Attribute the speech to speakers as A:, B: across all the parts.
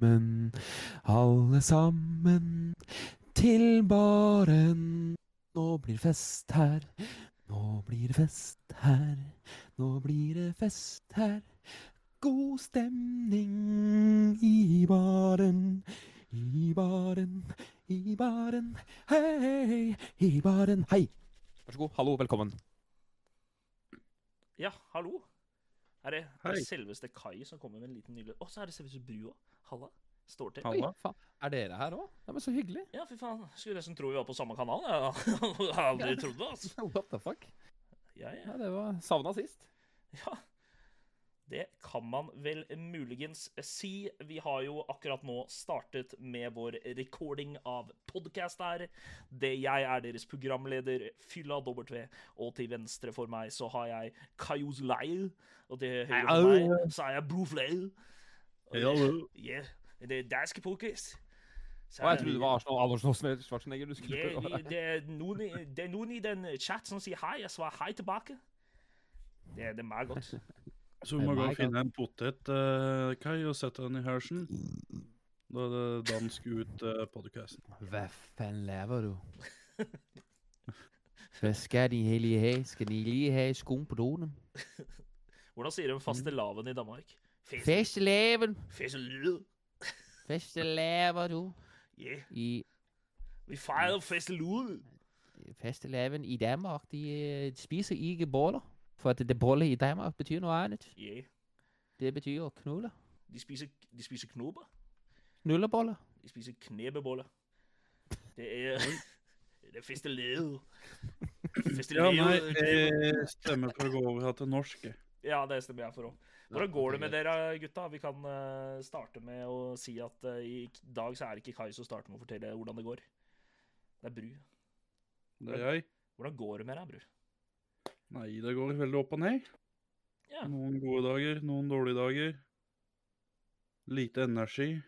A: sammen, alle sammen til baren. Nå blir det fest her, nå blir det fest her, nå blir det fest her. God stemning i baren, i baren, i baren, hei, hei, i baren, hei. Vær så god, hallo, velkommen.
B: Ja, hallo. Er det, er
C: Hei.
B: det selveste Kai som kommer med en liten nylig Å, så er det selveste Brua. Halla. Står til.
C: Halla.
A: faen. Er dere her òg? Nei, men så hyggelig.
B: Ja, fy faen. Skulle nesten tro vi var på samme kanal. Jeg hadde aldri trodd det, altså.
A: What the fuck?
B: Ja, ja.
A: Ja, det var savna sist.
B: ja. Det kan man vel muligens si. Vi har jo akkurat nå startet med vår recording av podkast her. Det jeg er deres programleder, Fylla W, og til venstre for meg så har jeg Kajos Leil, og til høyre for meg så er jeg Brufleil. Yeah, det er danske podcast. Så
A: Og jeg
B: er-
A: trodde det var Arsenal Andersen Åsne Schwarzenegger du skulle
B: Yeah,
A: prøve.
B: vi- det, er noen, i- det er noen i den chat som sier hei, jeg svarer hei tilbake. Det, er- det er meg godt.
C: Så vi må
A: Nei,
C: gå
A: meg,
C: og finne en potet, eh, Kai, og sette den i hersen. Da er det dansk ut uh, podcasten.
A: Hva faen laver du? Hva skal de hellige ha? Skal de lige ha skum på donen?
B: Hvordan sier de
A: Mhm.
B: fastelavn i Danmark? Fes-
A: Festeleven!
B: Festelød.
A: Festelaver du
B: Yeah,
A: i
B: vi fejrer festelød.
A: Festelaven i Danmark. De eh, spiser ikke boller. For at det boller i Danmark betyr noe annet.
B: Yeah,
A: Det betyr å knulle.
B: de spiser, de spiser knopper.
A: Knulleboller.
B: De spiser knebeboller. Det er, det er festelød.
C: Ja,
B: Festelød.
C: nei, jeg stemmer for å gå over her til norsk. jeg.
B: Ja, det stemmer jeg for òg. Hvordan går det med dere gutta? Vi kan eh, starte med å si at eh, i dag så er det ikke Kai som starter med å fortelle hvordan det går. Det er Bru.
C: Det er jeg.
B: Hvordan går det med deg, Bru?
C: Nei, det går veldig opp og ned.
B: Ja,
C: Noen gode dager, noen dårlige dager. Lite energi.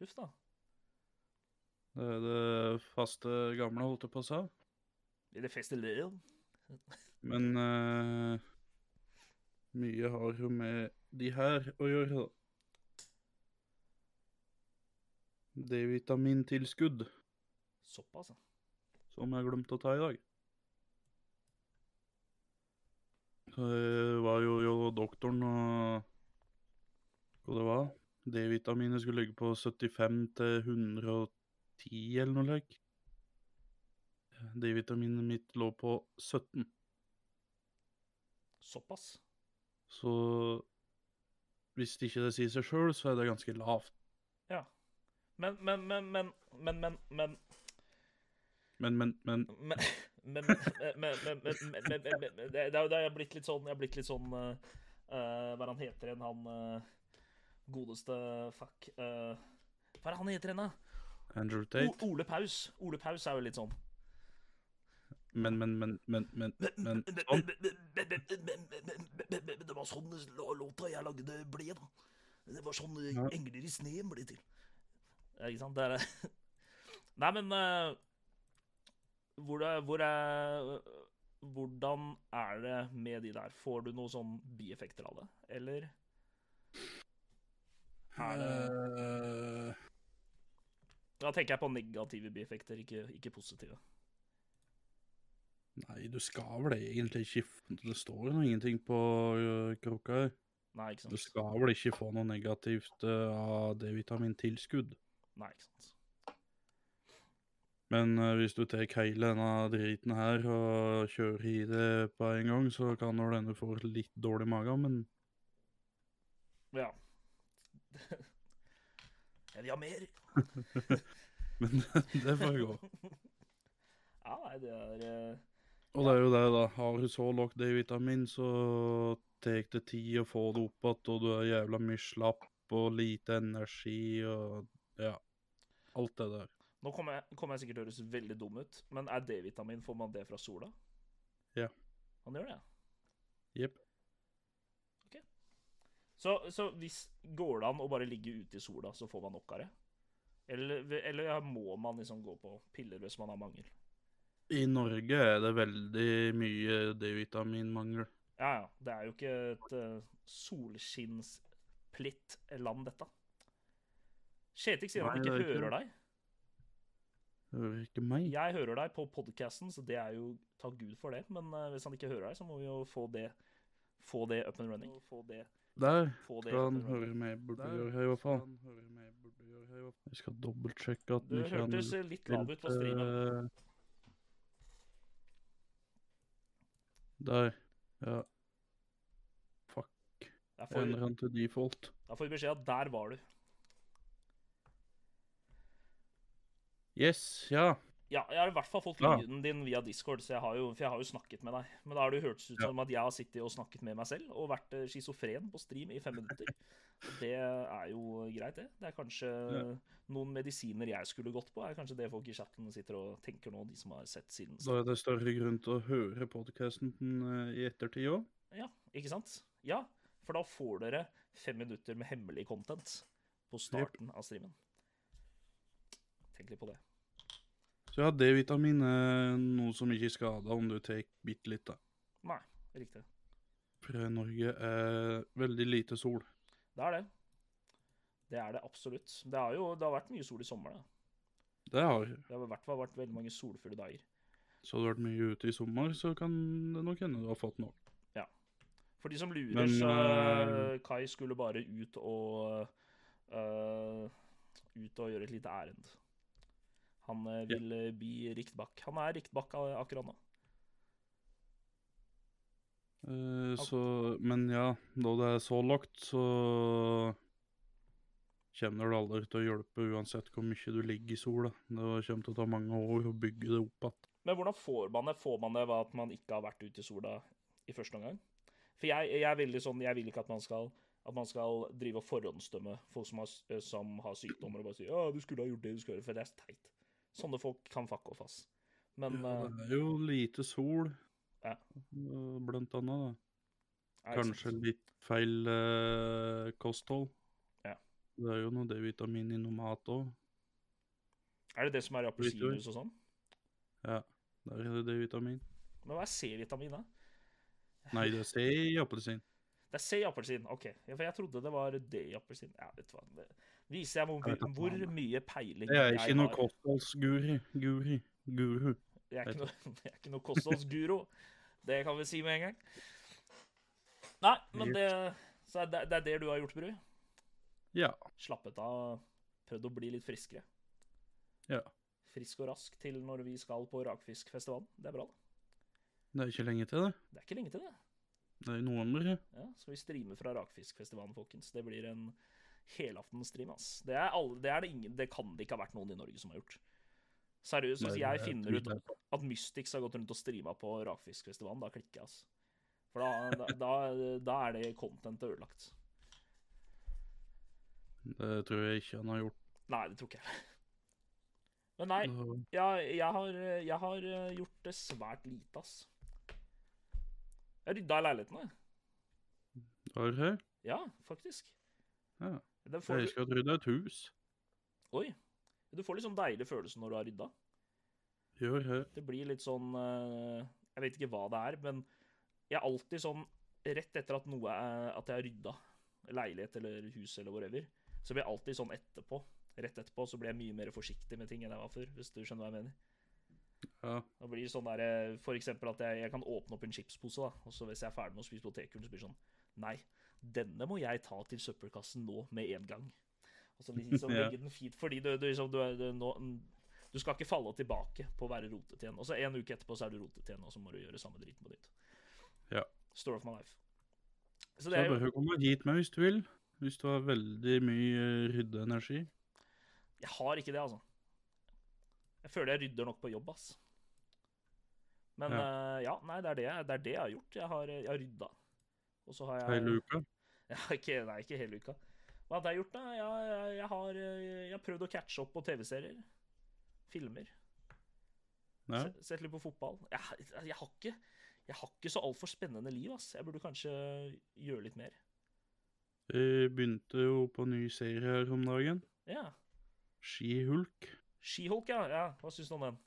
B: huff da.
C: Det er det faste gamle, holdt jeg på å si.
B: Er det fest i Leon?
C: Men eh, mye har jo med de her å gjøre, da. D-vitamintilskudd,
B: Såpass, ja.
C: som jeg glemte å ta i dag. Så jeg var jo jo doktoren og Hva det var? D-vitaminet skulle ligge på 75 til 110 eller noe slikt. D-vitaminet mitt lå på 17.
B: Såpass.
C: Så hvis det ikke det sier seg sjøl, så er det ganske lavt.
B: Ja. Men, men, men, men, men, men, men
C: Men, men, men
B: Men, men, men, men, men, men, men, men, men det, det, er jo- det er blitt litt sånn Jeg er blitt litt sånn eh, eh, Hva er han heter igjen, han eh, godeste Fuck. eh, hva er han heter igjen, da?
C: Andrew
B: O,
C: Tate
B: Ole Paus. Ole Paus er jo litt sånn
C: Men, men, men, men, men, men sånn.
B: Det var sånn lå- låta jeg lagde ble, da. Det var sånn eh,
C: Ja.
B: 'Engler i sneen' ble til. Ja, ikke sant? Det er det. Nei, men eh, hvor, er- hvor er, Hvordan er det med de der? Får du noen sånn bieffekter av det, eller? Er det,
C: Eh,
B: da tenker jeg på negative bieffekter, ikke, ikke positive.
C: Nei, du skal vel egentlig ikke f- Det står jo noe ingenting på ø, krukka her.
B: Nei, ikke
C: Du
B: sant?
C: skal vel ikke få noe negativt ø, av D-vitamintilskudd.
B: Nei, ikke sant?
C: Men ø, hvis du tar hele denne driten her og kjører i det på en gang, så kan du hende du får litt dårlig mage, men
B: Ja. Jeg vil ha mer.
C: Men det får gå.
B: Ja, nei, det er eh,
C: Og det er jo det, da. Har du så lavt D-vitamin, så tar det tid å få det opp igjen, og du er jævla mye slapp og lite energi og ja. Alt det der.
B: Nå kommer jeg, kommer jeg sikkert til å høres veldig dum ut, men er D-vitamin Får man det fra sola?
C: Ja.
B: Man gjør det, ja.
C: Jepp.
B: Så, så hvis går det an å bare ligge ute i sola, så får man nok av det? Eller, eller må man liksom gå på piller hvis man har mangel?
C: I Norge er det veldig mye D-vitaminmangel.
B: Ja, ja. Det er jo ikke eh, et uh, solskinnsplitt land, dette. Kjetil sier han
C: Nei, det
B: ikke
C: er ikke
B: hører
C: det.
B: deg.
C: Hører ikke meg.
B: Jeg hører deg på podcasten, så det er jo Takk Gud for det. Men eh, hvis han ikke hører deg, så må vi jo få det, få det up and running. Få det,
C: Der
B: få det
C: skal
B: up and
C: han
B: running.
C: høre meg. Burde gjøre her, i hvert fall. Jeg skal dobbeltsjekke at
B: Du
C: den ikke
B: hørtes litt lav ut på streamen.
C: eh, Der. Ja. Fuck.
B: Jeg
C: Jeg
B: får,
C: endrer han til default.
B: da får vi beskjed at der var du.
C: Yes, ja.
B: Ja, jeg har i hvert fall fått
C: Ja.
B: lyden din via Discord, så jeg har jo, for jeg har jo snakket med deg. Men da har det jo hørtes ut
C: Ja.
B: som at jeg har sittet og snakket med meg selv og vært eh, schizofren på stream i fem minutter. Det er jo greit, det. Det er kanskje noen medisiner jeg skulle gått på. er kanskje det folk i chatten sitter og tenker nå, de som har sett siden
C: Da er det større grunn til å høre podkasten i ettertid òg.
B: Ja, ikke sant? Ja, for da får dere fem minutter med hemmelig content på starten av streamen. Tenk litt på det.
C: Så ja, D-vitamin er eh, noe som ikke skader om du tar bitte litt, da.
B: Nei, riktig.
C: For eh, Norge er veldig lite sol.
B: Det er det. Det er det absolutt. Det, er jo, det har vært mye sol i sommer. Da.
C: Det har jeg.
B: Det har i hvert fall vært veldig mange solfulle dager.
C: Så hadde du vært mye ute i sommer, så kan det nok hende du har fått noe.
B: For de som lurer,
C: Men,
B: så
C: øh,
B: øh, Kai skulle bare ut og øh, Ut og gjøre et lite ærend. Han øh,
C: Ja.
B: vil øh, bli rikt bak. Han er rikt bak øh, akkurat nå.
C: Eh, så, men ja, da det er så lagt, så kommer det aldri til å hjelpe uansett hvor mye du ligger i sola. Det kommer til å ta mange år å bygge det opp igjen.
B: Men hvordan får man det? Får man det ved at man ikke har vært ute i sola i første omgang? For jeg, jeg er veldig sånn, jeg vil ikke at man skal at man skal drive og forhåndsdømme folk som har, eh, som har sykdommer, og bare si «Ja, du skulle ha gjort det du skulle gjøre, for det er teit. Sånne folk kan fuck off, ass. Men
C: Ja,
B: eh,
C: Det er jo lite sol,
B: Ja.
C: eh, blant annet. da.
B: er det sånn,
C: Kanskje
B: sant?
C: litt feil eh, kosthold.
B: Ja.
C: Det er jo noe D-vitamin i noe mat òg.
B: Er det det som er i
C: Litt
B: appelsinjuice og sånn?
C: Der er det D-vitamin.
B: Men hva er C-vitamin, da?
C: Nei, det er C i appelsin.
B: Det er C i appelsin. OK. Ja, for jeg trodde det var D i appelsin. Ja, vet du hva. Det viser jeg hvor,
C: Jeg vet da
B: hvor
C: faen, jeg.
B: mye peiling
C: Det er ikke noe
B: har.
C: kostholdsguri. Guri. Guru.
B: Jeg er
C: Vet
B: ikke noe, jeg er ikke noe kostholdsguro. Det kan vi si med en gang. Nei, men det, så er det, det er det du har gjort, Bru.
C: Ja.
B: Slappet av, prøvd å bli litt friskere.
C: Ja.
B: Frisk og rask til når vi skal på Rakfiskfestivalen. Det er bra, da.
C: Det er ikke lenge til, det.
B: Det er ikke lenge til det.
C: Det er i november.
B: Ja, så vi streamer fra Rakfiskfestivalen, folkens. Det blir en helaftensstream, ass. Det, er alle, det, er det, ingen, det kan det ikke ha vært noen i Norge som har gjort. Seriøst, hvis jeg finner ut at Mystics har gått rundt og streama på Rakfiskfestivalen, da klikker jeg, altså. For da, da, da, da er det contentet ødelagt.
C: Det tror jeg ikke han har gjort.
B: Nei, det tror ikke jeg. Men nei,
C: Så-
B: jeg, jeg, har, jeg har eh, gjort det svært lite, ass. Jeg rydda i leiligheten, jeg.
C: Har du det?
B: Ja, faktisk.
C: Ja.
B: Den får,
C: Jeg
B: du-
C: skal tro det er et hus.
B: oi. Du får litt sånn deilig følelse når du har rydda.
C: Gjør det.
B: Det blir litt sånn eh, Jeg vet ikke hva det er, men jeg er alltid sånn Rett etter at noe er, at jeg har rydda leilighet eller hus eller whatever, så blir jeg alltid sånn etterpå. Rett etterpå så blir jeg mye mer forsiktig med ting enn jeg var før, hvis du skjønner hva jeg mener.
C: Ja.
B: Da blir det sånn der, eh, for eksempel at jeg, jeg kan åpne opp en chipspose, da, og så hvis jeg er ferdig med å spise potetgull, så blir det sånn Nei, denne må jeg ta til søppelkassen nå med en gang. Og så liksom
C: Ja.
B: legge den fint, fordi du, du, liksom, du, er- du, nå, du skal ikke falle tilbake på å være rotete igjen. Og så en uke etterpå så er du rotete igjen, og så må du gjøre samme driten på nytt.
C: Ja.
B: Story of my life. Så
C: Så
B: det er jo
C: bare kom hit med hvis du vil. Hvis du har veldig mye eh, ryddeenergi.
B: Jeg har ikke det, altså. Jeg føler jeg rydder nok på jobb, ass. Men ja, ja nei, det er det, jeg- det er det jeg har gjort. Jeg har, jeg har rydda. Og så har jeg
C: Hele uka.
B: Ja, ikke, nei, ikke hele uka. Hva hadde jeg gjort, da? Jeg, jeg, jeg, har, eh, jeg har prøvd å catche opp på TV-serier. Filmer.
C: Ja.
B: Se- Sett litt på fotball. Jeg, jeg, har ikke, jeg har ikke så altfor spennende liv, ass. Jeg burde kanskje gjøre litt mer.
C: Jeg begynte jo på en ny serie her om dagen.
B: Ja.
C: Skihulk.
B: Skiholk, ja. ja. Hva syns du om den?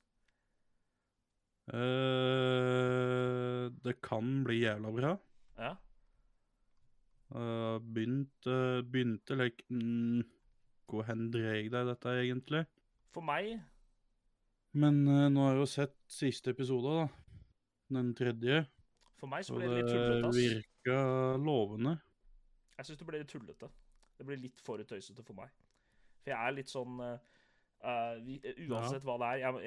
C: Eh, det kan bli jævla bra.
B: Ja.
C: Eh, begynt, eh, begynte like mm, hvor hen drar jeg deg dette, egentlig?
B: For meg
C: Men eh, nå har jeg jo sett siste episode, da. Den tredje.
B: For meg så
C: Og
B: ble det litt
C: det
B: tullete. ass.
C: virka lovende.
B: Jeg syns det ble litt tullete. Det ble litt for tøysete for meg. For jeg er litt sånn eh, eh, vi, eh, Uansett hva det er, jeg,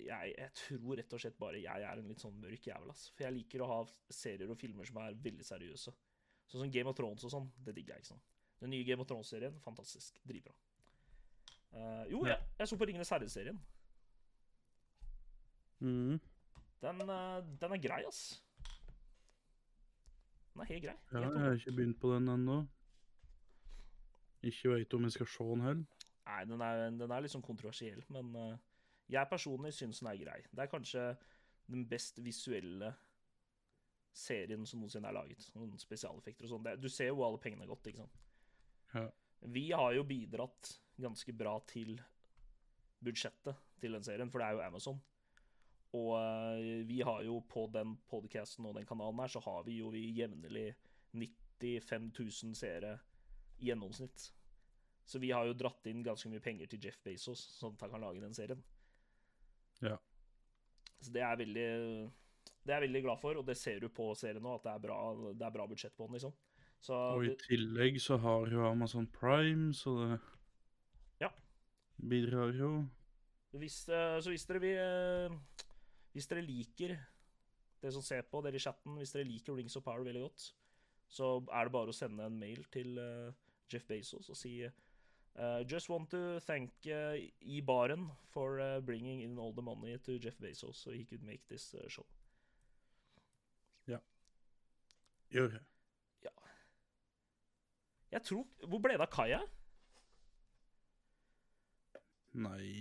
B: jeg, jeg, jeg tror rett og slett bare jeg er en litt sånn mørk jævel, ass. For jeg liker å ha serier og filmer som er veldig seriøse. Sånn som Game of Thrones og sånn. Det digger jeg, ikke sant. Den nye Game of Thrones-serien, fantastisk. Dritbra. Eh, jo, jeg, jeg så på Ringenes herre-serien.
C: Mhm.
B: Mm. Den, eh, den er grei, ass. Den er helt grei.
C: Ja,
B: Helt
C: jeg har ikke begynt på den ennå. Ikke veit om jeg skal se den heller.
B: Nei, den er, den er liksom kontroversiell, men eh, jeg personlig syns den er grei. Det er kanskje den best visuelle serien som noensinne er laget. Sånn spesialeffekter og sånn. Det- Du ser jo hvor alle pengene har gått, ikke sant.
C: Ja.
B: Vi har jo bidratt ganske bra til budsjettet til den serien, for det er jo Amazon. Og eh, vi har jo på den podcasten og den kanalen her, så har vi jo i jevnlig 95 000 seere i gjennomsnitt. Så vi har jo dratt inn ganske mye penger til Jeff Bezos, sånn at han kan lage den serien.
C: Ja.
B: Så det er jeg veldig Det er jeg veldig glad for, og det ser du på serien nå, at det er bra, det er bra budsjett på den, liksom. Så
C: Og i
B: det-
C: tillegg så har jo Amazon Prime, så det
B: Ja. Hvis, eh, så hvis dere vil eh, Hvis dere liker det som ser på, dere i chatten, hvis dere liker Rings of Power veldig godt, så er det bare å sende en mail til eh, Jeff Bezos og si eh, Just want to thank eh, i baren for eh, bringing in all the money to Jeff Bezos so he could make this eh, show.
C: Gjør jeg.
B: Jeg tror Hvor ble det av Kaja?
C: Nei,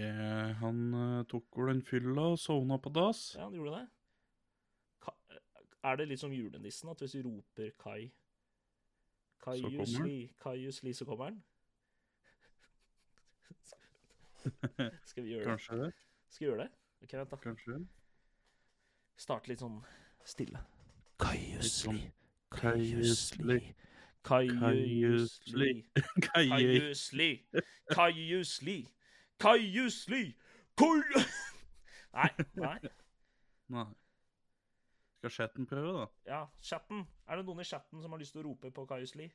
C: eh, han eh, tok vel en fylla og sovna på dass.
B: Ja, han gjorde det. Ka er det litt som julenissen, at hvis vi roper Kai Kai
C: Så kommer han.
B: Jusli, Kai Jusli, så kommer han? Skal vi gjøre det?
C: Kanskje det.
B: Skal vi gjøre det? Ok, vent da.
C: Kanskje det.
B: Starte litt sånn stille. Kai
C: sånn
B: Jusli,
C: Kai
B: Kai Jusli,
C: Jusli,
B: Kai
C: Kai
B: Jusli, Kai
C: Jusli. Kaie.
B: Jusli, Kai Jusli, Kai Jusli, Kai Nei, nei.
C: Nei. Skal chatten prøve, da?
B: Ja, chatten. Er det noen i chatten som har lyst til å rope på Kaius Lie?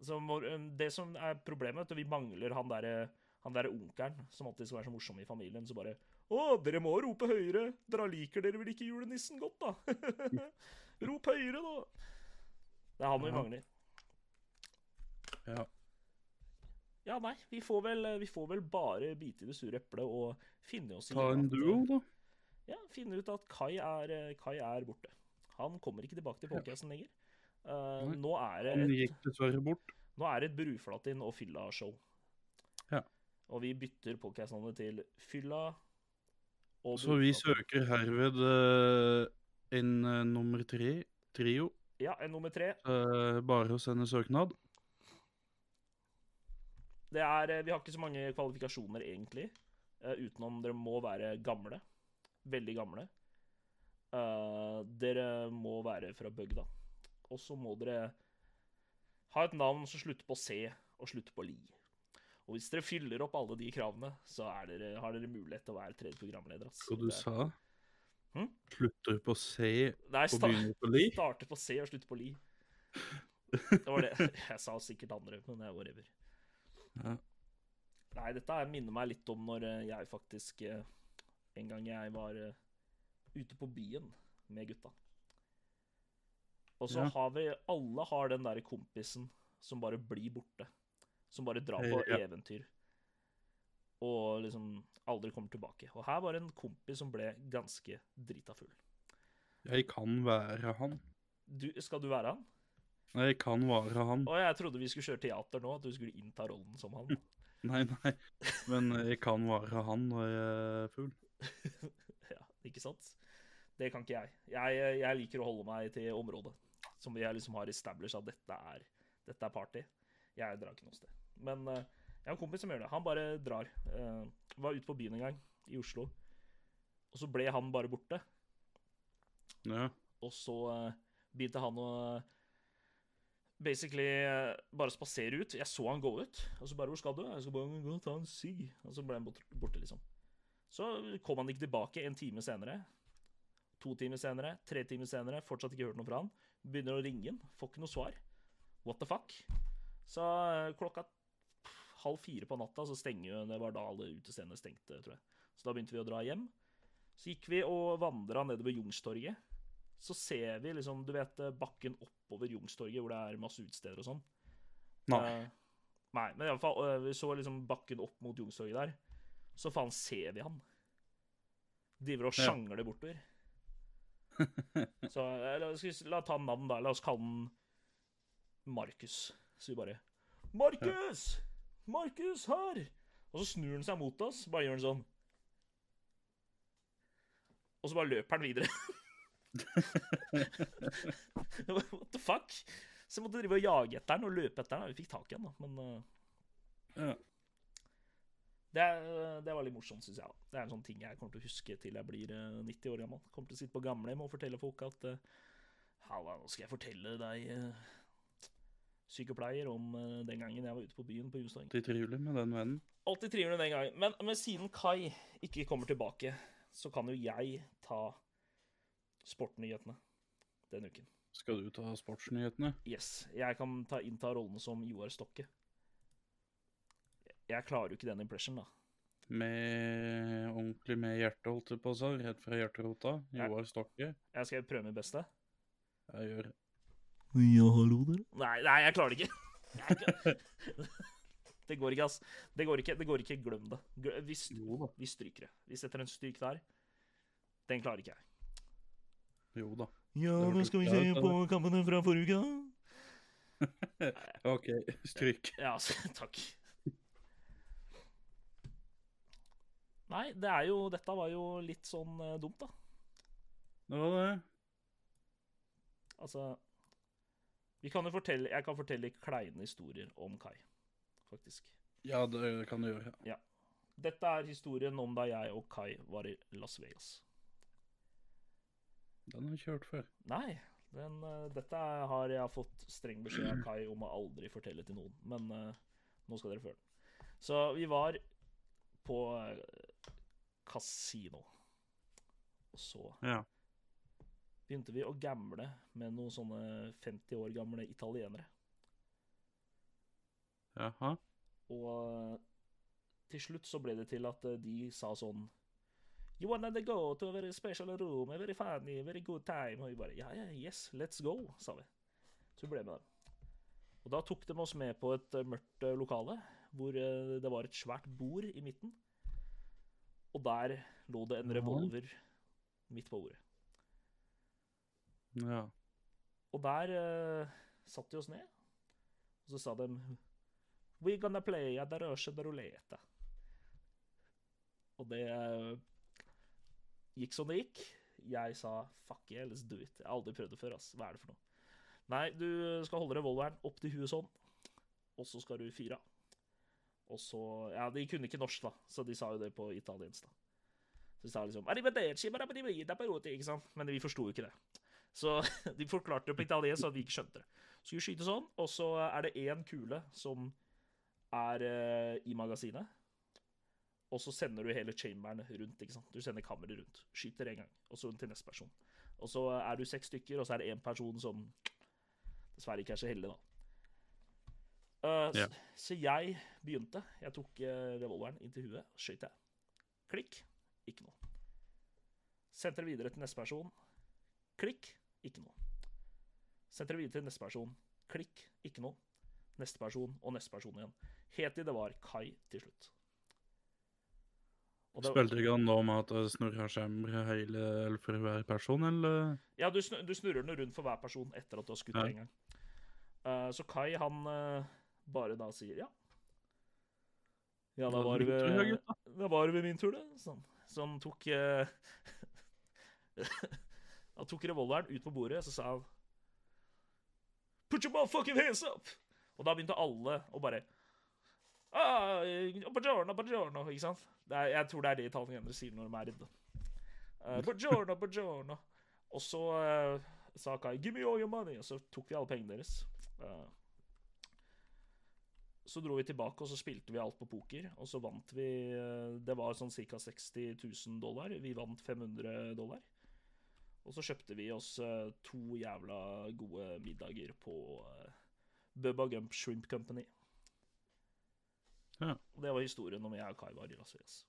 B: Så må- um, Det som er problemet, vet du, vi mangler han derre han der onkelen som alltid skal være så morsom i familien, så bare Å, dere må rope høyere! Dere liker dere vel ikke julenissen godt, da? Rop høyere, da! Det er han vi
C: Ja.
B: mangler.
C: Ja.
B: Ja, nei, vi får vel, vi får vel bare bite i det sure eplet og finne oss i
C: Ta en
B: at-
C: duo, da.
B: ja, finne ut at Kai er, eh, Kai er borte. Han kommer ikke tilbake til podcasten lenger. Eh,
C: Nei.
B: nå, er
C: Han
B: det et,
C: gikk dessverre bort.
B: nå er det et Bruflatin og Fylla-show.
C: Ja.
B: Og vi bytter podcastnavnet til Fylla og
C: Så vi
B: Bruflatin.
C: søker herved eh, en eh, nummer tre, trio.
B: Ja, en nummer tre.
C: Eh, bare å sende søknad.
B: Det er, eh, vi har ikke så mange kvalifikasjoner, egentlig. eh, utenom dere må være gamle. Veldig gamle. Eh, dere må være fra bygda. Og så må dere ha et navn som slutter på C og slutter på Li. Og hvis dere fyller opp alle de kravene, så er dere, har dere mulighet til å være tredje programleder. ass.
C: Og du
B: Det er-
C: sa
B: Hm?
C: Slutter på C
B: Nei,
C: og
B: sta
C: begynner på Li.
B: starte på C og slutte på Li. Det var det. Jeg sa sikkert andre, men det er whatever.
C: Ja.
B: Nei, dette her minner meg litt om når eh, jeg faktisk eh, En gang jeg var eh, ute på byen med gutta. Og så
C: Ja.
B: har vi Alle har den derre kompisen som bare blir borte. Som bare drar på
C: Eh, ja.
B: eventyr. Og liksom aldri kommer tilbake. Og her var det en kompis som ble ganske drita full.
C: Jeg kan være han.
B: Du, skal du være han?
C: Nei, jeg kan være han.
B: Å, jeg trodde vi skulle kjøre teater nå, at du skulle innta rollen som han.
C: Nei, nei. Men jeg kan være han når jeg er full.
B: ja, ikke sant? Det kan ikke jeg. jeg. Jeg liker å holde meg til området som jeg liksom har established at dette er, dette er party. Jeg drar ikke noe sted. Men eh, jeg har en kompis som gjør det. Han bare drar. Eh, var ute på byen en gang, i Oslo. Og så ble han bare borte.
C: Ja.
B: Og så eh, begynte han å eh, basically eh, bare spasere ut. Jeg så han gå ut, og så bare 'Hvor skal du?' Jeg skal bare gå og ta en sigg. Og så ble han bort- borte, liksom. Så kom han ikke tilbake en time senere. To timer senere, tre timer senere, fortsatt ikke hørt noe fra han. Begynner å ringe han, får ikke noe svar. What the fuck? Så eh, klokka halv fire på natta så stenger jo Det var da alle utestedene stengte, tror jeg. Så da begynte vi å dra hjem. Så gikk vi og vandra nedover Jungstorget. Så ser vi liksom, du vet, eh, bakken oppover Jungstorget, hvor det er masse utesteder og sånn.
C: Nei.
B: Eh, nei, men i alle fall, eh, vi så liksom bakken opp mot Jungstorget der. Så faen ser vi han. Driver og
C: Ja.
B: sjangler bortover. Så eh, la, skal vi, la ta navn, da. La oss kalle han Markus. Så vi bare Markus! Markus her! Og så snur han seg mot oss, bare gjør han sånn. Og så bare løper han videre. What the fuck? Så jeg måtte drive og jage etter han og løpe etter han. Vi fikk tak i han, da, men eh,
C: Ja.
B: det, er- eh, det var litt morsomt, syns jeg. da. Det er en sånn ting jeg kommer til å huske til jeg blir eh, 90 år gammel. Kommer til å sitte på gamlehjem og fortelle folk at eh, Halla, nå skal jeg fortelle deg, eh, sykepleier, om eh, den gangen jeg var ute på byen på Jungstorget.
C: Alltid trivelig med den vennen.
B: Alltid trivelig den gangen. Men, men siden Kai ikke kommer tilbake, så kan jo jeg ta sportnyhetene denne uken.
C: Skal du ta sportsnyhetene?
B: Yes. Jeg kan ta, innta rollen som Joar Stokke. Jeg klarer jo ikke den impression, da.
C: Med ordentlig med hjertet, holdt jeg på å si. Rett fra hjerterota.
B: Ja.
C: Joar Stokke.
B: Jeg skal prøve mitt beste.
C: Jeg gjør
B: Ja, hallo, dere. Nei, nei, jeg klarer det ikke. Jeg kan- Det går ikke, ass. Det går ikke. det går ikke, Glem det. Gl- Vi, st-
C: Jo da.
B: vi stryker det. Vi setter en stryk der. Den klarer ikke jeg.
C: Jo da.
B: Ja,
C: Det hørtes bra ut, da,
B: kampene fra forrige uke, da?
C: OK, stryk.
B: Ja, altså, takk. Nei, det er jo Dette var jo litt sånn eh, dumt, da.
C: Det var det.
B: Altså Vi kan jo fortelle Jeg kan fortelle kleine historier om Kai, faktisk.
C: Ja, det kan du gjøre.
B: Dette er historien om da jeg og Kai var i Las Vegas.
C: Den har jeg kjørt før.
B: Nei, den, eh, dette har jeg fått streng beskjed av Kai om å aldri fortelle til noen. Men eh, nå skal dere få høre den. Så vi var på uh, kasino. Og så
C: Ja.
B: begynte vi å gamble med noen sånne 50 år gamle italienere.
C: Jaha.
B: Og eh, til slutt så ble det til at eh, de sa sånn You wanna go to a very special room, a very funny, very good time. Og vi bare Ja, ja, yes, let's go, sa vi. Så vi ble med dem. Og da tok de oss med på et eh, mørkt eh, lokale, hvor eh, det var et svært bord i midten. Og der lå det en
C: Ja.
B: revolver midt på bordet.
C: Ja.
B: Og der eh, satte de oss ned, og så sa de We're gonna play at the Russian roulette. Og det eh, gikk som det gikk. Jeg sa fuck yeah, let's do it. Jeg har aldri prøvd det før, ass. Hva er det for noe? Nei, du skal holde revolveren opp til huet sånn, og så skal du fyre av. Og så Ja, de kunne ikke norsk, da, så de sa jo det på italiensk, da. Så de sa liksom «Arrivederci, barabidi, da peruti», ikke sant? Men vi forsto jo ikke det. Så de forklarte det på italiensk, så at vi ikke skjønte det. Så vi skyter sånn, og så er det én kule som er eh, i magasinet. Og så sender du hele chamberen rundt. ikke sant? Du sender kammeret rundt. Skyter én gang, og så til neste person. Og så er du seks stykker, og så er det én person som dessverre ikke er så heldig, da. Eh,
C: Ja.
B: så, så jeg begynte. Jeg tok eh, revolveren inn til huet, og skjøt jeg. Klikk. Ikke noe. Sendte det videre til neste person. Klikk. Ikke noe. Sendte det videre til neste person. Klikk. Ikke noe. Neste person og neste person igjen. Helt til det var Kai til slutt. Og det-
C: Spilte ikke han da med at eh, det snurra skjemmer hele eller for hver person, eller?
B: Ja, du, snu- du snurrer den rundt for hver person etter at du har skutt
C: Ja.
B: deg en gang. Eh, så Kai, han eh, bare da sier ja. Ja, da
C: Da
B: var det
C: lytter du,
B: ved,
C: gutta.
B: da var det ved min tur, det. Sånn. Så han tok eh, Han tok revolveren ut på bordet, så sa han Put your motherfucking hands up! Og da begynte alle å bare «Ah, eh, Buongiorno, buongiorno, ikke sant? Det er, jeg tror det er det italienere sier når de er redde. Eh, buongiorno, buongiorno. Og så eh, sa Kai 'give me all your money', og så tok vi alle pengene deres. Eh, Så dro vi tilbake, og så spilte vi alt på poker, og så vant vi eh, Det var sånn ca. 60 000 dollar. Vi vant 500 dollar. Og så kjøpte vi oss eh, to jævla gode middager på eh, Bubba Gump Shrimp Company.
C: Ja.
B: Og det var historien om jeg og Kai var i Las Vegas.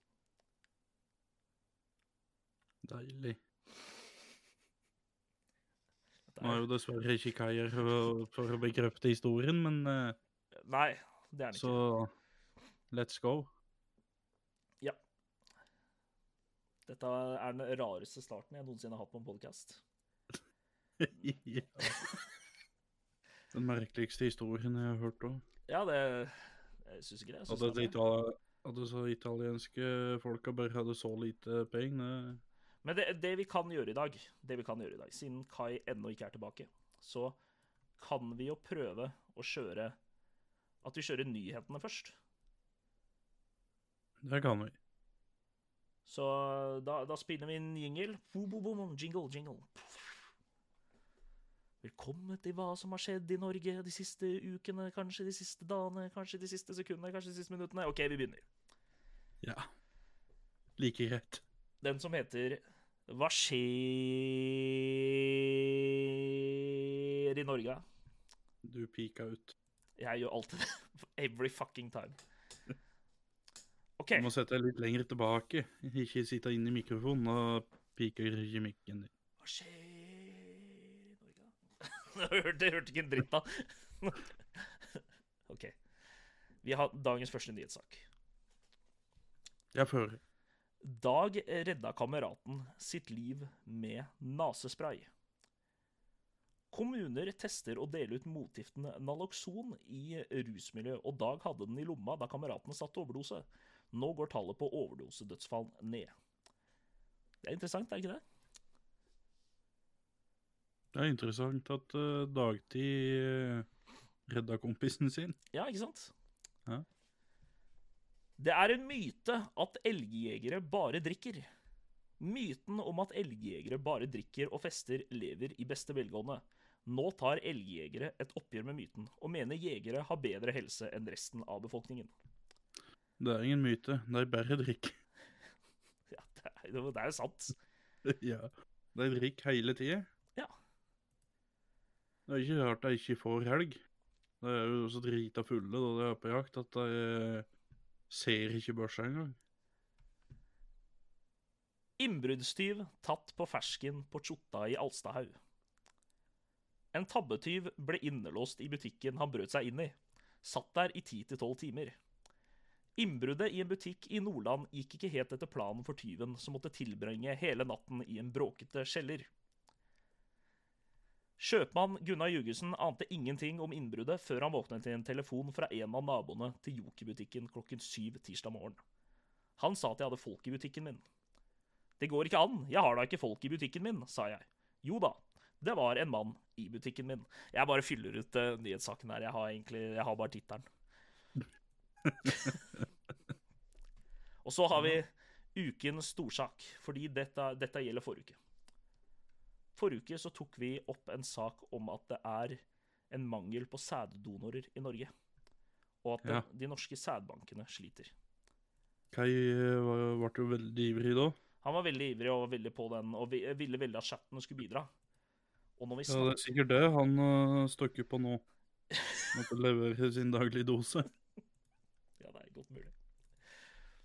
C: Deilig.
B: Dette
C: Nå er jo dessverre ikke Kai her for, å- for å bekrefte historien, men eh,
B: Nei, det er det ikke.
C: så let's go.
B: Dette er den rareste starten jeg noensinne har hatt på en podkast.
C: Ja. Den merkeligste historien jeg har hørt òg.
B: Ja, det Jeg syns ikke det. Jeg synes
C: At det
B: det er bra.
C: itali at disse italienske folka bare hadde så lite penger.
B: Men det, det vi kan gjøre i dag, det vi kan gjøre i dag, siden Kai ennå ikke er tilbake, så kan vi jo prøve å kjøre At vi kjører nyhetene først.
C: Det kan vi.
B: Så da, da spiller vi en jingle. Boom, boom, boom, jingle, jingle. Velkommen til hva som har skjedd i Norge de siste ukene, kanskje de siste dagene, kanskje de siste sekundene, kanskje de siste minuttene. OK, vi begynner.
C: Ja. Like greit.
B: Den som heter Hva skjer i Norge?
C: Du pika ut.
B: Jeg gjør alltid det. Every fucking time. OK.
C: Du må sette deg litt lenger tilbake. Ikke sitte inne i mikrofonen. Da piker ikke mikken din.
B: Hva skjer i Norge? det hørte, det hørte ikke en dritt av. OK. Vi har dagens første nyhetssak.
C: Jeg fører.
B: Dag redda kameraten sitt liv med nasespray. Kommuner tester å dele ut motgiften Naloxon i rusmiljø, og Dag hadde den i lomma da kameraten satt overdose. Nå går tallet på overdosedødsfall ned. Det er interessant, er det ikke det?
C: Det er interessant at eh, dagtid eh, redda kompisen sin.
B: Ja, ikke sant?
C: Ja.
B: Det er en myte at elgjegere bare drikker. Myten om at elgjegere bare drikker og fester lever i beste velgående. Nå tar elgjegere et oppgjør med myten, og mener jegere har bedre helse enn resten av befolkningen.
C: Det er ingen myte. Det er bare drikk.
B: Ja, det er jo det er jo sant.
C: ja. Det er drikk hele tida.
B: Ja.
C: Det er ikke rart jeg ikke får helg. Det er jo så drita fulle da de er på jakt at jeg eh, ser ikke børsa engang.
B: Innbruddstyv tatt på fersken på Tjotta i Alstahaug. En tabbetyv ble innelåst i butikken han brøt seg inn i. Satt der i 10-12 timer. Innbruddet i en butikk i Nordland gikk ikke helt etter planen for tyven, som måtte tilbringe hele natten i en bråkete kjeller. Kjøpmann Gunnar Jugesen ante ingenting om innbruddet før han våknet til en telefon fra en av naboene til Joker-butikken klokken syv tirsdag morgen. Han sa at jeg hadde folk i butikken min. Det går ikke an, jeg har da ikke folk i butikken min, sa jeg. Jo da, det var en mann i butikken min. Jeg bare fyller ut eh, nyhetssaken her, jeg har egentlig jeg har bare tittelen. Og så har vi ukens storsak, fordi dette, dette gjelder forrige uke. Forrige uke så tok vi opp en sak om at det er en mangel på sæddonorer i Norge. Og at
C: Ja.
B: den- de norske sædbankene sliter.
C: Kai eh, var- ble jo veldig ivrig da.
B: Han var veldig ivrig og var veldig på den, og vi- ville veldig at chatten skulle bidra. Og når vi
C: Ja, det
B: snakker,
C: er sikkert det han uh, støkker på nå. Måtte levere sin daglige dose.
B: ja, det er godt mulig.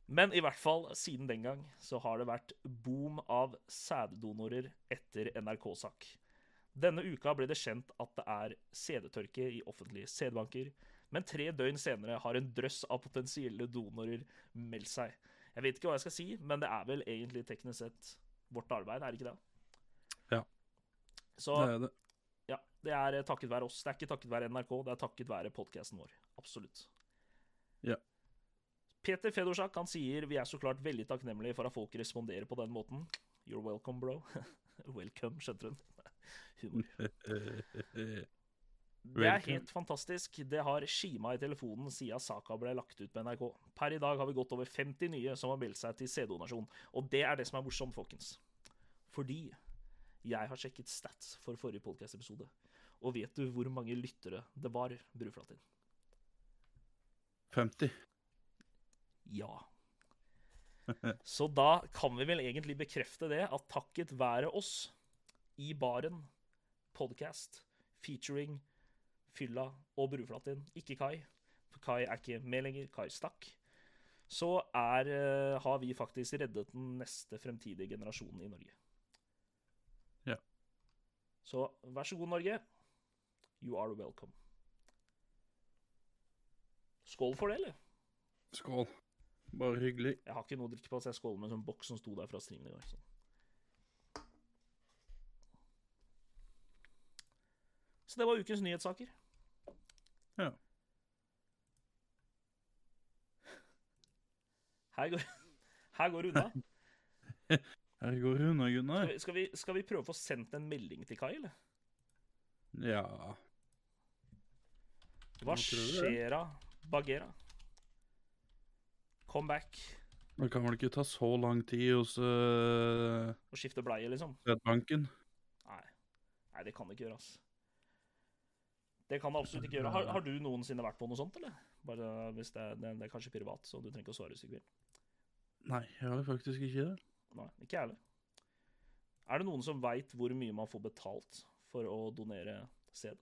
B: Men i hvert fall, siden den gang, så har det vært boom av sæddonorer etter NRK-sak. Denne uka ble det kjent at det er sædtørke i offentlige sædbanker, men tre døgn senere har en drøss av potensielle donorer meldt seg. Jeg vet ikke hva jeg skal si, men det er vel egentlig teknisk sett vårt arbeid, er det ikke det?
C: Ja.
B: Så,
C: Det er det.
B: Ja, det er eh, takket være oss. Det er ikke takket være NRK, det er takket være podkasten vår. Absolutt.
C: Ja.
B: Peter Fedorsak han sier vi er så klart veldig takknemlige for at folk responderer på den måten. You're welcome, bro. welcome, skjønte hun. Humor. Det er
C: Welcome.
B: helt fantastisk. Det har skima i telefonen siden saka ble lagt ut på NRK. Per i dag har vi gått over 50 nye som har meldt seg til sæddonasjon. Og det er det som er morsomt, folkens. Fordi Jeg har sjekket stats for forrige podcast-episode. Og vet du hvor mange lyttere det var, Bruflatin?
C: 50.
B: Ja. Så da kan vi vel egentlig bekrefte det, at takket være oss i baren, podcast, featuring Fylla og Bruflatin, ikke Kai, for Kai er ikke med lenger, Kai stakk, så er, eh, har vi faktisk reddet den neste fremtidige generasjonen i Norge.
C: Ja.
B: Så vær så god, Norge. You are welcome. Skål for det, eller?
C: Skål. Bare hyggelig.
B: Jeg har ikke noe å drikke på, så jeg skåler med en sånn boks som sto der fra streamen i går. Sånn. Så det var ukens nyhetssaker.
C: Ja.
B: Her går, her går det unna.
C: Her går det unna,
B: Skal
C: Gunnar.
B: vi, skal, vi, skal vi prøve å få sendt en melding til Kai, eller?
C: Ja.
B: Hva
C: Jeg tror det.
B: skjer'a, Bagheera? Come back
C: Det kan vel ikke ta så lang tid hos uh,
B: og skifte bleie, liksom?
C: Fedbanken?
B: Nei. Nei, det kan det ikke gjøre, ass. Det kan det absolutt ikke gjøre. Har, har du noensinne vært på noe sånt, eller? Bare hvis det, er- det, er- det er kanskje privat, så du trenger ikke å svare hvis du ikke vil.
C: Nei, jeg har faktisk ikke det.
B: Nei, ikke jeg heller. Er det noen som veit hvor mye man får betalt for å donere sæd?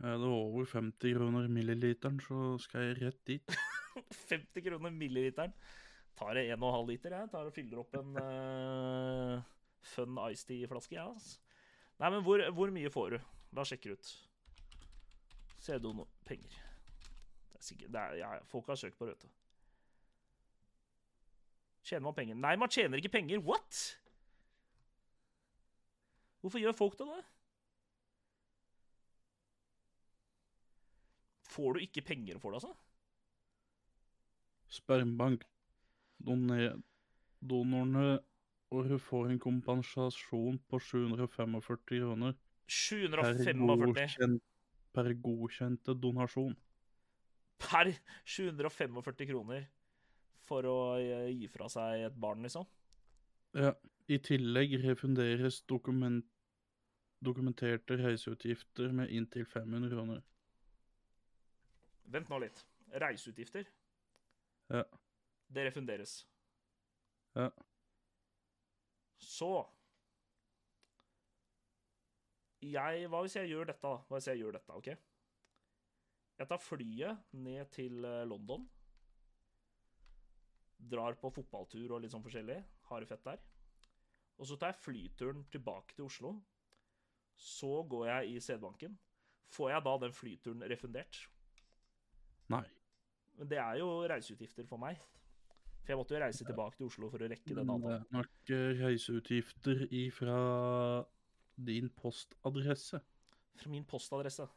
C: Er det over 50 kroner milliliteren, så skal jeg rett dit.
B: 50 kroner milliliteren. Tar det 1,5 liter, jeg. Tar og fyller opp en eh, Fun Ice Tea-flaske, jeg, ass. Nei, men hvor, hvor mye får du? La oss sjekke ut. Sedon penger. Det er sikkert det er, ja, ja, Folk har søkt på det, vet du. Tjener man penger? Nei, man tjener ikke penger. What?! Hvorfor gjør folk det, da? Får du ikke penger for det, altså?
C: Spermbank. Doner donorene og hun får en kompensasjon på 745 kroner per,
B: 745
C: godkjent, per godkjente donasjon.
B: per 745 kroner for å eh, gi fra seg et barn, liksom.
C: Ja. I tillegg refunderes dokument, dokumenterte reiseutgifter med inntil 500 kroner.
B: Vent nå litt. Reiseutgifter.
C: Ja.
B: Det refunderes.
C: Ja.
B: Så jeg, Hva hvis jeg gjør dette, da? Hva hvis jeg gjør dette, OK? Jeg tar flyet ned til eh, London. Drar på fotballtur og litt sånn forskjellig. Har det fett der. Og så tar jeg flyturen tilbake til Oslo. Så går jeg i sædbanken. Får jeg da den flyturen refundert?
C: Nei.
B: Men det er jo reiseutgifter for meg. For jeg måtte jo reise tilbake til Oslo for å rekke den
C: Men det
B: avtalen.
C: er nok eh, reiseutgifter ifra din postadresse.
B: Fra min postadresse.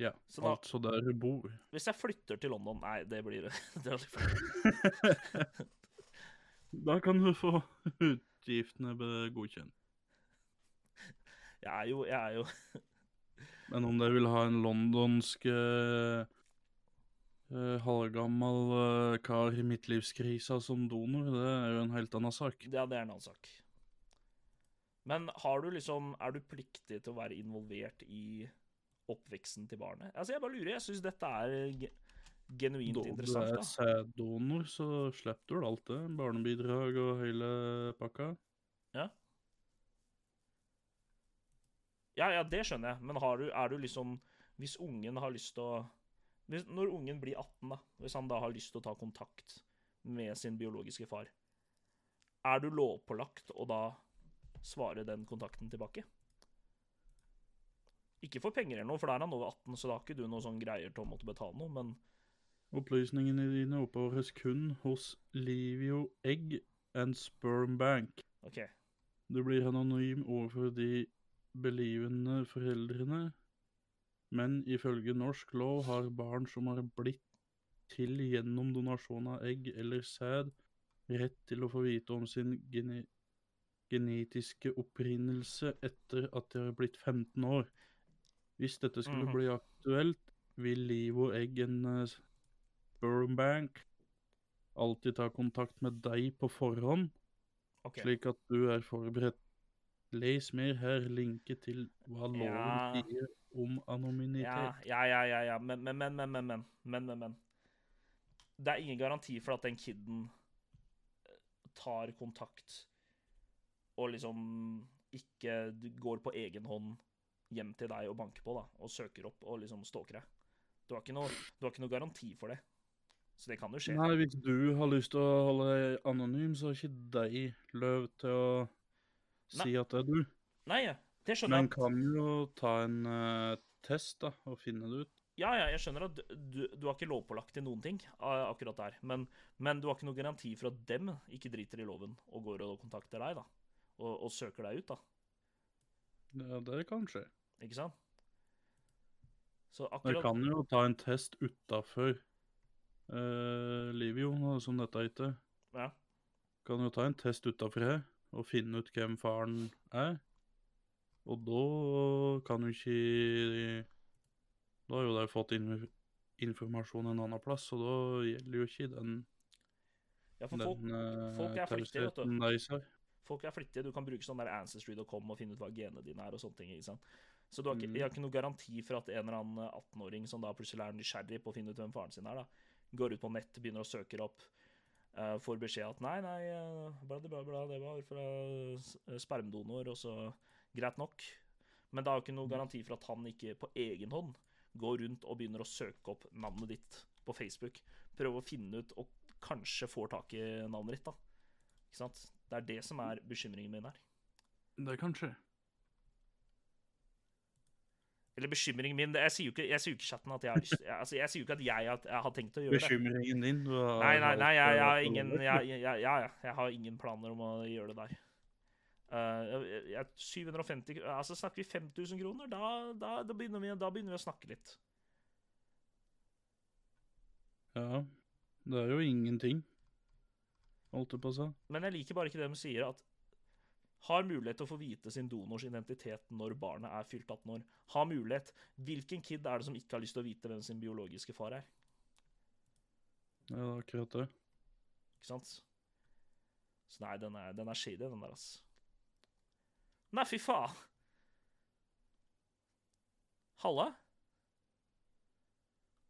C: Ja,
B: Så da-
C: altså der du bor.
B: Hvis jeg flytter til London Nei, det blir det. er aldri feil.
C: Da kan du få utgiftene be- godkjent.
B: Jeg er jo, jeg er jo
C: Men om dere vil ha en londonsk eh, eh, halvgammel eh, kar i midtlivskrisa som donor, det er jo en helt annen sak.
B: Ja, det er en annen sak. Men har du liksom Er du pliktig til å være involvert i oppveksten til barnet? Altså, jeg bare lurer. Jeg syns dette er ge- genuint
C: Da du
B: interessant.
C: er
B: da.
C: sæddonor, så slipper du alt det. Barnebidrag og hele pakka.
B: Ja, ja, det skjønner jeg. Men har du, er du liksom Hvis ungen har lyst til å hvis, Når ungen blir 18, da, hvis han da har lyst til å ta kontakt med sin biologiske far, er du lovpålagt å da svare den kontakten tilbake? Ikke for penger eller noe, for da er han over 18, så da har ikke du noe sånn greier til å måtte betale noe, men
C: Opplysningene dine oppbevares kun hos Livio Egg and Sperm Bank.
B: OK.
C: Du blir anonym overfor de belivende foreldrene, men ifølge norsk lov har barn som har blitt til gjennom donasjon av egg eller sæd, rett til å få vite om sin gene genetiske opprinnelse etter at de har blitt 15 år. Hvis dette skulle
B: Mhm.
C: bli aktuelt, vil Liv og Egg en eh, sperm bank alltid ta kontakt med deg på forhånd,
B: ok.
C: slik at du er forberedt Les mer her, linke til hva loven
B: Ja.
C: sier om
B: Ja,
C: anonymitet.
B: ja, ja, ja, ja. Men, men, men, men, men, men, men, men, men. Det er ingen garanti for at den kiden eh, tar kontakt og liksom ikke du går på egen hånd hjem til deg og banker på, da, og søker opp og liksom stalker deg. Du har ikke noe, du har ikke noe garanti for det. Så det kan jo skje.
C: Nei, hvis du har lyst til å holde deg anonym, så har ikke de løv til å si at det er du.
B: Nei, ja, det skjønner
C: Men
B: jeg.
C: kan jo ta en eh, test, da, og finne det ut.
B: Ja, ja, jeg skjønner at du, du, du har ikke lovpålagt til noen ting a- akkurat der, men, men du har ikke noen garanti for at dem ikke driter i loven og går og kontakter deg, da. Og, og søker deg ut, da.
C: Ja, det kan skje.
B: Ikke sant? Så
C: Jeg
B: akkurat
C: kan jo ta en test utafor eh, Livio, som dette heter.
B: ja.
C: Kan jo ta en test utafor her, og finne ut hvem faren er. Og da kan jo ikke Da har jo de fått inf informasjon en annen plass, så da gjelder jo ikke den,
B: ja, for
C: den
B: folk,
C: eh,
B: folk er flittige, vet du.
C: tausheten deres her.
B: folk er flittige. Du kan bruke sånn der ancestry.com og finne ut hva genene dine er og sånne ting. ikke sant? Så du har ikke,
C: Mm.
B: jeg har ikke noe garanti for at en eller annen 18-åring som da plutselig er nysgjerrig på å finne ut hvem faren sin er, da, går ut på nett, begynner å søke opp, eh, får beskjed at nei, nei, eh, bla, bla, bla, bla, det var fra s- eh, spermdonor, og så greit nok. Men det er jo ikke noe garanti for at han ikke på egen hånd går rundt og begynner å søke opp navnet ditt på Facebook. Prøve å finne ut, og kanskje får tak i navnet ditt, da. Ikke sant? Det er det som er bekymringen min her.
C: Det kan skje.
B: Eller bekymringen min det- Jeg sier jo ikke, jeg sier jo ikke i chatten at jeg har lyst jeg, altså, jeg sier jo ikke at jeg, har- jeg har tenkt å gjøre det.
C: Bekymringen din du har
B: Nei, nei, nei, jeg, jeg, har
C: har-
B: ingen, jeg, jeg, jeg, ja, ja, jeg har ingen planer om å gjøre det der. Eh, jeg, jeg, 750 kr- Altså, snakker vi 5000 kroner, da, da, da, begynner vi, da begynner vi å snakke litt.
C: Ja. Det er jo ingenting, holdt jeg på å si.
B: Men jeg liker bare ikke det de sier, at har mulighet til å få vite sin donors identitet når barnet er fylt 18 år. Har mulighet. Hvilken kid er det som ikke har lyst til å vite hvem sin biologiske far er?
C: Ja, det er akkurat det.
B: Ikke sant? Så nei, den er, den er shady, den der, ass. Nei, fy faen! Halla?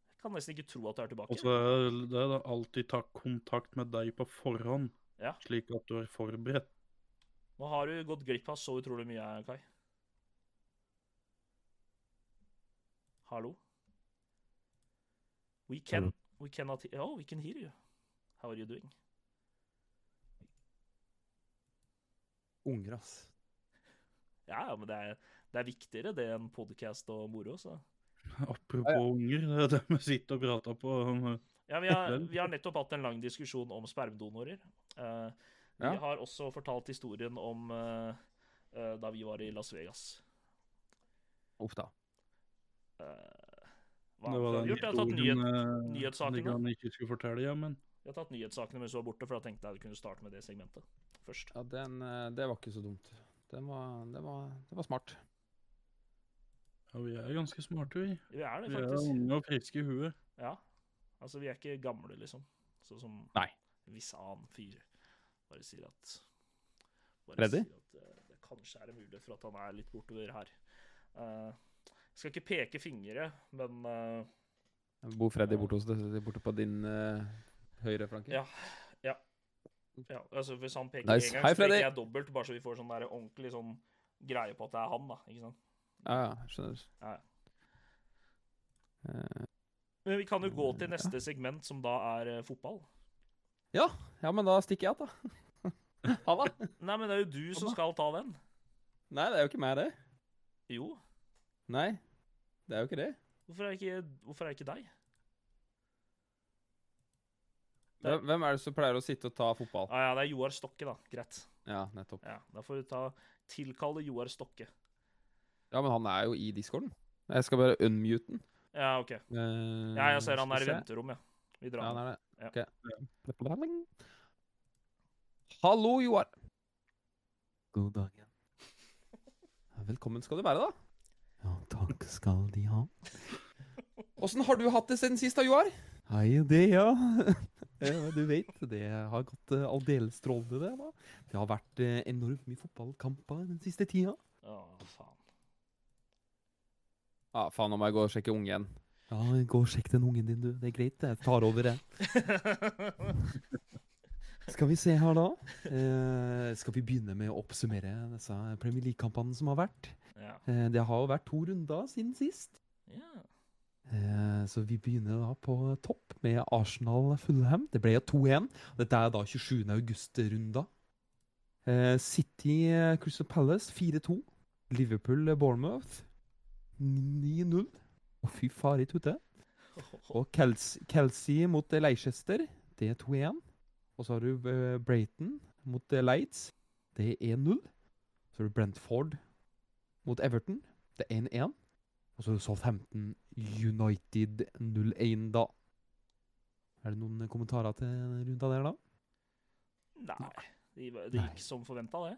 B: Jeg kan nesten ikke tro at du er tilbake.
C: Og så er det da alltid ta kontakt med deg på forhånd,
B: Ja.
C: slik at du er forberedt.
B: Nå har du gått glipp av så utrolig mye, Kai. Hallo? We can,
A: Hallo.
B: we cannot, he- oh, we can hear you. How are you doing?
A: Unger, ass.
B: Ja, ja, men det er, det er viktigere det enn podcast og moro, så.
C: Apropos unger, det er det vi sitter og prater på. eh,
B: Ja, vi har,
C: Vel.
B: vi har nettopp hatt en lang diskusjon om spermdonorer. Eh, vi
A: Ja.
B: har også fortalt historien om eh, eh, da vi var i Las Vegas.
A: Uff da.
B: Eh, hva har vi gjort? Jeg har tatt, nyhet,
C: historien, eh,
B: nyhetssaken,
C: jeg
B: da.
C: kan ikke skulle fortelle, ja, men
B: jeg har tatt nyhetssakene mens du var borte, for da tenkte jeg at jeg kunne starte med det segmentet først.
A: Ja, den, eh, det var ikke så dumt. Den var, det, var, det var smart.
C: ja, vi er ganske smarte, vi.
B: Vi er det,
C: Vi er
B: faktisk.
C: unge og friske i huet.
B: Ja. Altså, vi er ikke gamle, liksom. Sånn som
A: Nei.
B: en viss annen fyr. Bare sier at Bare
A: Freddy?
B: sier at eh, det kanskje er en mulighet for at han er litt bortover her. Eh, jeg skal ikke peke fingre, men eh,
A: Bor Freddy borte hos deg, borte på din eh, høyre flanke?
B: Ja. ja. ja altså Hvis han peker
A: Nice.
B: en gang,
A: Hei,
B: så peker
A: Freddy.
B: jeg dobbelt, bare så vi får sånn der ordentlig sånn greie på at det er han. da, ikke sant?
A: ja, ja, skjønner.
B: Ja, ja.
A: Eh,
B: Men vi kan jo gå til neste segment, som da er eh, fotball.
A: ja, men da stikker jeg av, da. Ha det.
B: Nei, men det er jo du som skal ta den.
A: Nei, det er jo ikke meg, det.
B: Jo.
A: Nei, det er jo ikke det.
B: Hvorfor er det ikke, hvorfor er det ikke deg? Det-
A: Hvem hvem er det som pleier å sitte og ta fotball?
B: Ah, ja, det er Joar Stokke, da. Greit.
A: Ja, nettopp.
B: Ja, Da får du ta tilkalle Joar Stokke.
A: Ja, men han er jo i discorden. Jeg skal bare unmute den.
B: Ja, OK.
A: Eh,
B: Ja, jeg ser han
A: skal
B: er i
A: se.
B: venterom, ja.
A: Ja,
B: Vi drar
A: han
B: den.
A: er det. Ok. Hallo, Joar. God dagen. Velkommen skal du være, da. Ja, takk skal de ha. Åssen har du hatt det siden sist, da, Joar? Hei, det, ja. Eh, Du vet, det har gått eh, aldeles strålende, det. da. Det har vært eh, enormt mye fotballkamper den siste tida.
B: Å, faen.
D: Ja, faen, nå må jeg gå og sjekke ungen.
A: Ja, gå og sjekk den ungen din, du. Det er greit, det. jeg tar over det. Skal vi se her, da. Eh, skal vi begynne med å oppsummere disse Premier League-kampene som har vært?
B: ja.
A: Eh, det har jo vært to runder siden sist.
B: ja.
A: Eh, Så vi begynner da på topp med Arsenal-Fullham. Det ble jo 2-1. Dette er da 27. august-runda. Eh, City eh, Crystal Palace 4-2. Liverpool eh, Bournemouth 9-0. Å, fy farit ute. Og Kels Kelsey mot eh, Leicester, det er 2-1. Og så har du eh, Brayton mot eh, Leeds, det er 1-0. Så har du Brentford mot Everton, det er 1-1. Og så har du Southampton United 0-1, da. Er det noen eh, kommentarer til den runda der, da?
B: Nei. Det de det
A: Nei.
B: gikk som forventa, det.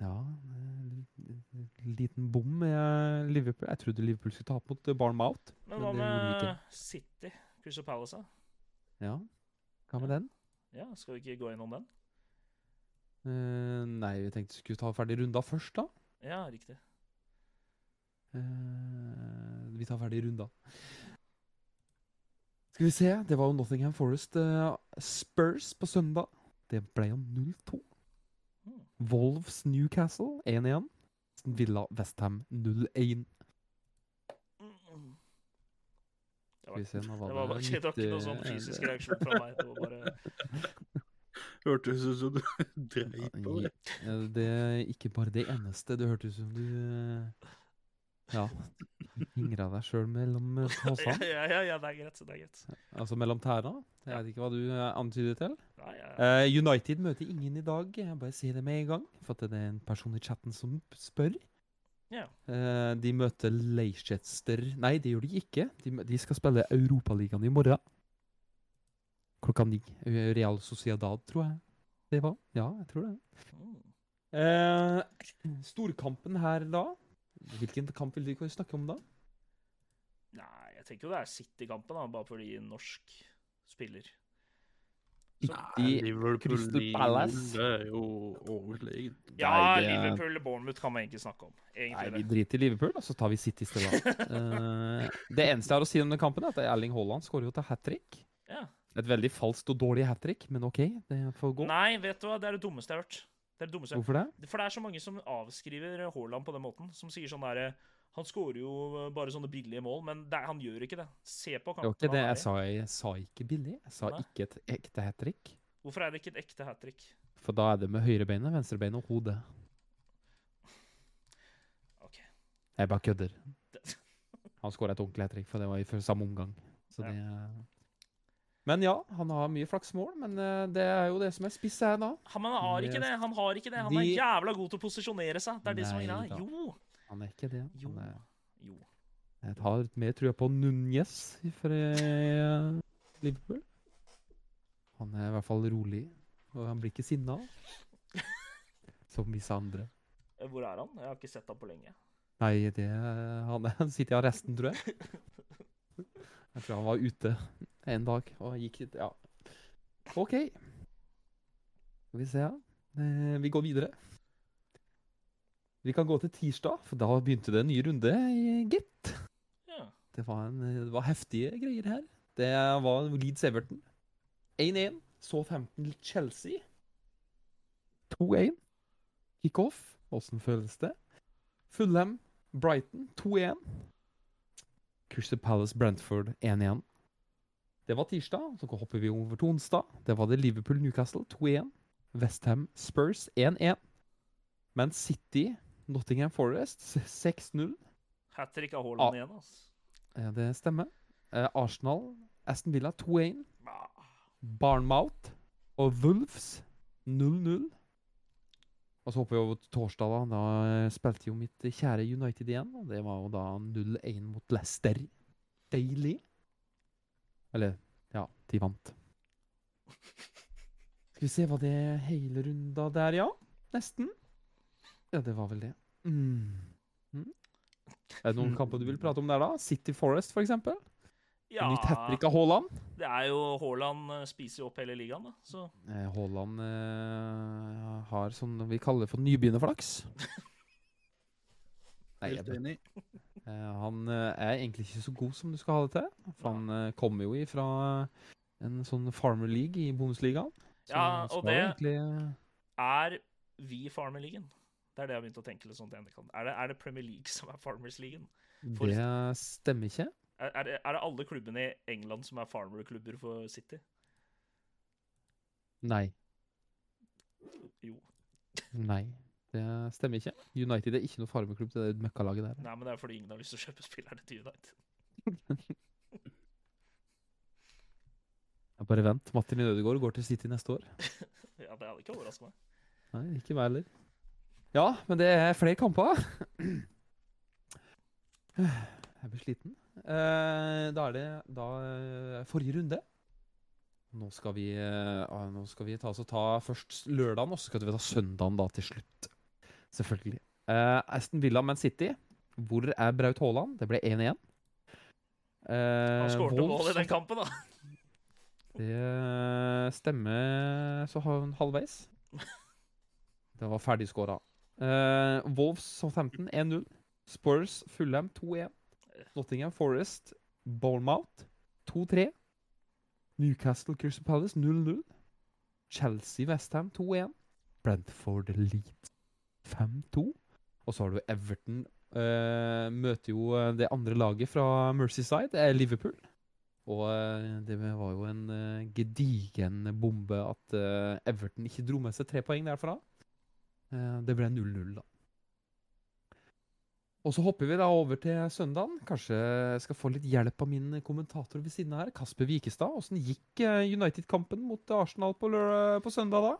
A: Ja En liten bom med eh, Liverpool. Jeg trodde Liverpool skulle tape mot eh, Bournemouth. Men
B: Men hva
A: det gjorde de
B: med City? Crystal Palace, da?
A: Ja, hva med
B: Ja.
A: den?
B: Ja, skal vi ikke gå innom den?
A: Eh, nei, vi tenkte vi skulle ta ferdig runda først, da.
B: Ja, riktig.
A: Eh, vi tar ferdig runda. Skal vi se, det var jo Nottingham Forest eh, Spurs på søndag. Det ble jo 0-2.
B: Mm.
A: Wolves Newcastle 1-1. Aston Villa Westham 0-1.
B: Mm. Det
A: Skal vi se, nå var
B: Det var, bare, det var ikke noe
A: eh,
B: sånn fysisk reaksjon fra meg. Det var bare
C: Hørtes ut som du dreit på det.
A: Ja, det er ikke bare det eneste. Det hørtes ut som du eh, Ja. Hingra deg sjøl mellom eh,
B: ja,
A: tåsene.
B: ja, ja, ja, det er greit. Det er greit.
A: Altså mellom tæra. Jeg vet ikke hva du eh, antyder til.
B: Nei, ja,
A: Eh, United møter ingen i dag. Jeg bare sier det med en gang, for at det er en person i chatten som spør.
B: Ja.
A: Eh, de møter Leicester Nei, det gjør de ikke. De, mø- de skal spille Europaligaen i morgen. Klokka ni. Eh, Real Sociedad, tror jeg det var. Ja, jeg tror det.
B: Mm.
A: Eh, storkampen her da Hvilken kamp vil du snakke om da?
B: Nei, jeg tenker jo det er City-kampen, da, bare fordi norsk spiller.
A: I
C: Liverpool
A: Crystal
C: 9-0,
A: Palace.
C: Det er jo overlegent.
B: Ja,
D: Nei, det er-
B: Liverpool Bournemouth kan man egentlig snakke om.
D: Nei,
B: Egentlig
D: vi driter i Liverpool, og så tar vi City stilla. Eh, det eneste jeg har å si om den kampen, er at Erling Haaland skårer jo til hat trick.
B: det. Ja.
A: Et veldig falskt og dårlig hat trick, men OK, det får gå.
B: Nei, vet du hva, det er det dummeste jeg har hørt. Det er det dummeste.
A: Hvorfor det?
B: For det er så mange som avskriver Haaland på den måten, som sier sånn derre Han skårer jo bare sånne billige mål, men det, er- han gjør ikke det. Se på
A: Det var ikke
B: kampen
A: det
B: han
A: jeg
B: er i.
A: sa. Jeg sa ikke billig. Jeg sa
B: Nei.
A: ikke et ekte hat trick.
B: Hvorfor er det ikke et ekte hat trick?
A: For da er det med høyrebeinet, venstrebeinet og hodet.
B: Ok.
A: Jeg bare kødder.
B: Det-
A: Han skåra et ordentlig hat trick, for det var i før- samme omgang. Så
B: Ja.
A: det Men ja, han har mye flaksmål, men eh, det er jo det som er spiss her, da.
B: Han han har ikke det, han har ikke det. Han er
A: De-
B: jævla god til å posisjonere seg. Det er det som er
A: Nei
B: greia.
A: da.
B: Jo.
A: Han er ikke det. Han
B: Jo.
A: er-
B: Jo.
A: Jeg har mer trua på Núñez fra eh, Liverpool. Han er i hvert fall rolig, og han blir ikke sinna. Som visse andre.
B: Eh, Hvor er han? Jeg har ikke sett han på lenge.
A: Nei, det han, han sitter i arresten, tror jeg. Jeg tror han var ute en dag og gikk hit. Ja. OK. Skal vi se, ja. Eh, Vi går videre. Vi kan gå til tirsdag, for da begynte det en ny runde i gitt.
B: Ja.
A: Det var, en, det var heftige greier her. Det var Leeds Everton. 1-1. Så 15 Chelsea. 2-1. Kickoff. Åssen føles det? Fulham Brighton 2-1. Crystal Palace Brentford 1-1. Det var tirsdag, så hopper vi over til onsdag. Det var det Liverpool Newcastle 2-1. Westham Spurs 1-1. Man City Nottingham Forest 6-0.
B: Hat trick av
A: Ah.
B: Haaland igjen, altså.
A: Ja, det stemmer. Eh, Arsenal, Aston Villa 2-1.
B: Ah.
A: Barnmouth og Wolves 0-0. Og så hopper vi over til torsdag. Da Da eh, spilte jo mitt kjære United igjen. Og det var jo da 0-1 mot Leicester. Deilig. Eller ja, de vant. Skal vi se, var det hele runda der, ja? Nesten. Ja, det var vel det. Mm. Mm. Er det noen kamper du vil prate om der, da? City Forest, for eksempel?
B: Ja,
D: Nytt hat trick av Haaland.
B: det er jo Haaland eh, spiser jo opp hele ligaen, da. Så
D: Eh, Haaland eh, har sånn vi kaller det for nybegynnerflaks. Nei, jeg
C: Helt
D: bare-
C: enig.
D: eh, han eh, er egentlig ikke så god som du skal ha det til. For han eh, kommer jo ifra en sånn farmer league i Bundesligaen. Så
B: Ja,
D: han
B: og
D: skal jo
B: det-
D: egentlig, eh,
B: er vi Farmer-ligan? Det er det jeg har begynt å tenke litt sånn til endekant. Er det, er det Premier League som er Farmers-ligaen? For-
D: Det stemmer ikke.
B: Er, er, det- er det alle klubbene i England som er Farmer-klubber for City?
D: Nei.
B: Jo.
D: Nei. Det stemmer ikke. United er ikke noe farmeklubb til det møkkalaget der.
B: Nei, men det er fordi ingen har lyst til å kjøpe spillerne til United.
D: Jeg bare vent. Martin Ødegaard går til City neste år.
B: Ja, Det hadde ikke overraska meg.
D: Nei, ikke meg heller. Ja, men det er flere kamper. Jeg blir sliten. Eh, da er det da eh, forrige runde. Nå skal vi, eh, ah, nå skal vi ta, så ta først lørdagen, og så skal vi ta søndagen da til slutt. Selvfølgelig. Eh, Aston Villa Man City. Hvor er Braut Haaland? Det ble 1-1.
B: Han
D: Eh,
B: skårte mål i
D: Wolves-
B: den kampen, da.
D: det stemmer så ha- halvveis. Det var ferdigskåra. Uh, Wolves Southampton 1-0. Spurs Fulham 2-1. Nottingham Forest Bournemouth 2-3. Newcastle Crystal Palace 0-0. Chelsea Westham 2-1. Brentford Leeds 5-2. Og så har du Everton eh, møter jo eh, det andre laget fra Merseyside, det er Liverpool. Og eh, det var jo en eh, gedigen bombe at eh, Everton ikke dro med seg tre poeng derfra. Eh, Det ble 0-0, da. Og så hopper vi da over til søndagen. Kanskje jeg skal få litt hjelp av min kommentator ved siden av her, Kasper Wikestad. Åssen gikk eh, United-kampen mot Arsenal på, lø- på søndag, da?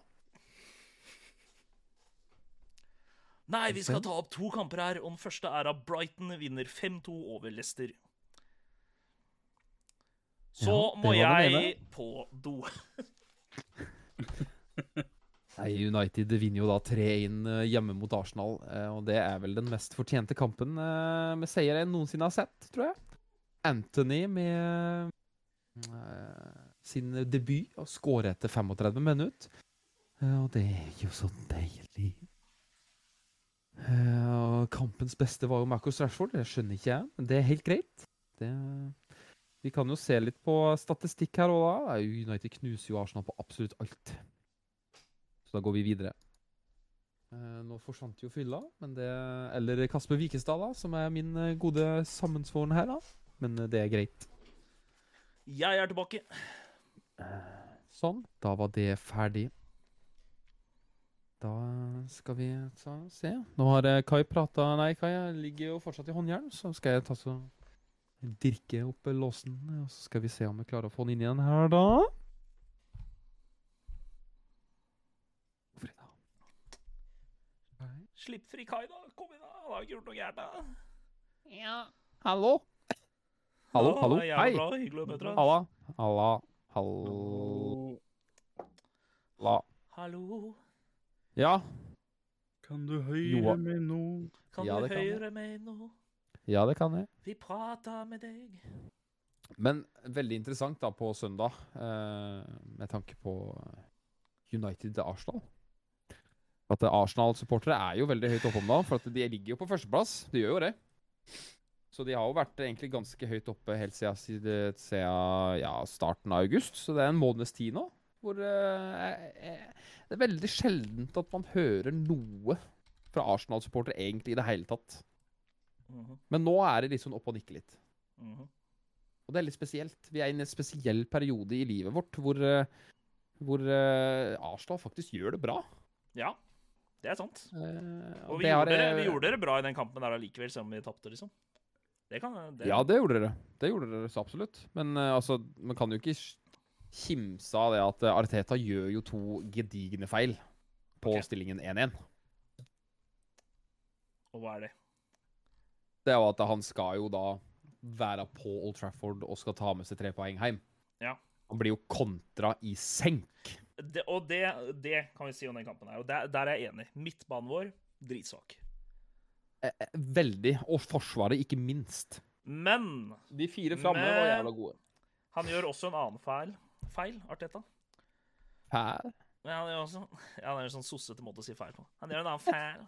B: Nei, vi skal ta opp to kamper her, og den første er at Brighton vinner 5-2 over Leicester. Så
D: Ja, det
B: må
D: var den
B: jeg på do.
D: Nei, United vinner jo da 3-1 eh, hjemme mot Arsenal, eh, og det er vel den mest fortjente kampen eh, med seier jeg noensinne har sett, tror jeg. Anthony med eh, sin debut og skårer etter 35 minutter. Eh, Og det er jo så deilig. Eh, Og kampens beste var jo Marcus Rashford, det skjønner ikke jeg, men det er helt greit. Det vi kan jo se litt på statistikk her òg, da. United knuser jo Arsenal på absolutt alt. Så da går vi videre. Eh, nå forsvant jo fylla, men det Eller Kasper Wikestad, da, som er min eh, gode sammensvoren her, da. Men eh, det er greit.
B: Jeg er tilbake.
D: Sånn. Da var det ferdig. Da skal vi ta, se. Nå har eh, Kai prata Nei, Kai ligger jo fortsatt i håndjern, så skal jeg ta så dirke opp eh, låsen, og så skal vi se om vi klarer å få den inn igjen her, da. Frida. Nei.
B: Slipp fri Kai, da. Kom igjen, da. Han har ikke gjort noe gærent, da.
D: Hallo? Hallo,
B: Ja,
D: hallo,
B: det er
D: hei!
B: jævlig Bra. Hyggelig å møte deg.
D: Halla, halla, halla
B: Hallo.
D: Ja,
C: Kan du høyre
D: Joa-
C: meg nå?
B: Kan
D: Ja,
B: du
D: det kan jeg.
B: høre meg nå?
D: ja det kan jeg.
B: Vi prater med deg.
D: Men veldig interessant da på søndag, eh, med tanke på United til Arsenal. At eh, Arsenal-supportere er jo veldig høyt oppe om dagen, for at de ligger jo på førsteplass. De gjør jo det. Så de har jo vært egentlig ganske høyt oppe helt siden, siden, siden ja, starten av august. Så det er en måneds tid nå. Hvor eh, eh, Det er veldig sjeldent at man hører noe fra Arsenal-supportere egentlig i det hele tatt.
B: Mhm,
D: Men nå er det liksom opp og nikke litt.
B: mhm.
D: Og det er litt spesielt. Vi er inne i en spesiell periode i livet vårt hvor, eh, hvor eh, Arsenal faktisk gjør det bra.
B: Ja, det er sant.
D: Eh,
B: Og
D: og
B: vi
D: det har
B: gjorde, det,
D: jeg-
B: vi gjorde det bra i den kampen der allikevel, selv om vi tapte, liksom. Det kan det.
D: Ja, det gjorde dere. Det gjorde dere så absolutt. Men eh, altså, man kan jo ikke sk- kimse av det at eh, Arteta gjør jo to gedigne feil på
B: Ok.
D: stillingen 1-1.
B: Og hva er det?
D: Det er jo at han skal jo da være på Old Trafford og skal ta med seg tre poeng hjem.
B: Ja.
D: Han blir jo kontra i senk.
B: det og det, det kan vi si om den kampen her. Og der, der er jeg enig. Midtbanen vår dritsvak.
D: Eh, eh, Veldig. Og Forsvaret, ikke minst.
B: Men
D: De fire framme var
B: Men-
D: jævla gode.
B: han gjør også en annen feil. Feil, Arteta.
D: Fæl.
B: Men han gjør også ja, Det er en sånn sossete måte å si feil på. Han gjør en annen feil.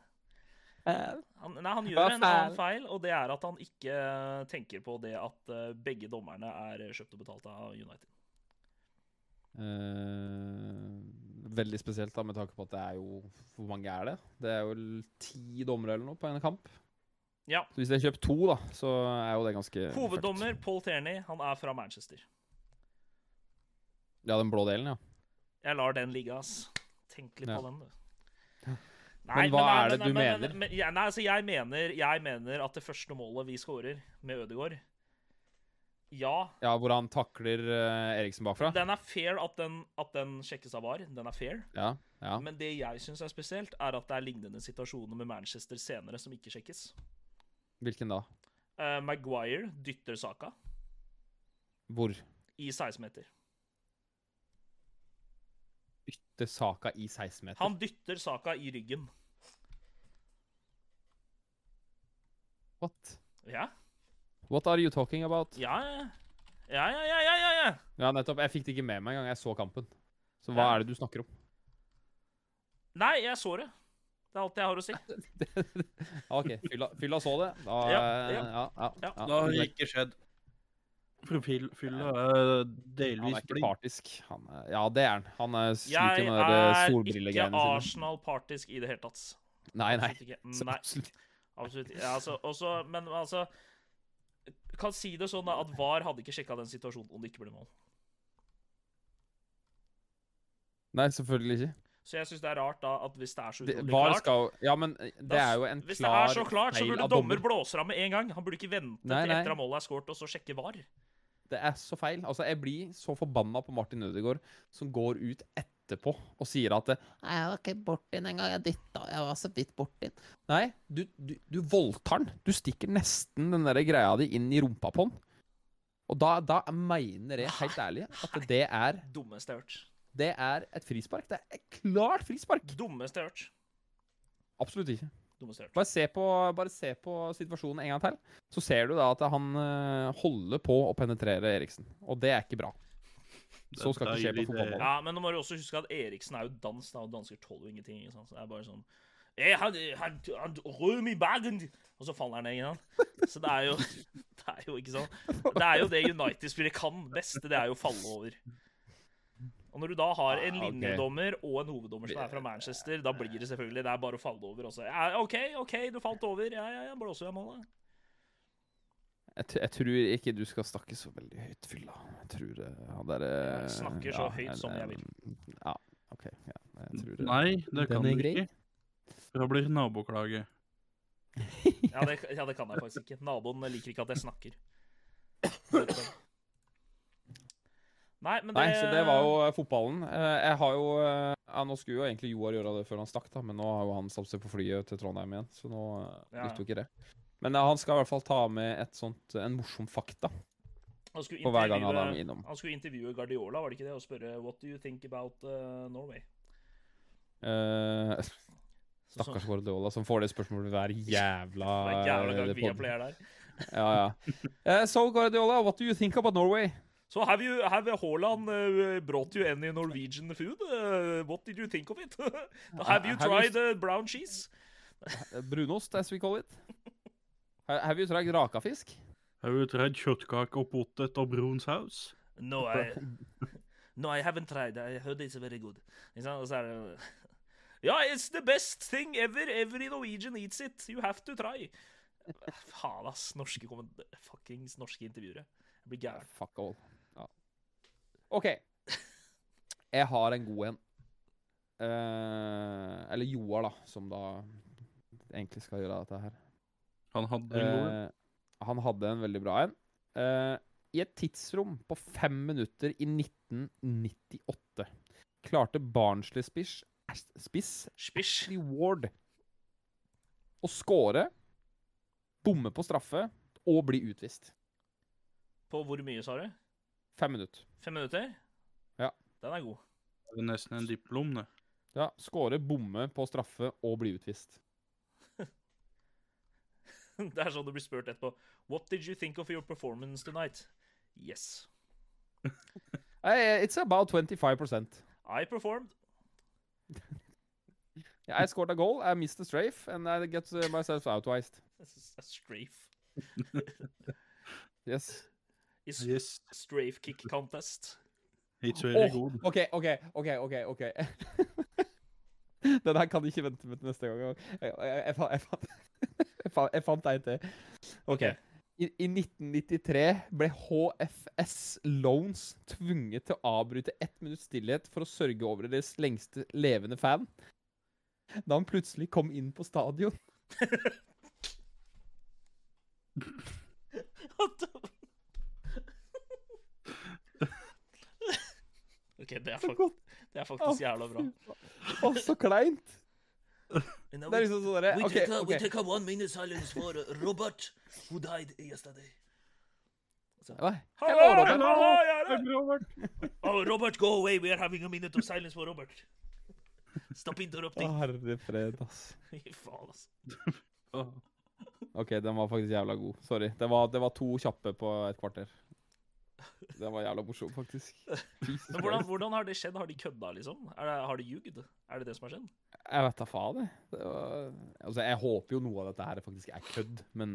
D: Fæl.
B: Han, nei, han
D: Hva
B: gjør en
D: feil?
B: annen feil, og det er at han ikke eh, tenker på det at eh, begge dommerne er eh, kjøpt og betalt av United.
D: Eh, veldig spesielt, da, med tanke på at det er jo Hvor mange er det? Det er jo ti dommere eller noe på en kamp.
B: Ja.
D: Så hvis de har kjøpt to, da, så er jo det ganske fucked.
B: Hoveddommer Paul Tierney, han er fra Manchester.
D: Ja, den blå delen, ja.
B: Jeg lar den ligge, ass. Tenk litt
D: Ja.
B: på den, du.
D: Men hva er det du mener?
B: Men, ja, nei, altså, jeg mener? Jeg mener at det første målet vi scorer med Ødegaard Ja,
D: Ja, Hvor han takler eh, Eriksen bakfra?
B: den er fair at den, at den sjekkes av VAR. Den er fair.
D: Ja. ja.
B: Men det jeg syns er spesielt, er at det er lignende situasjoner med Manchester senere som ikke sjekkes.
D: Hvilken da?
B: Eh, Maguire dytter Saka
D: Hvor?
B: i 16-meter.
D: Ytter Saka i 16-meter?
B: Han dytter Saka i ryggen.
D: What?
B: Ja,
D: What are you talking about?
B: ja, ja. Ja, ja, ja, ja, ja, ja.
D: Ja, nettopp. Jeg fikk det ikke med meg engang. Jeg så kampen. Så hva
B: Ja.
D: er det du snakker om?
B: Nei, jeg så det. Det er alt jeg har å si.
D: Ah, OK, fylla, fylla så det. Da,
B: Ja, ja.
D: eh, ja, ja,
B: Ja.
D: ja.
C: Det har ikke skjedd. Profilfylla er
D: Han
C: delvis
D: er ikke
C: blind.
D: partisk. Han er, ja, det er han. Han er sliter
B: Jeg
D: med de der
B: er ikke
D: solbrillegreiene sine.
B: Arsenal-partisk i det hele tatt.
D: Nei, nei.
B: Absolutt ikke.
D: Så
B: Nei,
D: absolutt-
B: absolutt. Ja, altså, også, men altså Kan si det sånn da, at VAR hadde ikke sjekka den situasjonen om det ikke ble mål.
D: nei, selvfølgelig ikke.
B: Så jeg syns det er rart da at hvis det er så
D: Det,
B: utrolig
D: var
B: klart
D: skal Ja, men eh, det er jo en
B: Hvis det
D: klar
B: er så klart, så
D: feil
B: burde
D: av
B: dommer blåse av med en gang. Han burde ikke vente
D: Nei,
B: til
D: nei.
B: etter at målet er scoret, og så sjekke VAR.
D: Det er så feil. Altså, jeg blir så forbanna på Martin Ødegaard som går ut etterpå og sier at eh, Nei, jeg var ikke borti den engang. Jeg dytta. Jeg var så vidt borti den. Nei, du, du, du voldtar den. Du stikker nesten den der greia di inn i rumpa på den. Og da, da mener jeg helt ærlig at det er
B: Dummeste jeg har hørt.
D: Det er et frispark. Det er et klart frispark.
B: Dummeste jeg har hørt.
D: Absolutt ikke.
B: Dummeste jeg har hørt.
D: Bare se på, bare se på situasjonen en gang til, så ser du da at han eh, holder på å penetrere Eriksen. Og det er ikke bra. Så skal ikke skje på
C: Deilig, det.
D: fotballbanen.
B: Ja, men nå må du også huske at Eriksen er jo dans, da, og dansker tåler jo ingenting. Ikke sant? Så det er bare sånn jeg had, had, had røm i bagen Og så faller han ned igjen. Så det er jo Det er jo ikke sånn. Det er jo det United-spillere kan best. Det er jo å falle over. Og når du da har en
D: Ah, ok.
B: linjedommer og en hoveddommer som er fra Manchester, da blir det selvfølgelig Det er bare å falle over også. Ja, OK, OK, du falt over. Ja, ja, ja, blåser jeg målet?
D: Jeg, t jeg tror ikke du skal snakke så veldig høyt, fylla. Jeg tror eh, han derre
B: Jeg snakker så høyt som jeg
D: Ja, OK. Ja, jeg tror eh, det.
C: Nei, det
D: Den
C: kan
D: er
C: du
D: grei.
C: ikke. For da blir det naboklage.
B: Ja det, ja, det kan jeg faktisk ikke. Naboen liker ikke at jeg snakker. Nei, men det
D: Nei, så det var jo eh, fotballen. Eh, Jeg har jo eh, ja, Nå skulle jo egentlig Joar gjøre det før han stakk, da, men nå har jo han satt seg på flyet til Trondheim igjen, så nå eh,
B: Ja, ja.
D: likte jo ikke det. Men eh, han skal i hvert fall ta med et sånt, eh, en morsom fakta
B: han skulle,
D: på hver gang han er
B: intervjue-
D: innom.
B: han skulle intervjue Guardiola, var det ikke det? Og spørre What do you think about eh, Norway?
D: Eh,
B: Så-
D: stakkars Guardiola, som får det spørsmålet hver jævla
B: så- Det er jævla gang
D: eh,
B: vi
D: podd.
B: pleier der.
D: Ja, ja. Eh, so, Guardiola, what do you think about Norway?
B: So have you have Haaland uh, brought you any Norwegian food? Uh, what did you think of it? have you
D: Have you-
B: tried uh, brown cheese?
D: Eh, Brunost, as we call it. Ha- Have you tried rakafisk?
C: Har du tredd kjøttkake og potet og brun saus?
B: No, I No, I haven't tried. I heard it's very good. Ikke sant? Og så er det jo Ja, it's the best thing ever. Every Norwegian eats it. You have to try. Faen, ass. Norske komment... Fuckings norske intervjuere. Jeg blir gæren.
D: Fuck all. Ja. OK. Jeg har en god en. Eh, eller Joar, da, som da egentlig skal gjøre dette her.
C: Han hadde en god en.
D: Eh, han hadde en veldig bra en. Eh, I et tidsrom på fem minutter i 1998 klarte Barnsley-spiss spiss
B: Spish.
D: Ashley Ward å score, bomme på straffe og bli utvist.
B: På hvor mye, sa du?
D: Fem minutter.
B: Fem minutter?
D: Ja.
B: Den er god.
C: Det er nesten en diplom, det.
D: Ja, skåre, bomme på straffe og bli utvist.
B: Det er sånn du blir spurt etterpå. What did you think of your performance tonight? Yes.
D: Eh, It's about 25%.
B: I performed.
D: Yeah, I scored a goal, I missed a strafe, and I get uh, myself outwised.
B: A strafe.
D: Yes.
B: Is
C: Yes,
B: strafe kick contest.
C: it's very
D: Åh,
C: good.
D: OK, OK, OK. ok, ok. Den her kan ikke vente med til neste gang. Jeg, jeg, jeg, fa- jeg, fant- jeg, fa- jeg fant en til. OK. I, I 1993 ble HFS Loans tvunget til å avbryte ett minutts stillhet for å sørge over deres lengste levende fan. Da han plutselig kom inn på stadion.
B: What the- OK, det er,
D: Så
B: fak
D: godt.
B: det er faktisk jævla bra.
D: Å, så kleint!
B: And now
D: Det er
B: we-
D: liksom sånn derre
B: we
D: OK.
B: take a- we
D: ok.
B: take a one minute silence for uh, Robert, who died yesterday.
D: Hei,
B: Hello,
D: Robert.
B: Robert. Hello, Jarle.
C: Robert.
B: Oh, Robert, go away. We are having a minute of silence for Robert. Stop
D: Å,
B: interrupting.
D: herre fred, ass.
B: Fy faen, altså.
C: Ja.
D: OK, den var faktisk jævla god. Sorry. Det var, det var to kjappe på et kvarter. Den var jævla morsom, faktisk. Jesus
B: Men hvordan,
D: Christ.
B: hvordan har det skjedd? Har de kødda, liksom? Er det, har de ljugd? Er det det som har skjedd?
D: Jeg vet da faen, jeg. Det var... Altså, jeg håper jo noe av dette her faktisk er kødd, men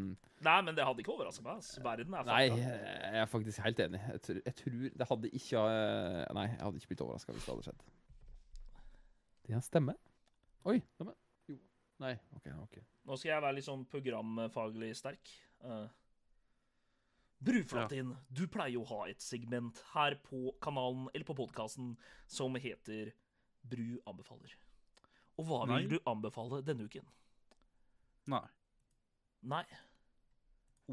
B: Nei, men det hadde ikke overraska meg. ass. Verden er
D: Nei, eh,
B: fucka.
D: jeg er faktisk helt enig. Jeg tror, jeg tror det hadde ikke eh, Nei, jeg hadde ikke blitt overraska hvis det hadde skjedd. Det er en stemme. Oi. Stemme. Jo. Nei. OK. ok.
B: Nå skal jeg være litt sånn programfaglig sterk. Eh, Bruflatin, du pleier jo å ha et segment her på kanalen, eller på podkasten, som heter Bru anbefaler. Og hva
C: Nei.
B: vil du anbefale denne uken?
C: Nei.
B: Nei.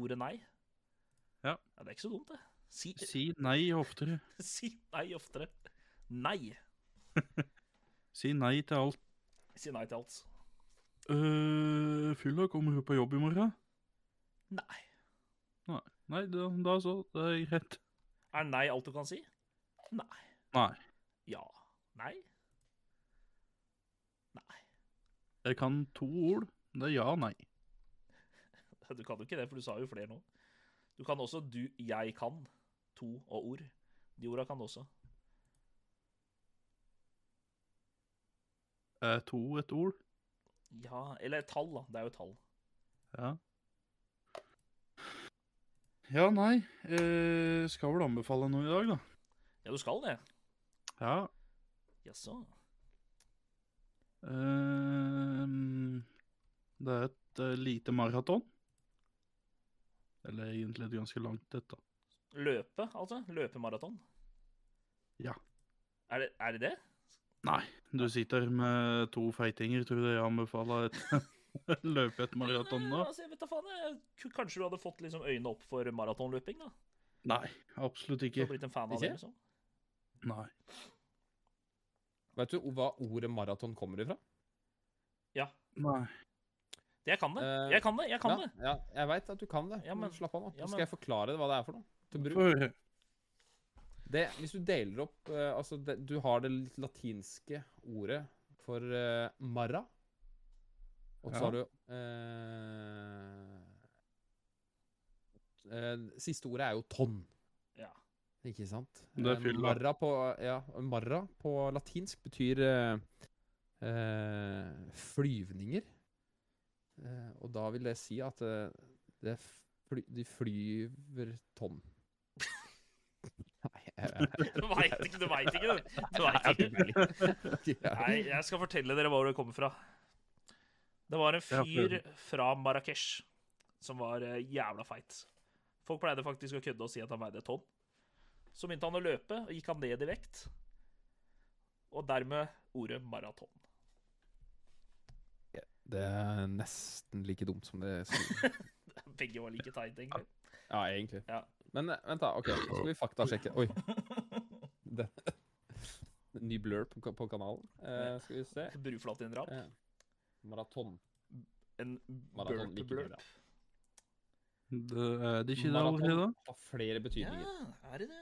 B: Ordet nei?
C: Ja.
B: Det er ikke så dumt, det. Si,
C: Si nei oftere.
B: si nei oftere. Nei.
C: Si nei til alt.
B: Si nei til alt.
C: Øh, Fylla, kommer du på jobb i morgen?
B: Nei.
C: Nei, da, da så. Det er greit.
B: Er nei alt du kan si? Nei.
C: Nei.
B: Ja. Nei. Nei.
C: Jeg kan to ord. Det er ja og nei.
B: Du kan jo ikke det, for du sa jo flere nå. Du kan også du, jeg kan, to og ord. De orda kan du også.
C: Er Eh, to et ord?
B: Ja, eller tall, da. Det er jo tall.
C: Ja. Ja, nei. Eh, skal vel anbefale noe i dag, da.
B: Ja, du skal det.
C: Ja.
B: Jaså.
C: Ehm, det er et eh, lite maraton. Eller egentlig et ganske langt et, da.
B: Løpe, altså? Løpemaraton?
C: Ja.
B: Er det, er det det?
C: Nei, du sitter med to feitinger, tror jeg jeg anbefaler et løpe et maraton
B: Nei,
C: da.
B: Altså, jeg vet da faen, jeg. K- Kanskje du hadde fått liksom øynene opp for maratonløping? da?
C: Nei, absolutt
B: Du
C: ikke.
B: hadde blitt en fan av det,
D: Ikke?
B: liksom?
C: Nei.
D: Vet du hva ordet maraton kommer ifra?
C: Nei.
B: Det jeg kan det.
D: Eh,
B: Jeg kan det. jeg kan
D: ja,
B: det.
D: Ja, jeg veit at du kan det.
B: Ja,
D: men,
B: men-
D: Slapp av nå.
B: ja,
D: Nå
B: men-
D: skal jeg forklare hva det er for noe. Til bruk.
C: Få høre.
D: Det, hvis du deler opp eh, Altså, det, du har det litt latinske ordet for eh, marra. Og så
C: Ja.
D: har du eh, eh, Siste ordet er jo tonn.
B: Ja.
D: Ikke sant?
C: Det er
D: Eh,
C: fylla.
D: Marra på, ja, marra på latinsk betyr eh, eh, flyvninger. Eh, og da vil det si at eh, det fly, de flyver tonn. Nei, jeg, jeg,
B: Du veit ikke, du veit ikke, du. du vet
D: jeg har
B: ikke.
D: ikke peiling.
B: Nei, jeg skal fortelle dere hvor det kommer fra. Det var en
C: Ja,
B: fyr fra Marrakech som var eh, jævla feit. Folk pleide faktisk å kødde og si at han veide et tonn. Så begynte han å løpe, og gikk han ned i vekt. Og dermed ordet maraton.
D: Det er nesten like dumt som det sier.
B: Begge var like teit, egentlig.
D: Ja, egentlig.
B: Ja.
D: Men eh, vent, da. OK, så skal vi faktasjekke. Oi. Det. Ny blur på, ka- på kanalen. Eh, skal vi se.
B: Bruflatindrap.
D: Eh, maraton.
B: En
D: Maraton like
B: burp-blurp.
D: bra.
C: Det er det ikke det
D: Maraton
C: allerede?
D: har flere betydninger.
B: er det det?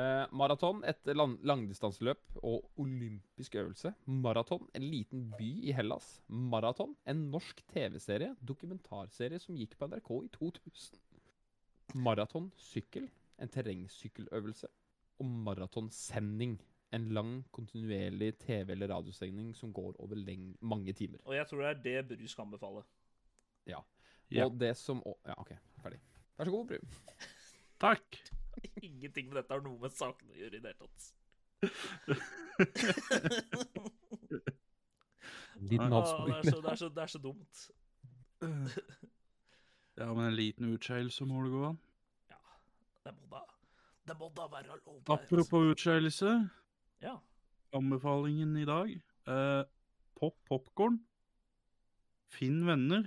D: Eh, maraton, et lang langdistanseløp og olympisk øvelse. Maraton, en liten by i Hellas. Maraton, en norsk TV-serie, dokumentarserie som gikk på NRK i 2000. Maraton, sykkel, en terrengsykkeløvelse. Og maratonsending, en lang, kontinuerlig TV- eller radiosending som går over leng mange timer.
B: Og jeg tror det er det Bru skal anbefale.
C: Ja.
D: Og det som å- Ja, OK, ferdig. Vær så god, Bru.
C: Takk!
B: Ingenting med dette har noe med saken å gjøre i det hele tatt.
D: Liten
B: Åh, det,
D: avsporing.
B: er så, det, er så, det er så dumt.
C: Ja, men en liten utskeielse må det gå an.
B: Ja, det må da Det må da være lov. det, altså.
C: Apropos utskeielse,
B: Ja.
C: anbefalingen i dag eh, Pop popkorn. Finn venner.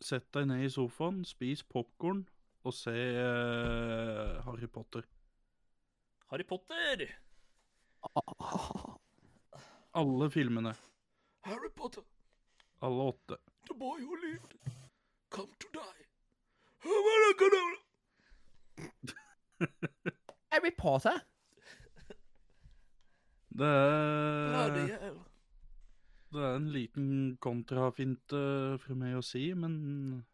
C: Sett deg ned i sofaen, spis popkorn og se eh, Harry Potter.
B: Harry Potter!
C: Alle filmene.
B: Harry Potter,
C: Alle åtte.
B: the boy who lived, come to die. Abracadabra.
C: Eh,
D: Harry Potter.
C: Det er,
B: Bloody hell.
C: det er en liten kontrafinte fra meg å si, men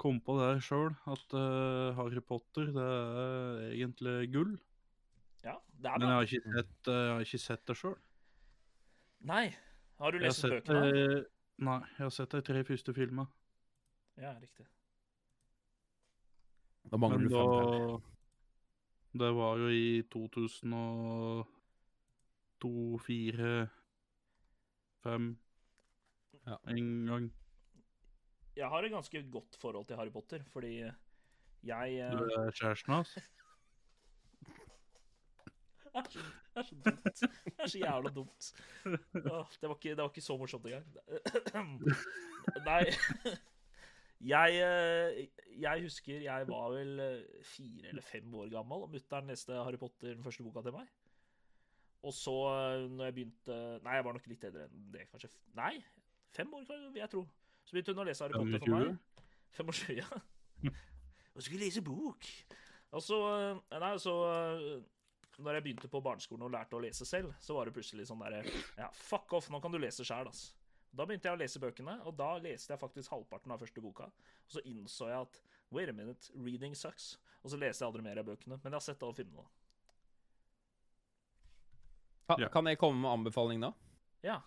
C: kom på det sjøl at eh, Harry Potter det er egentlig gull.
B: Ja, det er
C: Men jeg
B: bra.
C: har ikke sett, eh, jeg har ikke sett det sjøl.
B: Nei. Har du
C: Jeg har
B: lest
C: sett
B: bøkene?
C: eh, Nei, jeg har sett de tre første filmene.
B: Ja, riktig.
D: Da mangler
C: Men
D: du fem til.
C: da Det var jo i 2002, 2004 5
D: Ja.
C: En gang.
B: Jeg har et ganske godt forhold til Harry Potter, fordi jeg eh,
C: Du er kjæresten hans?
B: Det er så- det er så dumt. Det er så jævla dumt. Åh, Det var ikke, det var ikke så morsomt engang. Nei. Jeg, eh, jeg husker jeg var vel eh, fire eller fem år gammel, og mutter'n leste Harry Potter, den første boka til meg. Og så, eh, når jeg begynte Nei, jeg var nok litt eldre enn det, kanskje. Nei, fem år, kan- vil jeg tro. Så begynte hun å lese Harry Potter for meg. 25,
C: 25?
B: ja. Og skulle lese bok. Og så eh, Nei, så eh, Når jeg begynte på barneskolen og lærte å lese selv, så var det plutselig sånn derre Ja, fuck off, nå kan du lese sjæl, ass. Da begynte jeg å lese bøkene, og da leste jeg faktisk halvparten av første boka. Og så innså jeg at Wait a minute, reading sucks. Og så leste jeg aldri mer av bøkene. Men jeg har sett alle filmene.
D: Ka-
C: Ja.
D: Kan jeg komme med anbefaling da?
B: Ja.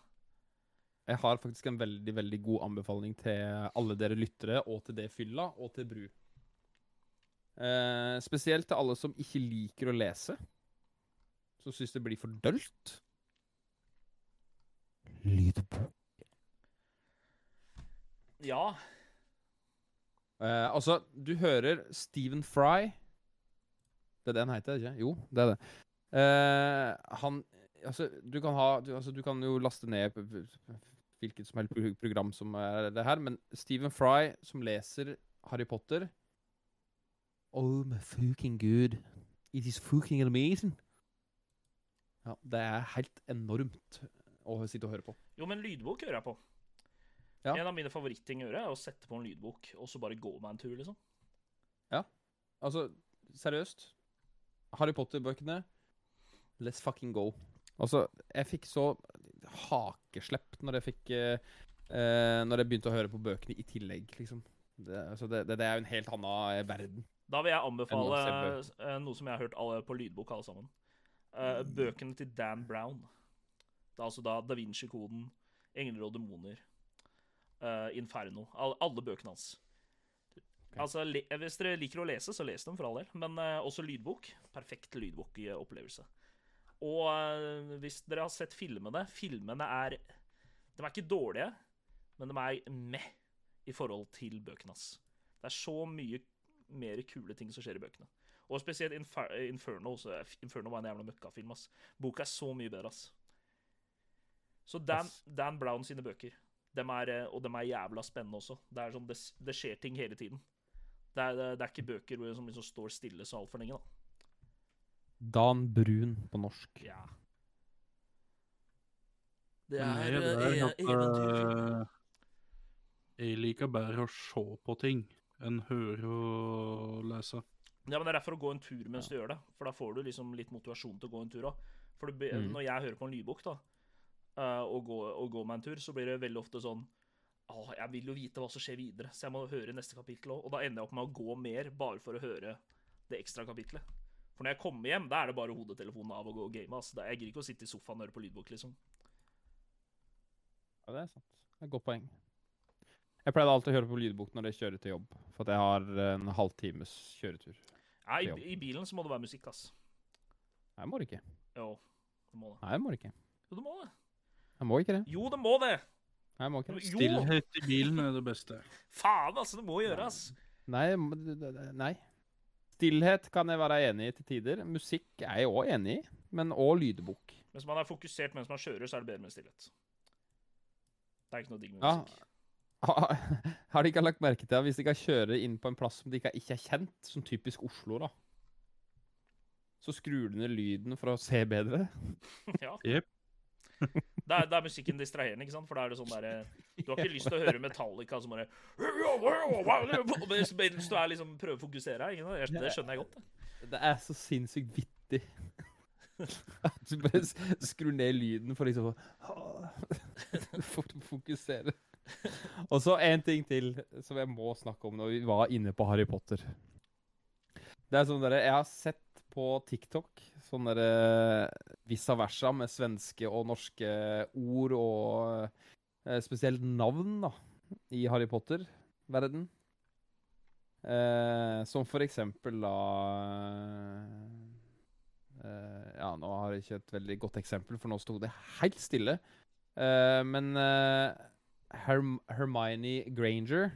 D: Jeg har faktisk en veldig veldig god anbefaling til alle dere lyttere, og til det fylla, og til Bru. Eh, spesielt til alle som ikke liker å lese. Som syns det blir for dølt.
A: Lydbok.
B: Ja.
D: Eh, altså, du hører Stephen Fry Det er det han heter, ikke? Jo, det er det. Eh, han Altså, du kan ha du, altså, du kan jo laste ned p- p- p- hvilket som helst pro- program som er det her, men Stephen Fry, som leser Harry Potter Oh my fucking good. It is fucking amazing. Ja, det er helt enormt å sitte og høre på.
B: Jo, men lydbok hører jeg på.
D: Ja.
B: En av mine favoritting å gjøre er å sette på en lydbok, og så bare gå meg en tur, liksom.
D: Altså, seriøst. Harry Potter-bøkene Let's fucking go. Altså, jeg fikk så hakeslepp når jeg fikk eh, eh, Når jeg begynte å høre på bøkene i tillegg, liksom. Det, altså, det, det, det er jo en helt annen eh, verden.
B: Da vil jeg anbefale
D: Jeg må se
B: eh, noe som jeg har hørt alle på lydbok, alle sammen. Eh, Bøkene til Dan Brown. Det er altså da Da Vinci-koden, Engler og demoner, eh, Inferno. Alle, alle bøkene hans. Altså, le, Hvis dere liker å lese, så les dem for all del. Men eh, også lydbok. Perfekt lydbokopplevelse. Og eh, hvis dere har sett filmene Filmene er De er ikke dårlige, men de er meh i forhold til bøkene hans. Det er så mye mer kule ting som skjer i bøkene. Og spesielt Infer Inferno. Så Inferno var en jævla møkkafilm, ass. Boka er så mye bedre, ass. Så Dan,
D: Ass.
B: Dan Brown sine bøker, dem er, eh, og dem er jævla spennende også. Det er sånn, det, s- det skjer ting hele tiden. Det er, det, er- det er ikke bøker hvor- som liksom står stille så altfor lenge, da.
D: Dan Brun på norsk.
B: Ja. Det
C: Men
B: er,
C: jeg
B: eh,
C: er at,
B: e- eventyrfilm.
C: eh, Jeg liker bedre å se på ting enn høre og lese.
B: Ja, men Det er derfor å gå en tur mens du gjør det. For da får du liksom litt motivasjon til å gå en tur òg. For det, be-
D: Mhm.
B: når jeg hører på en lydbok da, eh, og, går, og går meg en tur, så blir det veldig ofte sånn Åh, jeg vil jo vite hva som skjer videre, så jeg må høre neste kapittel òg. Og da ender jeg opp med å gå mer bare for å høre det ekstra kapitlet. For når jeg kommer hjem, da er det bare hodetelefonen av og gå og game. ass. Da- Jeg gidder ikke å sitte i sofaen og høre på lydbok, liksom.
D: Ja, det er sant. Det er et godt poeng. Jeg pleide alltid å høre på lydbok når jeg kjører til jobb, for at jeg har eh, en halvtimes kjøretur.
B: Nei,
D: Ja.
B: i, i bilen så må det være musikk, ass.
D: Nei, jeg må ikke.
B: Jo, det må det.
D: Nei, jeg må ikke.
B: Jo, det må det.
D: Jeg må ikke det.
B: Jo, det må det!
D: Nei, jeg må ikke det.
B: Jo!
C: Stillhet i bilen er det beste.
B: Faen, altså. Det må gjøres.
D: Nei, jeg må- det- det- det- nei. Stillhet kan jeg være enig i til tider. Musikk er jeg òg enig i, men òg lydbok.
B: Mens man er fokusert mens man kjører, så er det bedre med stillhet. Det er ikke noe digg med
D: Ja.
B: musikk.
D: Har de ikke lagt merke til at hvis de kan kjøre inn på en plass som de ikke ikke er kjent, som typisk Oslo, da, så skrur de ned lyden for å se bedre?
B: Ja.
C: Jep.
B: Da er, da er musikken distraherende, ikke sant? For da er det sånn derre Du har ikke lyst til å høre Metallica som bare Mens mens du er liksom prøver å fokusere her. Ikke sant? Jeg- Det skjønner jeg godt. det.
D: Det er så sinnssykt vittig. At du bare s- skrur ned lyden for liksom å For å fokusere. Og så en ting til som jeg må snakke om når vi var inne på Harry Potter. Det er sånn dere, Jeg har sett på TikTok sånn derre vice versa med svenske og norske ord og eh, spesielt navn da, i Harry Potter-verden. Eh, som for eksempel da eh, Ja, nå har jeg ikke et veldig godt eksempel, for nå sto det helt stille. Eh, men eh, Herm Hermione Granger,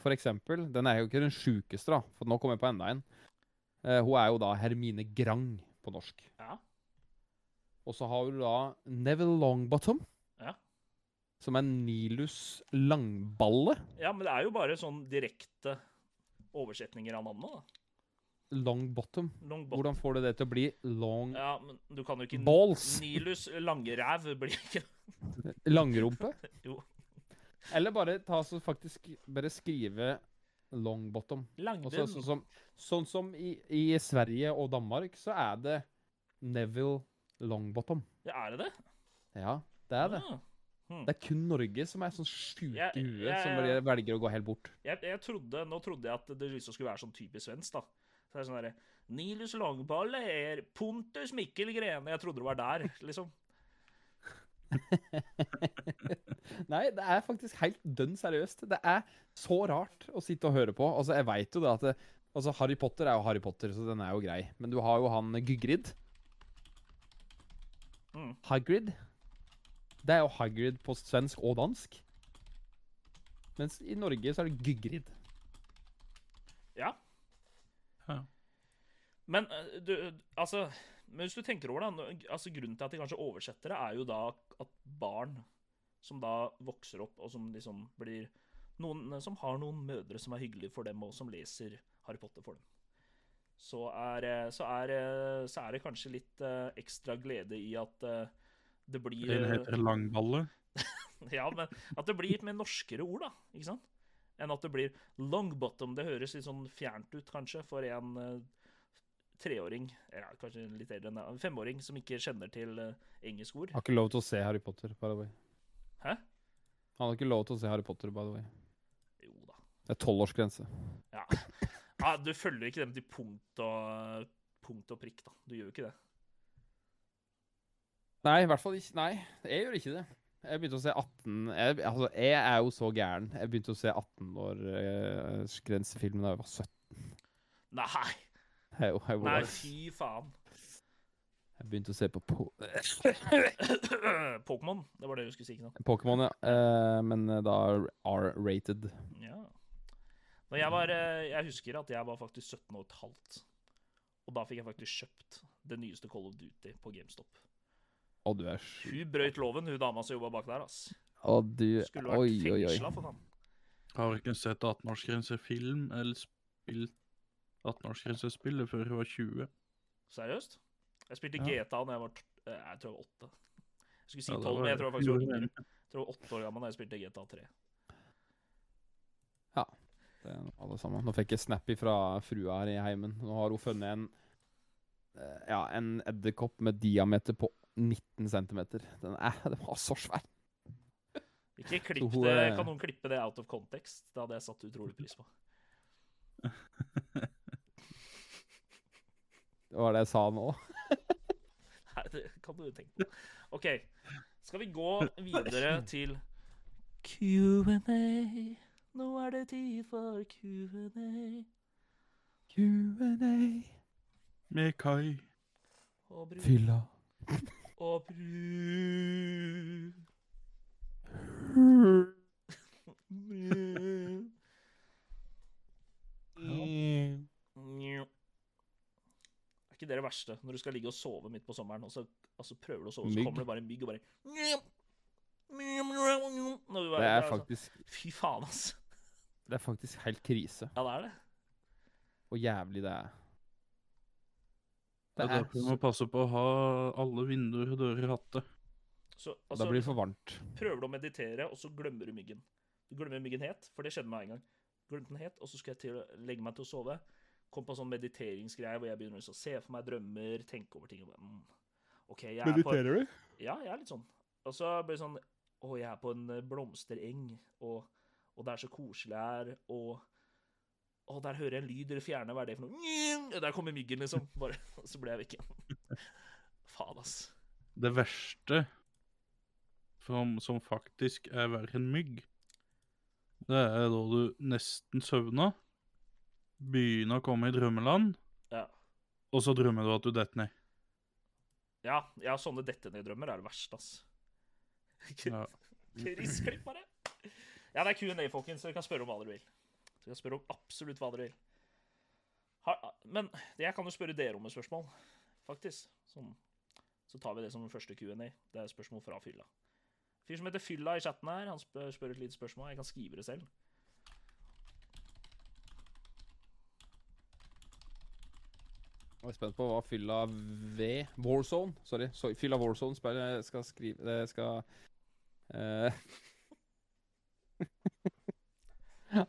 D: for eksempel, den er jo ikke den sjukeste, da. For nå kommer jeg på enda en. Eh, hun er jo da Hermine Grang på norsk.
B: Ja.
D: Og så har du da Neville Longbottom,
B: Ja.
D: som er Nilus Langballe.
B: ja, men det er jo bare sånn direkte oversetninger av navnet, da.
D: Longbottom.
B: Long bot.
D: Hvordan får du det til å bli long
B: Ja, men du kan jo ikke
D: balls?
B: Nilus Langeræv blir ikke
D: Langrumpe?
B: Jo.
D: Eller bare ta så faktisk bare skrive longbottom. Og så-
B: Langden.
D: sånn som, sånn som i, i Sverige og Danmark, så er det Neville longbottom.
B: Ja, er det det?
D: Ja, det er det.
B: Ah.
D: Det er kun Norge som er sånn sjuke
B: Jeg-
D: i huet,
B: jeg-
D: som bare velger å gå helt bort.
B: Jeg, jeg trodde, nå trodde jeg at det liksom skulle være sånn typisk svensk, da. Så det er sånn derre Nilus Langballe er Pontus Mikkel Grene. Jeg trodde det var der, liksom.
D: Nei, det er faktisk helt dønn seriøst. Det er så rart å sitte og høre på. Altså, jeg vet jo det at det, Altså, Harry Potter er jo Harry Potter, så den er jo grei. Men du har jo han Gygrid.
B: Mm.
D: Hagrid. Det er jo Hagrid på svensk og dansk. Mens i Norge så er det Gygrid.
B: Ja.
C: Ja.
B: Men eh, du, altså Men hvis du tenker over det, nå- altså grunnen til at de kanskje oversetter det, er jo da at barn som da vokser opp, og som liksom blir Noen eh, som har noen mødre som er hyggelige for dem, og som leser Harry Potter for dem. Så er, eh, så er, eh, så er det kanskje litt eh, ekstra glede i at eh, det blir
C: En heter Langballe.
B: ja, men at det blir litt mer norskere ord, da. Ikke sant? Enn at det blir longbottom. Det høres litt sånn fjernt ut, kanskje, for en eh, treåring, eller ja, kanskje litt eldre enn det, en femåring, som ikke kjenner til eh, engelske ord.
D: Har ikke lov til å se Harry Potter, by the way.
B: Hæ?
D: Han har ikke lov til å se Harry Potter, by the way.
B: Jo da.
D: Det er tolvårsgrense.
B: Ja. ja. Du følger ikke dem til punkt og, punkt og prikk, da. Du gjør jo ikke det.
D: Nei, i hvert fall ikke. Nei, jeg gjør ikke det. Jeg begynte å se 18 jeg, Altså, jeg er jo så gæren. Jeg begynte å se 18-årsgrensefilmen da jeg var 17.
B: Nei,
D: Jeg, jeg, jeg,
B: nei,
D: var-
B: fy faen.
D: jeg begynte å se på po
B: Pokémon, det var det du skulle si, ikke sant?
D: Pokémon, ja. Eh, men eh, da R-rated.
B: Ja. Når jeg var eh, Jeg husker at jeg var faktisk 17 og et halvt. Og da fikk jeg faktisk kjøpt det nyeste Call of Duty på GameStop.
D: Å, du er sju.
B: Hun brøyt loven, hun dama som jobba bak der, ass.
D: Å, du
B: Skulle
D: Oi,
B: vært
D: oi, oi.
B: fengsla, for faen.
C: Har ikke sett 18-årsgrensefilm eller spilt 18-årsgrensespillet før jeg var 20.
B: Seriøst? Jeg spilte
C: Ja.
B: GTA da jeg var t- eh, Jeg tror jeg var åtte. Jeg skulle si
C: Ja, da
B: tolv,
C: var
B: men jeg
C: jeg
B: tror jeg faktisk var
C: fjorten.
B: jeg tror jeg var åtte år gammel da jeg spilte GTA 3.
D: Det er noe av det samme. Nå fikk jeg snap fra frua her i heimen. Nå har hun funnet en eh, Ja, en edderkopp med diameter på 19 cm. Den er, den var så svær.
B: Ikke
D: Så
B: klipp
D: hun
B: det.
D: er-
B: Kan noen klippe det out of context? Det hadde jeg satt utrolig pris på.
D: Det var det jeg sa nå.
B: Nei, det kan du tenke på. OK. Skal vi gå videre til Q&A. Nå er det tid for Q&A.
A: Q&A.
C: Med Kai.
B: Og bruk
A: Fylla.
B: Og bru... Bru. Njo. Er ikke det det verste? Når du skal ligge og sove midt på sommeren, og så og så prøver du å sove, så
D: Mygg.
B: kommer det bare en mygg og bare Njo. Njo, njo, njo. Når du bare- det
D: Det er
B: er sånn,
D: faktisk,
B: Fy faen, ass.
D: det er faktisk helt krise
B: Ja, det er det.
D: hvor jævlig det er.
C: Det er derfor vi må passe på å ha alle vinduer og dører hatte.
B: Så
D: Da
B: altså,
D: blir det for varmt.
B: prøver du å meditere, og så glemmer du myggen. Du glemmer myggen het, for det skjedde meg en gang. Glemte den het, og så skulle jeg til å legge meg til å sove. Kom på en sånn mediteringsgreie hvor jeg begynner liksom å se for meg drømmer, tenke over ting. Og bare, mm, ok, jeg er på,
D: du?
B: ja, jeg er litt sånn. Og så blir det sånn Å, jeg er på en eh, blomstereng, og, og det er så koselig her, og Å, der hører jeg en lyd i det fjerne, hva er det for noe? Nying! Der kommer myggen, liksom. Bare, og så ble jeg vekke. Faen, ass.
C: Det verste som, som faktisk er verre enn mygg, det er da du nesten søvna, begynner å komme i drømmeland,
B: Ja.
C: og så drømmer du at du detter ned.
B: Ja, ja sånne dette ned-drømmer er det verste, ass.
C: Ja.
B: Chris, klipp bare. Ja, det er Q&A, folkens. så Dere kan spørre om hva dere vil. Dere kan spørre om absolutt hva dere vil. Har, men jeg kan jo spørre dere om et spørsmål, faktisk. Sånn. Så tar vi det som den første Q&A. Det er et spørsmål fra Fylla. Fyr som heter Fylla i chatten her, han spør, spør et lite spørsmål. Jeg kan skrive det selv.
D: Jeg er spent på hva fylla V Warzone. Sorry. sorry fylla Warzone spør, eh, skal skrive Det skal eh.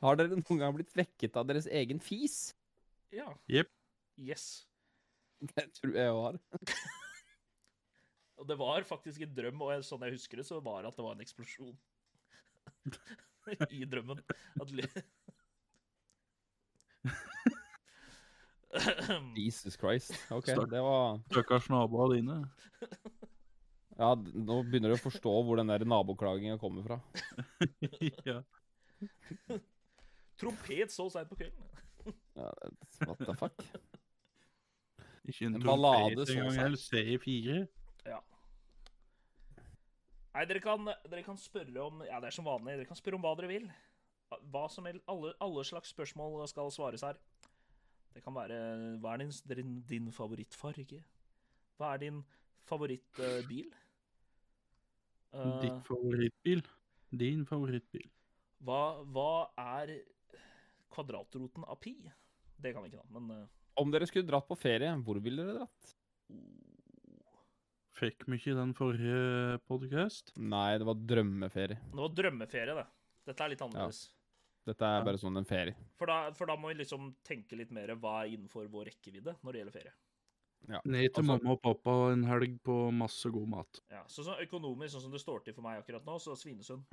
D: Har dere noen gang blitt vekket av deres egen fis?
B: Ja.
C: Jepp.
B: Yes.
D: Det tror jeg jo har.
B: Og det var faktisk en drøm, og jeg- sånn jeg husker det, så var det at det var en eksplosjon. I drømmen. At li-
D: Jesus Christ. OK,
C: Stakk.
D: det var
C: Stakkars naboene dine.
D: Ja, d- nå begynner du å forstå hvor den der naboklaginga kommer fra.
C: ja.
B: Trompet så seint på kvelden.
D: Ja, det- what the fuck?
C: Ikke en
D: En ballade,
C: trompet
D: så
C: engang.
D: sagt.
C: Eller C4.
B: Ja. Nei, dere kan, dere kan spørre om Ja, det er som vanlig. Dere kan spørre om hva dere vil. Hva som helst. Alle, alle slags spørsmål skal svares her. Det kan være Hva er din, din, din favorittfarge? Hva er din favorittbil?
C: Ditt favorittbil. Din favorittbil.
B: Hva, hva er kvadratroten av pi? Det kan vi ikke, da. Men eh,
D: Om dere skulle dratt på ferie, hvor ville dere dratt?
C: Fikk vi ikke den forrige podcast?
D: Nei, det var drømmeferie.
B: det var drømmeferie, det. Dette er litt annerledes.
D: Dette er bare sånn en ferie.
B: For, da, for da må vi liksom tenke litt mer hva er innenfor vår rekkevidde når det gjelder ferie.
C: Ned til
D: Altså-
C: mamma og pappa en helg på masse god mat.
B: Ja, så sånn Økonomisk, sånn som det står til for meg akkurat nå, så Svinesund.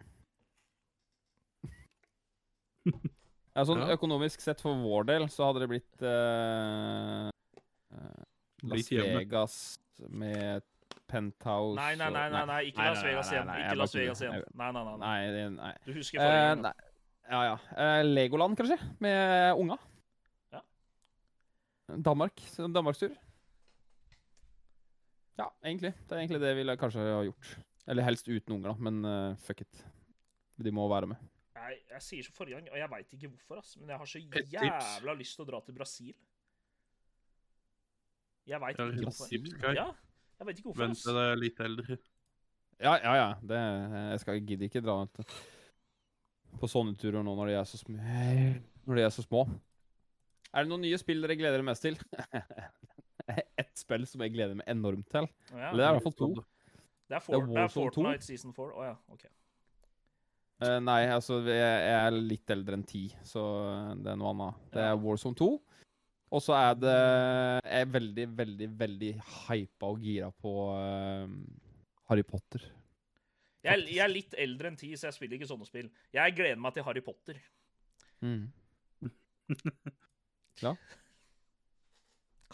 D: Ja, sånn
C: Ja.
D: Økonomisk sett for vår del så hadde det blitt eh, eh, Las
C: Blitt hjemme.
D: Vegas med penthouse
B: Nei, nei, nei, nei, nei ikke
D: Nei,
B: Las
D: nei, nei,
B: Vegas
D: nei,
B: igjen.
D: nei,
B: Ikke
D: jeg
B: Las
D: bare
B: Vegas
D: tuller.
B: igjen. Nei, nei, nei.
D: og-
B: nei.
D: Nei, det- nei.
B: Du husker forrige
D: Eh,
B: gang. da.
D: nei. Ja, ja. Eh, Legoland, kanskje? Med unga.
B: Ja.
D: Danmark. så en Danmarkstur. Ja, egentlig. Det er egentlig det jeg ville kanskje ha gjort. Eller helst uten unger, da, men eh, fuck it. De må være med.
B: Nei, jeg sier som forrige gang, og jeg veit ikke hvorfor, ass, men jeg har så
C: tips.
B: jævla lyst til å dra til Brasil. Jeg veit
C: Jeg har
B: ikke
C: et
B: hvorfor.
C: tips, Kai.
B: Ja, jeg vet ikke hvorfor.
C: Vent
B: ass.
C: til jeg er litt eldre.
D: Ja, ja, ja. Det, jeg skal gidder ikke dra ut på sånne turer nå når de er så små. Når de er så små. Er det noen nye spill dere gleder dere mest til? Ett spill som jeg gleder meg enormt til.
B: Ja,
D: Eller det er i hvert fall to.
B: det er, Fort, det er
D: Warzone 2.
B: Fortnite season 4. Å ja, OK.
D: Eh, nei, altså jeg jeg er litt eldre enn ti, så det er noe annet. Det er Warzone 2. Og så er det Jeg er veldig, veldig, veldig hypa og gira på eh, Harry Potter.
B: Jeg, er- jeg er litt eldre enn ti, så jeg spiller ikke sånne spill. Jeg gleder meg til Harry Potter. Mm.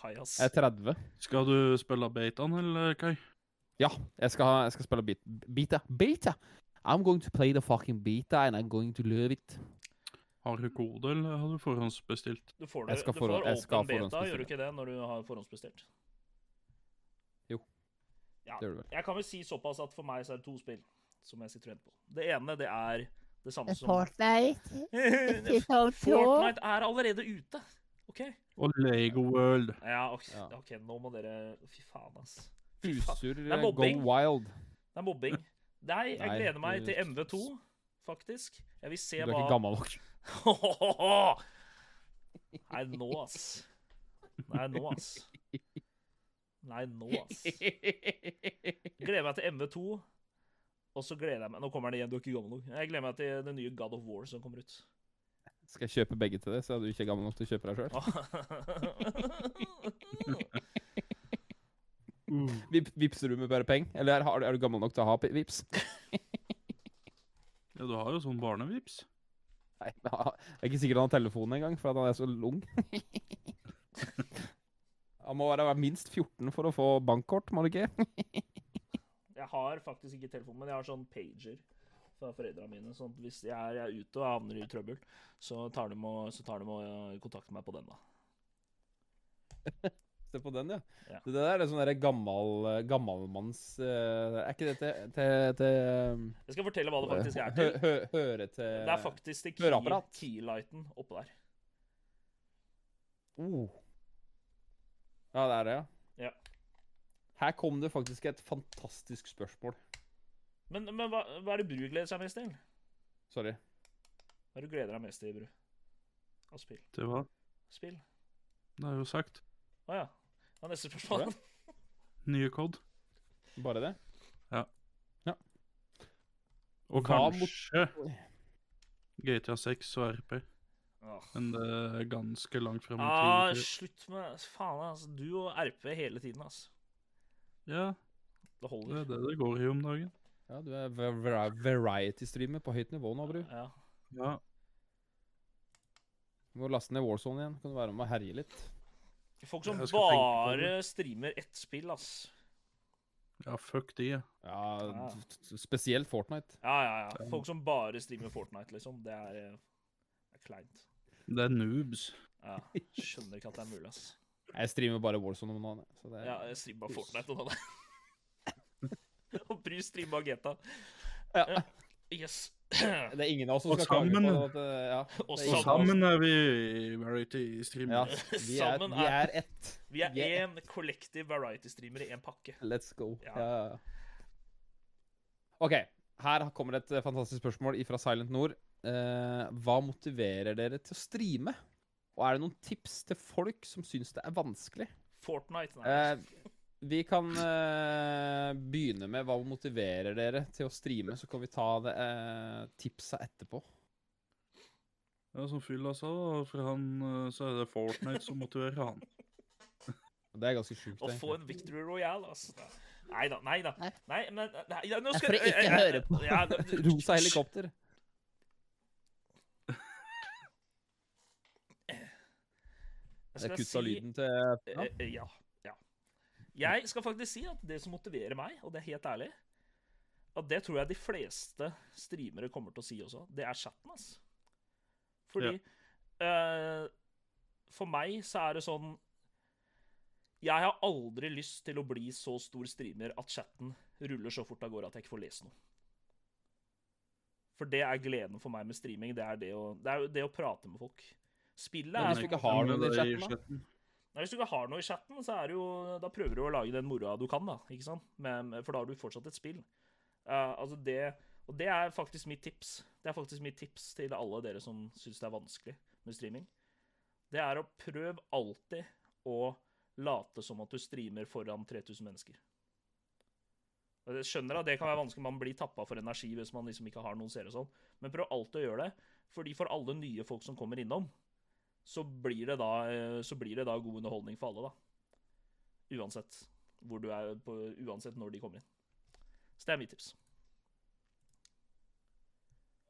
B: Kajas.
D: Jeg er 30.
C: Skal du spille betaen, eller, Kai?
D: Jeg skal, ha, jeg skal spille beat, beta. Beta! I'm going to play the fucking beta, and I'm going to love it.
C: Har du kode, eller har du forhåndsbestilt?
B: Du får,
D: Jeg
B: det,
D: skal
B: du
D: forhå-
B: får
D: jeg skal
B: åpen beta, gjør
D: forhåndsbestille.
B: du ikke det, når du har forhåndsbestilt?
D: Jo.
B: Ja.
D: Det gjør du vel.
B: Jeg kan vel si såpass at for meg så er det to spill som jeg sitter og venter på. Det ene, det er det samme som
E: Fortnite, sesong to.
B: Fortnite er allerede ute. OK?
C: Og Lego World.
B: Ja, OK,
D: Ja.
B: ok, nå må dere Fy faen, ass. Fy faen.
D: Husur
B: er
D: go
B: mobbing.
D: eh, wild.
B: Det er mobbing. Nei, jeg
D: Nei,
B: gleder meg
D: du-
B: til MV2, faktisk. Jeg vil
D: Du
B: se
D: er
B: hva
D: ikke gammel nok.
B: Nei, nå, ass. Nei, nå, ass. Nei, nå, ass. Gleder meg til MV2. Og så gleder jeg meg Nå kommer det igjen, du er ikke gammel nok. Jeg gleder meg til det nye God of War som kommer ut.
D: Skal jeg kjøpe begge til deg, så er du ikke gammel nok til å kjøpe deg sjøl? Vip, vipser du med bare penger? Eller er, har- er du gammel nok til å ha pi- vips?
C: Ja, du har jo sånn barnevips.
D: Nei, men han- jeg er ikke sikker han har telefonen engang, for at han er så ung. Han må være minst 14 for å få bankkort, må du ikke?
B: Jeg har faktisk ikke telefon, men jeg har sånn pager fra foreldrene mine. Sånn at hvis jeg er, jeg er ute og havner i trøbbel, så tar de og, så tar de og eh, kontakter meg på den, da.
D: Se på den, ja.
B: Ja.
D: Det der er sånn derre gammal, gammalmanns eh, Er ikke det til, til, til um,
B: Jeg skal fortelle hva det faktisk er
D: hø,
B: til.
D: hø, Høre til
B: Det er faktisk til key,
D: høreapparat.
B: keylighten oppå der.
D: oh. Ja, det er det, ja.
B: Ja.
D: Her kom det faktisk et fantastisk spørsmål.
B: Men, men hva, hva er det Bru gleder seg mest til?
D: Sorry.
B: Hva er det du gleder deg mest til, Bru? Av spill?
C: Det hva?
B: Spill?
C: Det er jo sagt.
B: Å ja. Det er neste spørsmål.
D: Tror
C: Nye kod.
D: Bare det?
C: Og
D: Hva mot-
C: kanskje GTA 6 og RP.
B: Åh.
C: Men det er ganske langt frem i
B: Ah,
C: tid.
B: slutt med Faen, altså. Du og RP hele tiden, altså.
C: Ja,
B: Det
C: det
B: holder.
C: er det det går i om dagen.
D: Ja, du er va- va- variety-streamer på høyt nivå nå, Bru.
B: Ja.
C: Ja.
D: Du må laste ned Warzone igjen. Kan du være med og herje litt?
B: Folk som
C: Jeg skal tenke på det.
B: bare streamer ett spill, ass.
C: ja, fuck de, ja.
D: Ja,
B: Ja.
D: t- t- spesielt Fortnite.
B: Ja, ja, ja. Folk som bare streamer Fortnite, liksom. Det er, eh, det er kleint.
C: Det er noobs.
B: Ja. Skjønner ikke at det er mulig, ass.
D: Jeg streamer bare Warzone om dagen. jeg, Så det
B: Ja, jeg streamer bare Fortnite og det. Og Bry streamer Geta.
D: Ja.
B: Yes.
D: Det er ingen av oss som
C: Og
D: skal klage på
C: sammen.
D: at eh, ja,
B: Og
D: det er
C: Og
D: ingen av oss-
C: sammen er vi variety-streamer.
D: Ja, vi er,
B: Sammen
D: vi
B: er
D: er ett.
B: Vi er
D: vi er
B: én kollektiv variety-streamer i én pakke.
D: Let's go.
B: Ja.
D: Ja. ja, ja. OK. Her kommer et eh, fantastisk spørsmål fra Silent Nord. Eh, hva motiverer dere til å streame? Og er det noen tips til folk som syns det er vanskelig?
B: Fortnite, nei.
D: Eh, vi kan eh, begynne med hva motiverer dere til å streame, så kan vi ta det, eh, tipsa etterpå.
C: Ja, som Fylla sa, da, for han eh, så er det Fortnite som motiverer han.
D: Det er ganske sjukt.
B: Å få
D: egentlig.
B: en Victory Royale, altså. Nei da, nei da.
E: Nei.
B: Nei, men nei, ja, nå
D: Det er
B: skal
D: for å ikke høre på.
B: Ja, nå-
D: Rosa helikopter.
B: Jeg
D: Det
B: skal
D: er kutta
B: si-
D: lyden til Ja.
B: Eh, Ja. ja. Jeg skal faktisk si at det som motiverer meg, og det er helt ærlig At det tror jeg de fleste streamere kommer til å si også, det er chatten, ass. Fordi eh, For meg så er det sånn Jeg har aldri lyst til å bli så stor streamer at chatten ruller så fort av gårde at jeg ikke får lese noe. For det er gleden for meg med streaming. Det er det å, det er jo det å prate med folk. Spillet
D: Men
B: er
D: hvis du ikke har
C: Men
D: noen i
C: det er
D: chatten,
B: Nei, Hvis du ikke har noe i chatten, så er det jo, da prøver du å lage den moroa du kan, da. ikke sant? Men, for da har du fortsatt et spill. Eh, altså det, og det er faktisk mitt tips. Det er faktisk mitt tips til alle dere som syns det er vanskelig med streaming. Det er å prøv alltid å late som at du streamer foran 3000 mennesker. Og Jeg skjønner at det kan være vanskelig, man blir tappa for energi hvis man liksom ikke har noen seere og sånn, men prøv alltid å gjøre det. Fordi for alle nye folk som kommer innom, så blir det da, eh, så blir det da god underholdning for alle, da. Uansett hvor du er på, uansett når de kommer inn. Så det er mitt tips.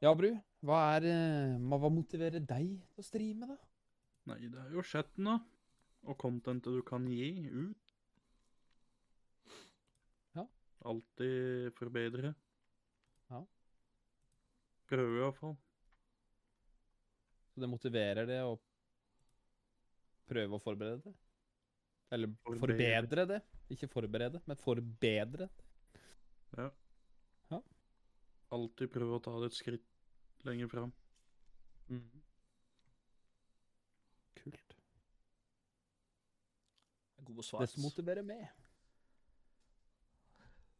D: Ja, Bru, hva er eh, ma- Hva motiverer deg til å streame, da?
C: Nei, det er jo chatten, da. Og contentet du kan gi ut.
D: Ja.
C: Alltid forbedre.
D: Ja.
C: Prøve, i hvert fall.
D: Så det motiverer det å prøve å forberede det? Eller
C: Forbedre.
D: forbedre det? Ikke forberede, men forbedre.
C: Alltid prøve å ta det et skritt lenger fram.
D: Kult.
B: God
D: Det
B: svar.
D: som motiverer meg.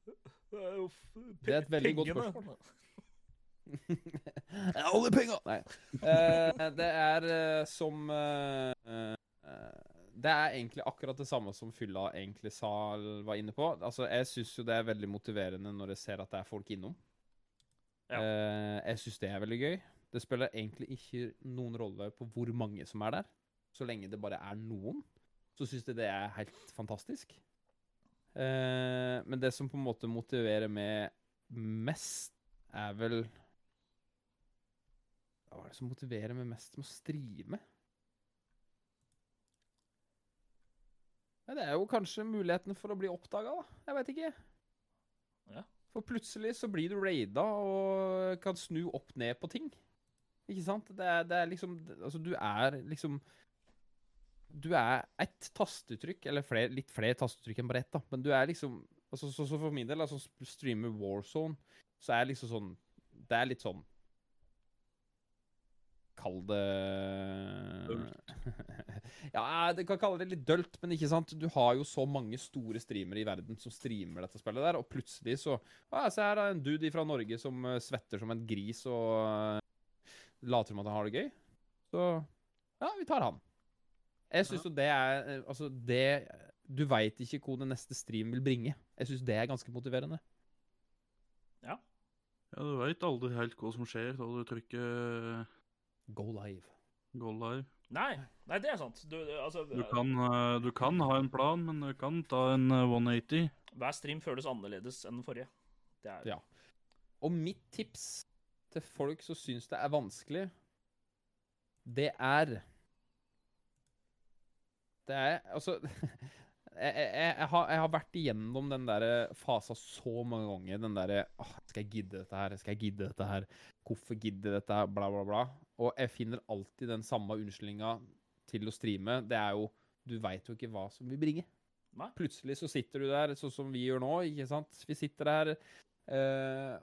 B: Det
D: Det er et veldig godt spørsmål. Alle penga! Nei. Eh, det er eh, som eh, eh, Det er egentlig akkurat det samme som Fylla egentlig sa, eller var inne på. Altså, Jeg syns jo det er veldig motiverende når jeg ser at det er folk innom.
B: Ja.
D: Eh, jeg syns det er veldig gøy. Det spiller egentlig ikke noen rolle på hvor mange som er der. Så lenge det bare er noen, så syns jeg det er helt fantastisk. Eh, men det som på en måte motiverer meg mest, er vel Hva er det som motiverer meg mest med å streame? Ja, det er jo kanskje muligheten for å bli oppdaga, da. Jeg veit ikke.
B: Ja.
D: For plutselig så blir du raida og kan snu opp ned på ting. Ikke sant? Det er, det er liksom Altså, du er liksom du er ett tastetrykk, eller flere, litt flere tastetrykk enn bare ett, da. Men du er liksom altså, så, så for min del, altså sp- streamer Warzone, så er liksom sånn Det er litt sånn Kall det Ja, du kan kalle det litt dølt, men ikke sant. Du har jo så mange store streamere i verden som streamer dette spillet der, og plutselig så Å ja, se her er en dude fra Norge som eh, svetter som en gris og eh, later som at han har det gøy. Så ja, vi tar han. Jeg syns jo det er eh, Altså, det Du veit ikke hvor den neste stream vil bringe. Jeg syns det er ganske motiverende.
C: Ja, du veit aldri helt hva som skjer da du trykker eh,
D: Go live.
C: go live.
B: Nei, nei, det er sant. Du, altså,
C: Du kan, eh, du kan ha en plan, men du kan ta en eh, 180.
B: Hver stream føles annerledes enn den forrige. Det er
D: Ja. Og mitt tips til folk som syns det er vanskelig, det er Det er Altså Jeg, jeg, jeg, har, jeg har vært igjennom den der fasa så mange ganger. Den derre «Åh, Skal jeg gidde dette her? Skal jeg gidde dette her? Hvorfor gidde dette her? Bla, bla, bla. Og jeg finner alltid den samme unnskyldninga til å streame. Det er jo Du veit jo ikke hva som vil bringe.
B: Nei.
D: Plutselig så sitter du der sånn som vi gjør nå, ikke sant? Vi sitter her Eh,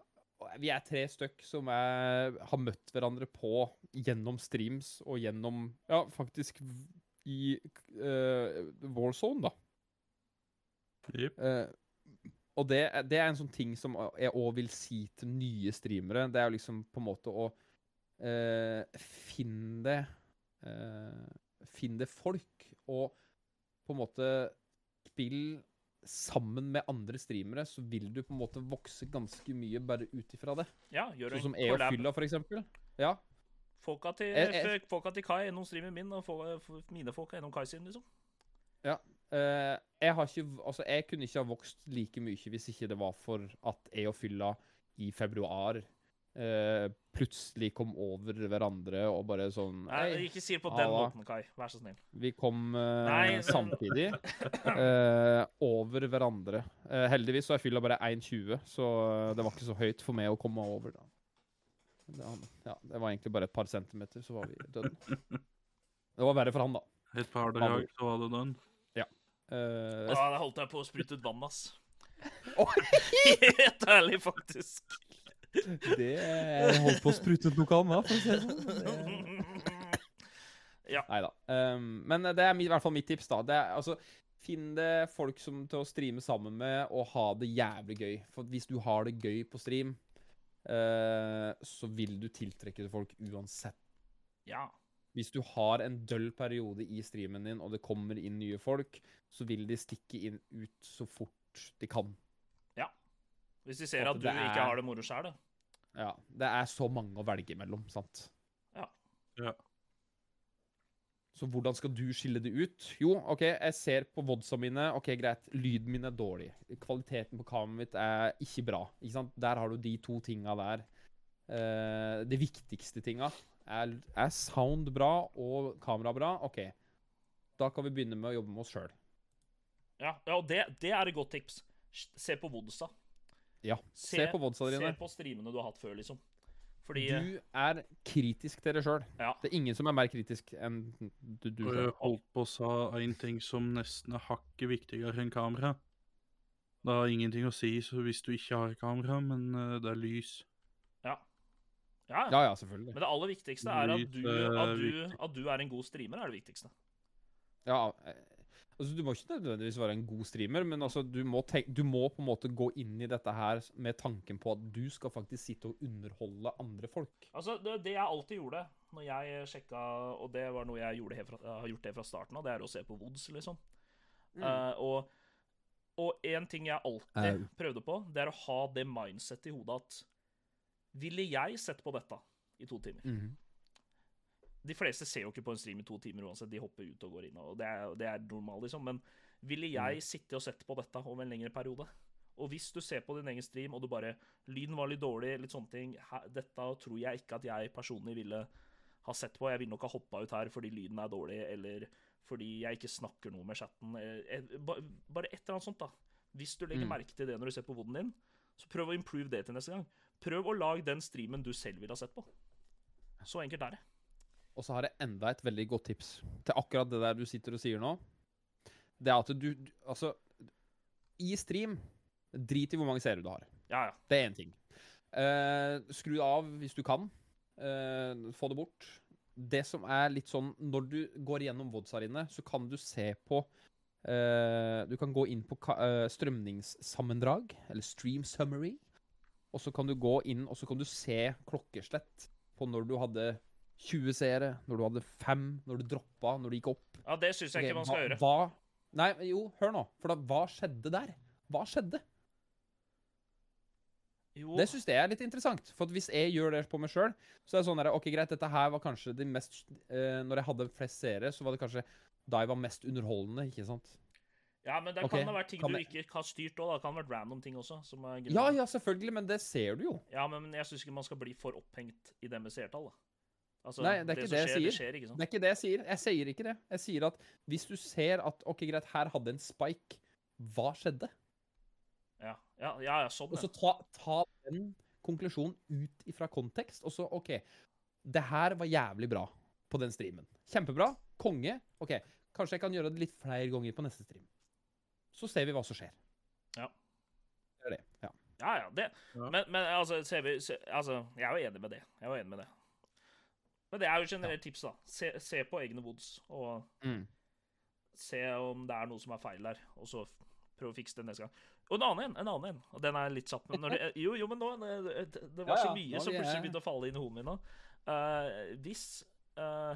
D: og vi er tre stykk som er, har møtt hverandre på gjennom streams og gjennom Ja, faktisk v- i eh, Warzone, da.
C: Jepp.
D: Eh, og det, er- det er en sånn ting som jeg òg vil si til nye streamere. Det er jo liksom på en måte å eh, finne det eh, Finne det folk, og på en måte spill sammen med andre streamere, så vil du på en måte vokse ganske mye bare ut ifra det.
B: ja gjør
D: Sånn
B: en
D: som jeg og
B: collab.
D: Fylla, for eksempel. Ja.
B: Folka til,
D: Jeg- jeg-
B: folka til Kai er gjennom streamen min, og fol- f- mine folk er gjennom Kai sin, liksom.
D: Eh, jeg har ikke Altså, jeg kunne ikke ha vokst like mye hvis ikke det var for at jeg og Fylla i februar eh, plutselig kom over hverandre og bare sånn
B: Nei,
D: Hei,
B: ikke si det på den
D: Halla.
B: måten, Kai. Vær så snill.
D: vi kom eh,
B: Nei, men-
D: samtidig eh, over hverandre. Eh, heldigvis så er Fylla bare 1,20, så eh, det var ikke så høyt for meg å komme over, da. Men det- han- Ja, det var egentlig bare et par centimeter, så var vi døden. Det var verre for han, da.
C: Et par
D: Hallo.
C: dager, så var det den.
D: Eh,
B: Ja, der holdt jeg på å sprute ut vann, ass.
D: Oi!
B: Helt ærlig, faktisk.
D: Det jeg holdt på å sprute ut noe annet, for å si det sånn. Det... Nei da. Ehm, men det er mi- i hvert fall mitt tips, da. Det er, altså, finn det folk som til å streame sammen med, og ha det jævlig gøy. For hvis du har det gøy på stream, eh, så vil du tiltrekke deg folk uansett.
B: Ja.
D: Hvis du har en døll periode i streamen din, og det kommer inn nye folk, så vil de stikke inn ut så fort de kan.
B: Ja. Hvis de ser
D: At
B: at du
D: det er-
B: ikke har det moro sjæl, da.
D: Ja, det er så mange å velge mellom, sant?
B: Ja.
C: Ja.
D: Så hvordan skal du skille det ut? Jo, OK, jeg ser på vodsa mine. OK, greit. Lyden min er dårlig. Kvaliteten på kameraet mitt er ikke bra. Ikke sant? Der har du de to tinga der. Eh, de viktigste tinga. Er, er sound bra og kamera bra? OK. Da kan vi begynne med å jobbe med oss sjøl.
B: Ja, ja og det, det er et godt tips. Se på Vodsa.
D: Ja. Se, på vodsa
B: Se
D: dine.
B: på streamene du har hatt før, liksom. Fordi eh,
D: Du er kritisk til deg sjøl.
B: Ja.
D: Det er ingen som er mer kritisk enn du, du
C: Og
D: selv.
C: jeg holdt på å sa en ting som nesten er hakket viktigere enn kamera. Det har ingenting å si så hvis du ikke har kamera, men eh, det er lys.
B: ja, ja.
D: Ja, ja, selvfølgelig.
B: Men det aller viktigste er at du,
C: Lyd, eh,
B: at, du,
C: viktig.
B: at du er en god streamer, er det viktigste.
D: Ja, eh, altså Du må ikke nødvendigvis være en god streamer, men altså du må, tenk, du må på en måte gå inn i dette her med tanken på at du skal faktisk sitte og underholde andre folk.
B: Altså, det, det jeg alltid gjorde når jeg sjekka, og det var noe jeg, gjorde helt fra, jeg har gjort det fra starten av, det er å se på Woods, liksom.
D: Mm.
B: Eh, og, og en ting jeg alltid
D: Au.
B: prøvde på, det er å ha det mindsettet i hodet at Ville jeg sett på dette i to timer?
D: Mhm.
B: De fleste ser jo ikke på en stream i to timer uansett, de hopper ut og går inn, og det er, det er normalt, liksom. Men ville jeg sitte og sett på dette over en lengre periode? Og hvis du ser på din egen stream, og du bare Lyden var litt dårlig, litt sånne ting. «Hæ, Dette tror jeg ikke at jeg personlig ville ha sett på. Jeg ville nok ha hoppa ut her fordi lyden er dårlig, eller fordi jeg ikke snakker noe med chatten. eh, eh, ba- Bare et eller annet sånt, da. Hvis du legger
D: Mm.
B: merke til det når du ser på voden din, så prøv å improve det til neste gang. Prøv å lage den streamen du selv ville ha sett på. Så enkelt er det.
D: Og så har jeg enda et veldig godt tips til akkurat det der du sitter og sier nå. Det er at du, du Altså, i stream Drit i hvor mange seere du har.
B: Ja, ja.
D: Det er én ting. Eh, skru av hvis du kan. Eh, få det bort. Det som er litt sånn Når du går gjennom vodsa dine, så kan du se på eh, Du kan gå inn på ka eh, strømningssammendrag, eller stream summary. Og så kan du gå inn og så kan du se klokkeslett på når du hadde 20 seere, når du hadde 5, når du droppa, når du gikk opp.
B: Ja, det syns jeg
D: Ok,
B: ikke man skal
D: hva,
B: gjøre.
D: Hva, nei, jo, hør nå. For da, hva skjedde der? Hva skjedde?
B: Jo,
D: Det syns jeg er litt interessant. For at hvis jeg gjør det på meg sjøl, så er det sånn der, OK, greit, dette her var kanskje det mest eh, Når jeg hadde flest seere, så var det kanskje da jeg var mest underholdende, ikke sant?
B: ja, men det
D: Ok,
B: kan ha vært ting
D: kan
B: du
D: jeg-
B: ikke har styrt òg. Det kan ha vært random ting også. Som er grunnen.
D: Ja, ja, selvfølgelig, men det ser du jo.
B: ja, men men jeg syns ikke man skal bli for opphengt i det med seertall, da. Altså,
D: Nei, det er ikke
B: som
D: det jeg
B: skjer,
D: sier.
B: skjer, ikke sant?
D: Det er ikke det jeg sier. Jeg sier ikke det. Jeg sier at hvis du ser at OK, greit, her hadde en spike, hva skjedde?
B: Ja, ja, ja, ja sånn,
D: Og så
B: ja.
D: ta, ta den konklusjonen ut ifra kontekst, og så OK. Det her var jævlig bra på den streamen. Kjempebra. Konge. OK. Kanskje jeg kan gjøre det litt flere ganger på neste stream. Så ser vi hva som skjer.
B: Ja.
D: Det er det. Ja.
B: ja, ja det.
C: Ja.
B: Men, men altså, ser vi, se, altså, jeg er jo enig med det. Jeg er jo enig med det. Men det er jo generelt tips, da. Se, se på egne woods, og
D: Mm.
B: se om det er noe som er feil der, og så f- prøv å fikse det neste gang. Og en annen en, en annen en. Og den er litt satt med når det, Jo, jo, men nå Det, det var
D: Ja,
B: så
D: ja,
B: mye
D: nå
B: som
D: er vi-
B: plutselig begynte å falle inn i hodet mitt nå. Eh, hvis eh,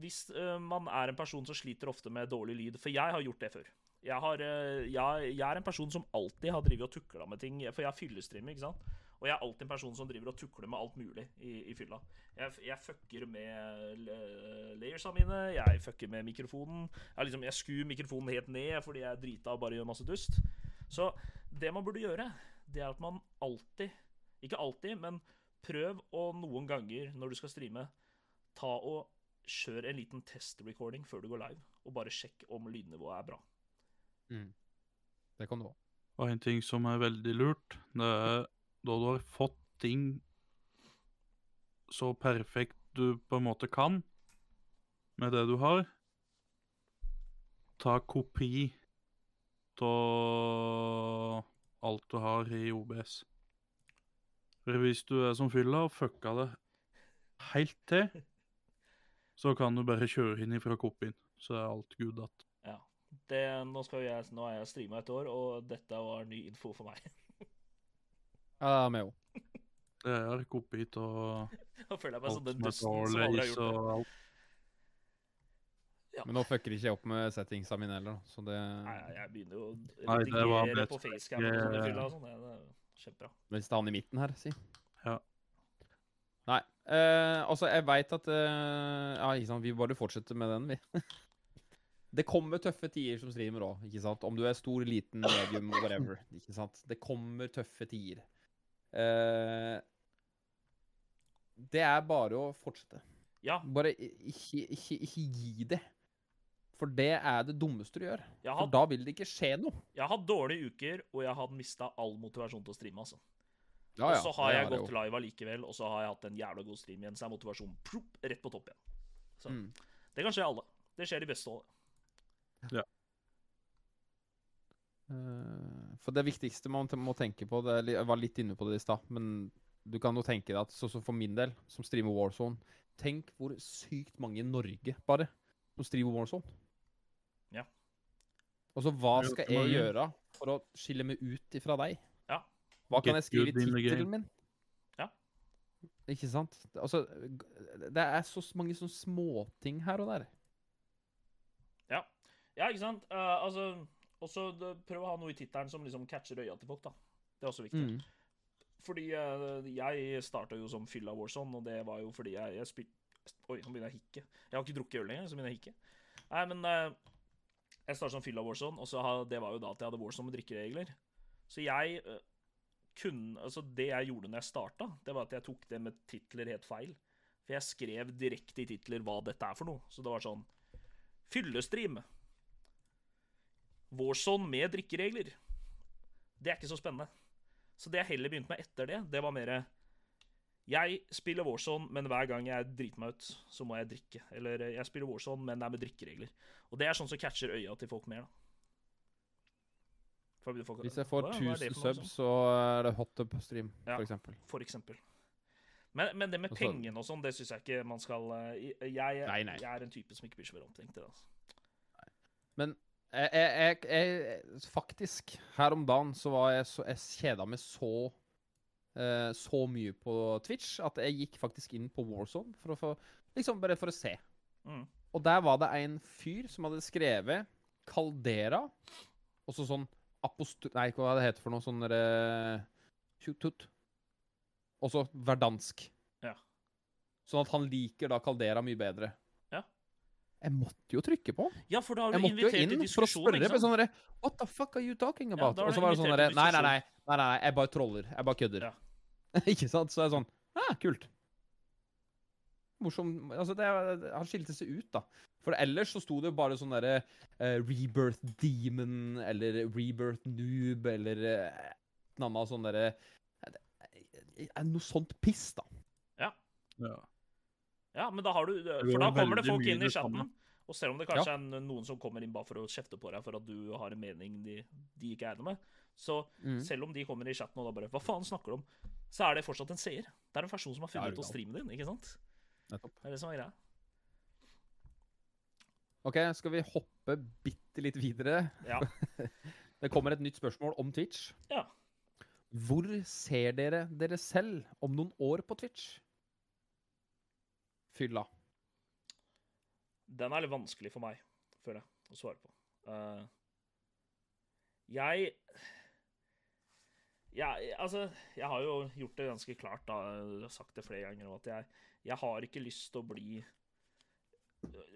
B: Hvis eh, man er en person som sliter ofte med dårlig lyd For jeg har gjort det før. Jeg, har, eh, jeg, jeg er en person som alltid har drevet og tukla med ting, for jeg fyllestreamer, ikke sant? Og jeg er alltid en person som driver og tukler med alt mulig i, i fylla. Jeg, jeg fucker med eh, layersa mine, jeg fucker med mikrofonen. Jeg, liksom, jeg skur mikrofonen helt ned fordi jeg er drita og bare gjør masse dust. Så det man burde gjøre, det er at man alltid Ikke alltid, men prøv å noen ganger når du skal streame, ta og kjør en liten testrecording før du går live, og bare sjekk om lydnivået er bra.
D: Det kan du òg.
C: Og en ting som er veldig lurt, det er da du har fått ting så perfekt du på en måte kan med det du har, ta kopi av alt du har i OBS. For hvis du er som fylla og fucka det helt til, så kan du bare kjøre inn ifra kopien, så er alt good at.
B: Det, nå, skal jeg, nå er jeg streama et år, og dette var ny info for meg.
D: Ja, meg òg.
C: Det er kopi av
B: Nå føler jeg meg som
C: alt
B: sånn den
C: som er
B: dusten som aldri har
C: dårlig,
B: gjort det.
C: og alt.
B: Ja.
D: Men nå fucker ikke jeg opp med settingsa mine heller, da, så det
B: Nei, jeg begynner jo å
C: Nei, det var
B: redigere
C: blitt-
B: på facecam og sånn i fylla og sånn. Det det er kjempebra.
D: Hvis det er han i midten her, si.
C: Ja.
D: Nei. Eh, altså, jeg veit at eh, Ja, ikke sant, vi bare fortsetter med den, vi. Det kommer tøffe tider som streamer òg, ikke sant? Om du er stor, liten, medium, whatever. Ikke sant? Det kommer tøffe tider. Eh, det er bare å fortsette.
B: Ja,
D: Bare i- ikke, ikke, ikke gi det. For det er det dummeste du gjør.
B: jeg har
D: For da vil det ikke skje noe.
B: Jeg har hatt dårlige uker, og jeg har mista all motivasjon til å streame. altså.
D: Ja,
B: og så har
D: det
B: jeg
D: er det
B: gått
D: jo.
B: live allikevel, og så har jeg hatt en jævla god stream igjen. Så er motivasjonen plopp, rett på topp igjen. Så
D: Mm.
B: det kan skje alle. Det skjer de beste alle.
D: Eh, For det viktigste man te- må tenke på det er, li- Jeg var litt inne på det i stad, men du kan jo tenke deg at sånn som for min del, som streamer Warzone Tenk hvor sykt mange i Norge bare som streamer Warzone.
B: Ja.
D: Og så hva
C: Det er
D: skal
C: ganske
D: jeg
C: mange.
D: gjøre for å skille meg ut ifra deg?
B: Ja.
D: Hva kan
C: Get
D: jeg skrive i
C: good in the
D: tittelen
C: game.
D: min?
B: Ja.
D: Ikke sant? Altså, g- det er så s- mange sånne småting her og der.
B: Ja, ja ikke sant? Eh, altså, også det- prøv å ha noe i tittelen som liksom catcher øya til folk, da. Det er også viktig.
D: Mm.
B: Fordi eh, jeg starta jo som fylla Warzone, og det var jo fordi jeg, jeg spilte Oi, nå begynner jeg å hikke. Jeg har ikke drukket øl engang, så begynner jeg å hikke. Nei, men eh, jeg starta som fylla Warzone, og så ha- det var jo da at jeg hadde Warzone med drikkeregler. Så jeg eh, kunne Altså, det jeg gjorde når jeg starta, det var at jeg tok det med titler helt feil. For jeg skrev direkte i titler hva dette er for noe. Så det var sånn Fyllestream. Warzone med drikkeregler. Det er ikke så spennende. Så det jeg heller begynte med etter det, det var mer Jeg spiller Warzone, men hver gang jeg driter meg ut, så må jeg drikke. Eller eh, jeg spiller Warzone, men det er med drikkeregler. Og det er sånn som catcher øya til folk mer, da. For da blir folk-
D: Hvis jeg får
B: Hva- hva er det
D: 1000
B: for noe, liksom?
D: subs, så er det hot tub stream,
B: Ja.
D: for eksempel.
B: for eksempel. Men, men det med
D: Og så-
B: pengene og sånn, det syns jeg ikke man skal eh, Jeg, jeg,
D: Altså- Nei, nei.
B: jeg er en type som ikke blir så veldig omtenkt. til Det, altså.
D: Jeg, jeg, jeg, jeg, faktisk, her om dagen så var jeg så Jeg kjeda meg så eh, så mye på Twitch at jeg gikk faktisk inn på Warzone for å få Liksom bare for å se.
B: Mm.
D: Og der var det en fyr som hadde skrevet Caldera, og så sånn aposto... Nei, hva det heter for noe sånn derre Tjutut. Og så verdansk.
B: Ja.
D: Sånn at han liker da Caldera mye bedre.
B: Ja.
D: Jeg måtte jo trykke på.
B: Ja, for da har
D: Jeg
B: du
D: måtte jo
B: invitert til
D: inn for å
B: diskusjon,
D: spørre.
B: ikke
D: Med
B: sant?
D: sånn derre, What the fuck are you talking about?
B: da har
D: og så
B: du
D: var det sånn
B: invitert til
D: derre nei, nei,
B: diskusjon.
D: nei, nei, nei, jeg bare troller. Jeg bare kødder.
B: Ja.
D: Ikke sant? Så er det sånn ah, kult. Morsom Altså, det, er- han skilte seg ut, da. For ellers så sto det jo bare sånn derre eh, Rebirth Demon eller Rebirth Noob eller eh, noe annet sånn derre eh, eh, Noe sånt piss, da.
C: Ja.
B: Ja, men da har du eh,
C: går
B: For da kommer det
C: veldig
B: folk
C: mye
B: inn i
C: det samme.
B: chatten. Og selv om det kanskje er noen som kommer inn bare for å kjefte på deg for at du har en mening de, de ikke er enig med, så
D: Mm.
B: selv om de kommer i chatten og da bare Hva faen snakker du om? Så er det fortsatt en seer. Det er en person som har
D: Ja, er
B: funnet
D: du
B: ut å
D: gal.
B: streame din, ikke sant?
D: Nettopp.
B: Det er det som er greia.
D: OK, skal vi hoppe bitte litt videre?
B: Ja.
D: Det kommer et nytt spørsmål om Twitch.
B: Ja.
D: Hvor ser dere dere selv om noen år på Twitch? Fylla.
B: Den er litt vanskelig for meg, føler jeg, å svare på. Eh, jeg jeg, altså, jeg har jo gjort det ganske klart, da, jeg har sagt det flere ganger, nå, at jeg, jeg har ikke lyst til å bli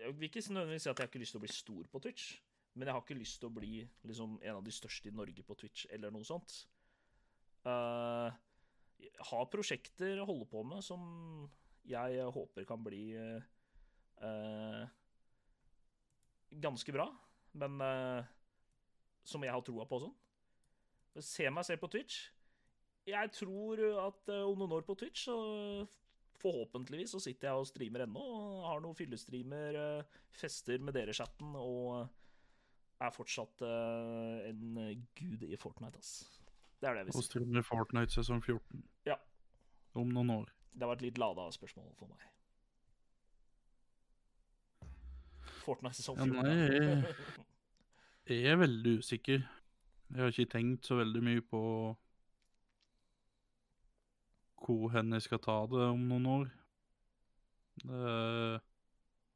B: Jeg vil ikke nødvendigvis si at jeg har ikke lyst til å bli stor på Twitch, men jeg har ikke lyst til å bli liksom, en av de største i Norge på Twitch, eller noe sånt. Eh, ha prosjekter å holde på med som jeg håper kan bli eh, eh, ganske bra, men eh, som jeg har troa på og sånn. Se meg selv på Twitch. Jeg tror at eh, om noen år på Twitch, så forhåpentligvis så sitter jeg og streamer ennå og har noen fyllestreamer, eh, fester med dere i chatten og er fortsatt eh, en gud i Fortnite, ass. Det er det jeg
C: Og
B: vil si.
C: streamer Fortnite sesong 14.
B: Ja.
C: Om noen år.
B: Det var et litt lada spørsmål for meg. Fortnite sesong
C: Ja,
B: 14.
C: nei. Jeg er veldig usikker. Jeg har ikke tenkt så veldig mye på hvor hen jeg skal ta det om noen år. Det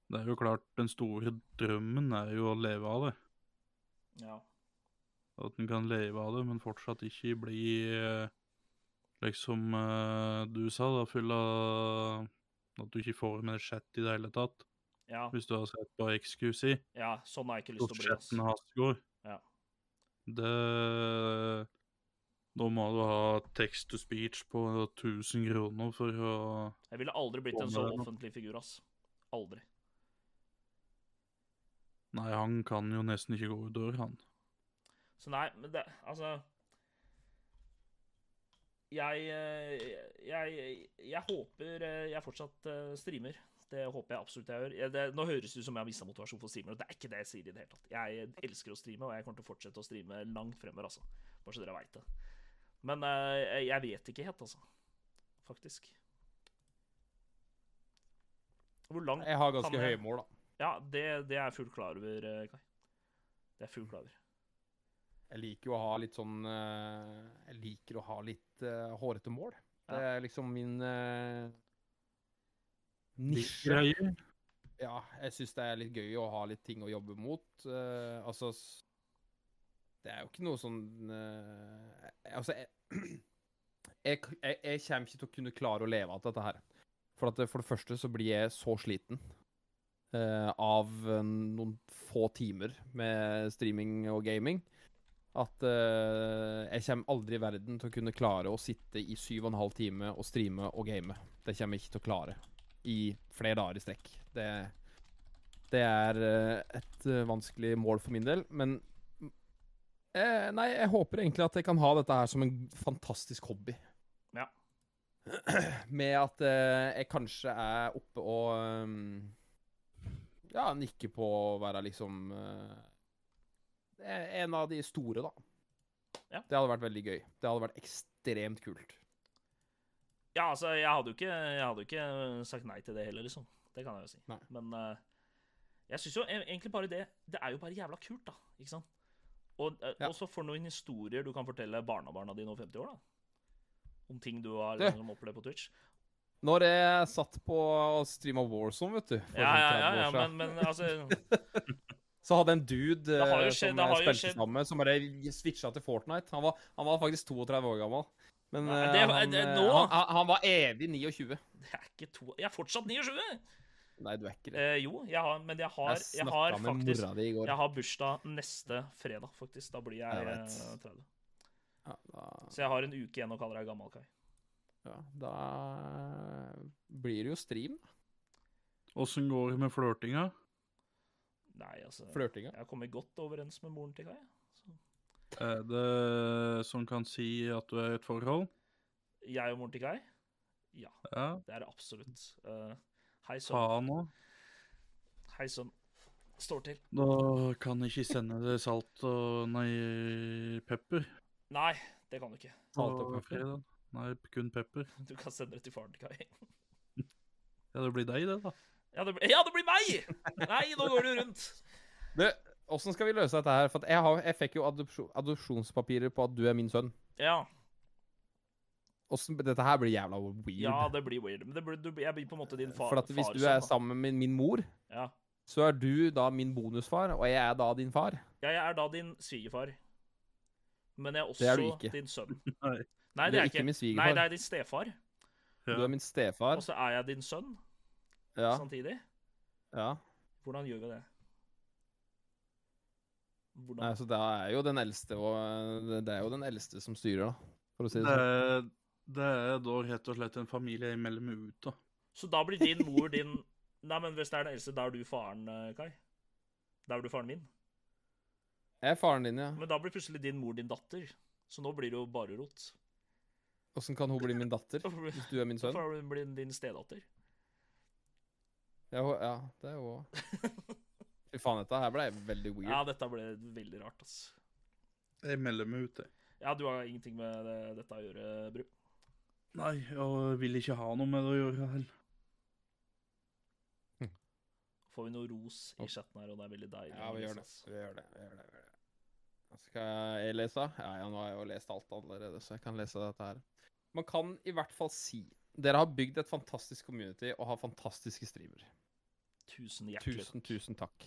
C: Det er jo klart, den store drømmen er jo å leve av det.
B: Ja.
C: At en kan leve av det, men fortsatt ikke bli eh, Liksom eh, du sa, da, full av At du ikke får med deg chat i det hele tatt.
B: Ja,
C: Hvis du har sett på XQC
B: ja, sånn har jeg ikke lyst til
C: og
B: å bli. ass.
C: chatten Hastegård
B: Ja.
C: Det Da må du ha text to speech på 1000 kroner for å
B: Jeg ville aldri blitt en så offentlig figur, ass. Aldri.
C: Nei, han kan jo nesten ikke gå ut dør, han.
B: Så nei, men det Altså Jeg eh, Jeg, jeg håper eh, jeg fortsatt eh, streamer. Det håper jeg absolutt jeg gjør. Jeg- Det, nå høres det ut som jeg har mista motivasjon for å streame, og det er ikke det jeg sier i det hele tatt. Jeg elsker å streame, og jeg kommer til å fortsette å streame langt fremover, altså. Bare så dere veit det. Men eh, jeg vet ikke helt, altså. Faktisk. Hvor langt
D: Jeg har ganske
B: Kan jeg-
D: høye mål, da.
B: Ja, det, det er jeg fullt klar over, eh, Kai. Det er jeg fullt klar over.
D: Jeg liker jo å ha litt sånn eh, Jeg liker å ha litt eh, hårete mål.
B: Ja.
D: Det er liksom min eh,
C: Litt
D: nisje.
C: greier.
D: Ja, jeg syns det er litt gøy å ha litt ting å jobbe mot. Eh, altså s- Det er jo ikke noe sånn eh, Altså, jeg, jeg, k- jeg, jeg kommer ikke til å kunne klare å leve av dette her. For, at, det- for det første så blir jeg så sliten eh, av eh, noen få timer med streaming og gaming at eh, jeg kommer aldri i verden til å kunne klare å sitte i syv og en halv time og streame og game. Det kommer jeg ikke til å klare i flere dager i strekk. Det, det er eh, et eh, vanskelig mål for min del, men eh, Nei, jeg håper egentlig at jeg kan ha dette her som en fantastisk hobby.
B: Ja.
D: Med at eh, jeg kanskje er oppe og ehm, Ja, nikker på å være liksom eh, En av de store, da.
B: Ja.
D: Det hadde vært veldig gøy. Det hadde vært ekstremt kult.
B: Ja, altså, jeg hadde jo ikke, jeg hadde jo ikke eh, sagt nei til det heller, liksom. Det kan jeg jo si.
D: Nei.
B: Men eh, jeg syns jo e- egentlig bare det Det er jo bare jævla kult, da. Ikke sant? Og eh,
D: Ja.
B: også for noen historier du kan fortelle barnebarna dine over 50 år, da. Om ting du har
D: Du.
B: liksom, opplevd på Twitch.
D: Når jeg satt på og streama Warzone, vet du, for
B: Ja,
D: sånn
B: ja,
D: 30
B: ja,
D: år
B: ja
D: siden,
B: men, men altså
D: Så hadde en dude
B: har jo
D: eh,
B: skjedd,
D: som
B: det har
D: jeg
B: jo
D: spilte
B: skjedd.
D: sammen med, som bare switcha til Fortnite. Han var, han var faktisk 32 år gammel. Men
B: Nei,
D: eh,
B: det var-
D: han,
B: det-
D: eh,
B: nå?
D: han, han- han var evig 29.
B: Det er ikke to Jeg er fortsatt 29!
D: Nei, du er ikke det.
B: Eh, jo, jeg har, men jeg har,
D: Jeg
B: jeg har
D: snakka med
B: faktisk
D: mora di i går.
B: Jeg har bursdag neste fredag, faktisk. Da blir jeg,
D: Jeg vet.
B: eh, 30.
D: Ja, da,
B: Så jeg har en uke igjen å kalle deg gammel, Kai.
D: ja, da eh, blir det jo stream.
C: Åssen går det med flørtinga?
B: Nei, altså
D: Flørtinga.
B: Jeg har kommet godt overens med moren til Kai. Så
C: Er det som kan si at du er i et forhold?
B: jeg og moren til Kai,
C: Ja.
B: det er det absolutt. Eh, hei,
C: Ta
B: sønn.
C: han nå.
B: Hei, sønn. Står til.
C: Da kan jeg ikke sende deg salt og nei, pepper.
B: Nei, det kan du ikke.
D: Salt og
C: på
D: pepper.
C: fredag. Nei, kun pepper.
B: Du kan sende det til faren til Kai.
C: Ja, det blir deg, det, da.
B: Ja, det, blir- ja, det blir meg! Nei, nå går du rundt.
D: Du, åssen skal vi løse dette her? For at jeg, har, jeg fikk jo adopsjon, adopsjonspapirer på at du er min sønn.
B: Ja,
D: Åssen- dette her blir jævla weird.
B: ja det blir weird. Men det blir, du, jeg blir på en måte din far.
D: For at hvis
B: far
D: du
B: sønn,
D: er
B: da.
D: sammen med min mor,
B: ja.
D: så er du da min bonusfar, og jeg er da din far.
B: ja, jeg er da din svigerfar. Men jeg er også
D: Det er du ikke.
B: din sønn.
C: Nei.
B: Nei,
D: du
B: det
D: er
B: er
D: ikke
B: ikke.
D: min
B: Nei,
D: svigerfar.
B: det er din stefar.
D: Du er min stefar.
B: Og så er jeg din sønn
D: Ja,
B: samtidig.
D: ja.
B: Hvordan gjør vi det? Hvordan?
D: Nei, så det er jo den eldste og eh, Det er jo den eldste som styrer, da. For å si det
C: Det
D: sånn.
C: er, det er da rett og slett en familie imellom ut, da.
B: Så da blir din mor din Nei, men hvis det er den eldste, da er du faren, eh, Kai. Da er du faren min.
D: Jeg er faren din, ja.
B: Men da blir plutselig din mor din datter. Så nå blir det jo bare rot.
D: Åssen kan hun bli min datter?
B: Da får-
D: Hvis du er min
B: da
D: sønn?
B: får hun bli din stedatter.
D: Ja, hun- ja det er hun òg. Fy faen, dette her ble veldig
B: Ja,
D: weird.
B: dette ble veldig rart, ass.
C: Imellom ut, det.
B: Ja, du har ingenting med det, dette å gjøre, Bru.
C: Nei, jeg vil ikke ha noe med det å gjøre heller.
B: Får vi noe ros i
D: Ok.
B: chatten her, og det er veldig deilig.
D: Ja, vi gjør det.
B: ass.
D: Vi gjør det. Vi gjør det. Vi gjør det. Skal jeg lese? Ja, ja, nå har jeg jo lest alt allerede, så jeg kan lese dette her. Man kan i hvert fall si dere har bygd et fantastisk community og har fantastiske streamer.
B: Tusen hjertelig
D: Tusen, tusen takk.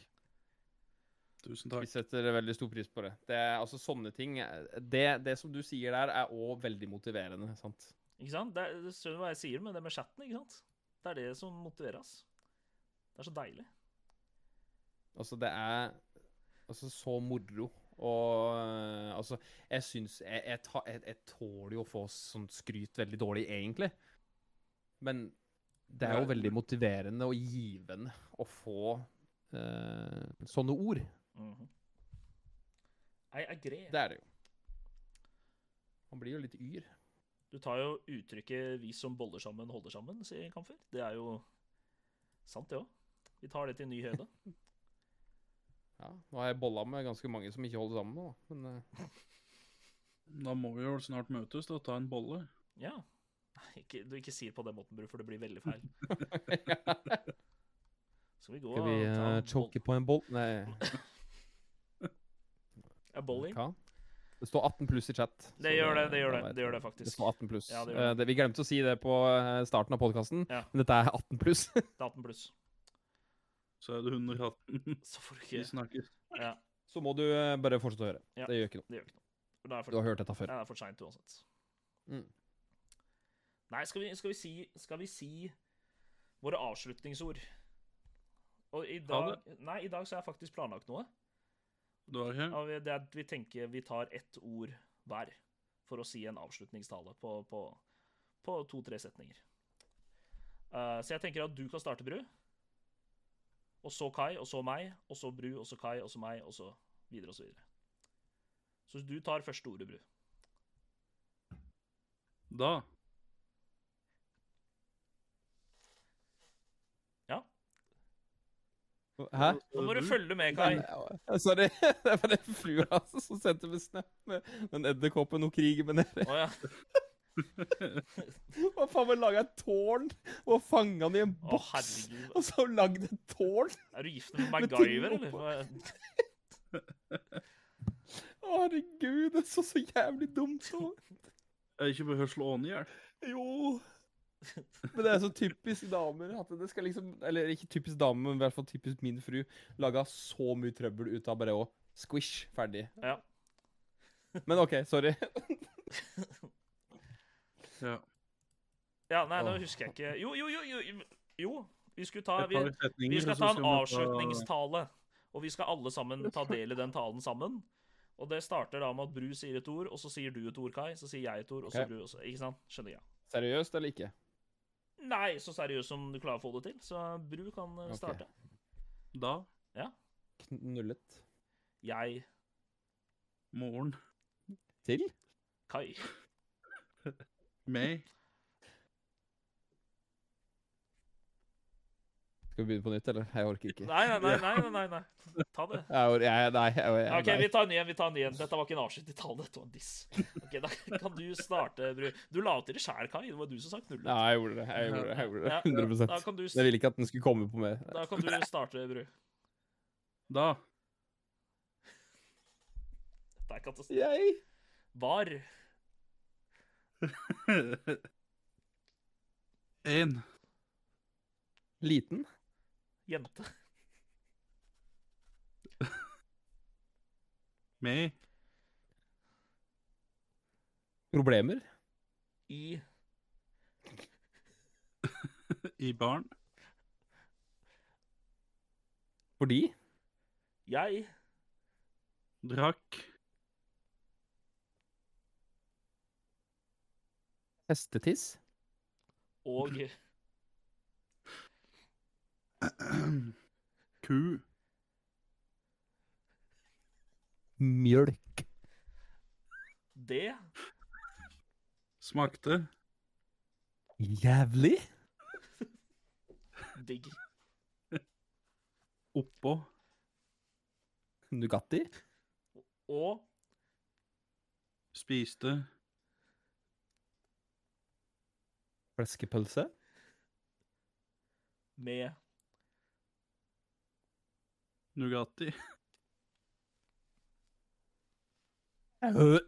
C: Tusen
D: Vi
C: takk.
D: setter veldig stor pris på det. Det er altså sånne ting Det, det som du sier der, er òg veldig motiverende, sant?
B: Ikke sant? Det, er- du skjønner hva jeg sier med det med chatten, ikke sant? Det er det som motiverer oss. Det er så deilig.
D: Altså, det er altså så moro. Og eh, altså, jeg syns jeg, jeg, ta, jeg, jeg tåler jo å få sånt skryt veldig dårlig, egentlig. Men det er jo
C: Ja.
D: veldig motiverende og givende å få eh, sånne ord.
B: Mhm. Jeg er grei.
D: Det er det jo. Man blir jo litt yr.
B: Du tar jo uttrykket 'vi som boller sammen, holder sammen', sier Kamfer. Det er jo sant, det òg. Vi tar det til ny høyde.
D: Ja, nå har jeg bolla med ganske mange som ikke holder sammen nå, da. men eh,
C: Da må vi jo snart møtes da, og ta en bolle.
B: Ja. Nei, Ikke, du ikke sier på den måten, Bru, for det blir veldig feil. Skal vi gå
D: Skal vi
B: og ta
D: eh,
B: en boll-
D: choke på en boll? Nei,
B: Ja, bowling?
D: hva? Det står 18 pluss i chat. så
B: Det gjør det, det gjør
D: da
B: det.
D: vet
B: Det gjør det
D: jeg. Det
B: faktisk.
D: står 18 pluss.
B: Ja, det gjør
D: Eh,
B: det.
D: det- vi glemte å si det på eh, starten av podkasten,
B: Ja.
D: men dette er 18 pluss.
B: Det er 18 pluss.
C: Så er det 118
B: Så får du
C: vi
B: ikke
C: snakker.
B: Ja,
D: Så må du eh, bare fortsette å høre.
B: Ja.
D: Det gjør ikke noe.
B: det gjør ikke noe. Da er det
D: Du
B: for,
D: har hørt dette
B: ja,
D: før.
B: det er for seint uansett.
D: Mm.
B: Nei, skal vi, skal vi si Skal vi si våre avslutningsord? Og i dag Nei, i dag så er jeg faktisk planlagt noe.
C: Du er her?
B: Ja, vi- Det er at vi tenker vi tar ett ord hver for å si en avslutningstale på, på, på to-tre setninger. Eh, så jeg tenker at du kan starte, Bru. Og så Kai, og så meg, og så Bru, og så Kai, og så meg, og så videre og så videre. Så du tar første ordet, Bru.
C: Da.
D: Hæ?
B: Nå må du
C: Du?
B: følge med, Kai.
D: Eh, Sorry. Det var det flua altså, som sendte meg snap med den edderkoppen og krigen med nede.
B: Å ja.
D: Hva faen, man laga et tårn og fanga den i en
B: Å,
D: boks,
B: herregud.
D: og så lagde et tårn?
B: Er du gift med
D: Med ting
B: MacGyver,
D: oppå.
B: eller? Hva-
D: Å, herregud, det så så jævlig dumt ut.
C: Jeg ikke behøver slå ånden i hjel.
D: Jo. Men det er så typisk damer at det skal liksom Eller ikke typisk damer, men i hvert fall typisk min fru. Laga så mye trøbbel ut av bare å squish, ferdig.
B: Ja.
D: Men OK, sorry.
C: Ja.
B: Ja, nei, nå
D: Åh.
B: husker jeg ikke Jo, jo, jo. Jo, jo. vi skulle ta
C: Jeg
B: vi,
C: tar litt setninger,
B: Vi skal
C: så
B: ta en
C: vi ta-
B: avslutningstale, og vi skal alle sammen ta del i den talen sammen. Og det starter da med at Bru sier et ord, og så sier du et ord, Kai. Så sier jeg et ord, og så
D: Ok.
B: Bru også. Ikke sant? Skjønner jeg.
D: Seriøst eller ikke?
B: Nei, så seriøst som du klarer å få det til. Så Bru kan eh,
D: Ok.
B: starte.
C: Da.
D: Knullet.
B: Jeg,
C: Morgen.
D: Til?
B: Kai,
C: Meg.
D: Skal vi begynne på nytt, eller? Jeg orker ikke.
B: Nei, nei, nei, nei, nei, nei, nei. Ta det.
D: Jeg, or- jeg, nei, jeg, jeg,
B: OK,
D: nei.
B: vi tar en ny en. vi tar en ny en. Dette var ikke en avslutt i talen, dette var en diss. Ok, Da kan du starte, Bru. Du la opp til det sjæl, Kai. Det var du som sa
D: Ja,
B: knullet.
D: jeg gjorde det. Jeg gjorde det, jeg gjorde det.
B: Ja,
D: 100
B: Da kan du,
D: Jeg ville ikke at den skulle komme på meg.
B: da kan du starte, Bru.
C: Da.
B: Det er katastrofe.
D: Jeg
B: Var
C: En.
D: Liten?
B: jente.
C: Meg.
D: Problemer?
B: I
C: I barn.
D: Fordi?
B: Jeg
C: Drakk.
D: Hestetiss?
B: og
C: Ku.
D: Mjølk.
B: det
C: Smakte.
D: Jævlig?
B: digg.
C: Oppå.
D: Nugatti?
B: Og
C: Spiste.
D: Fleskepølse?
B: med
C: Nugatti.
D: Øh.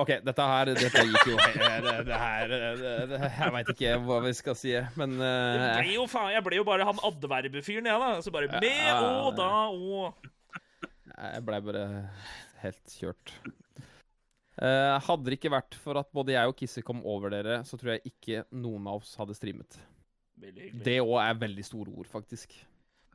D: OK, dette her dette gikk jo eh, Det, det her det, det, Jeg veit ikke hva vi skal si, men
B: Jeg
D: eh,
B: ble jo, faen, jeg ble jo bare han adverbefyren, jeg, da. Så bare med og da og
D: Jeg blei bare helt kjørt. Eh, hadde det ikke vært for at både jeg og Kisse kom over dere, så tror jeg ikke noen av oss hadde streamet.
B: Veldig hyggelig.
D: Det òg er veldig store ord, faktisk.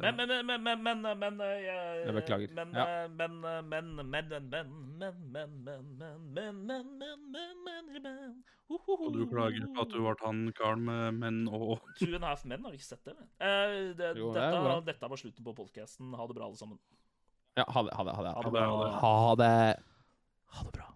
B: Men, men, men, men, men, men eh, jeg,
D: Jeg beklager.
B: Men,
D: Ja.
B: eh, men, eh, men, men, men, men, men, men, men, men, men, men, men, men, men, men,
C: Og du klager på at du ble han karen med menn og
B: Two and a half men, har du ikke sett det? Eh, det,
D: Jo, det er
B: dette,
D: bra.
B: dette var slutten på podkasten. Ha det bra, alle sammen.
D: Ja, ha det. Ha det. Ha det.
C: Ja, det er det.
D: Ha det.
B: Ha det bra.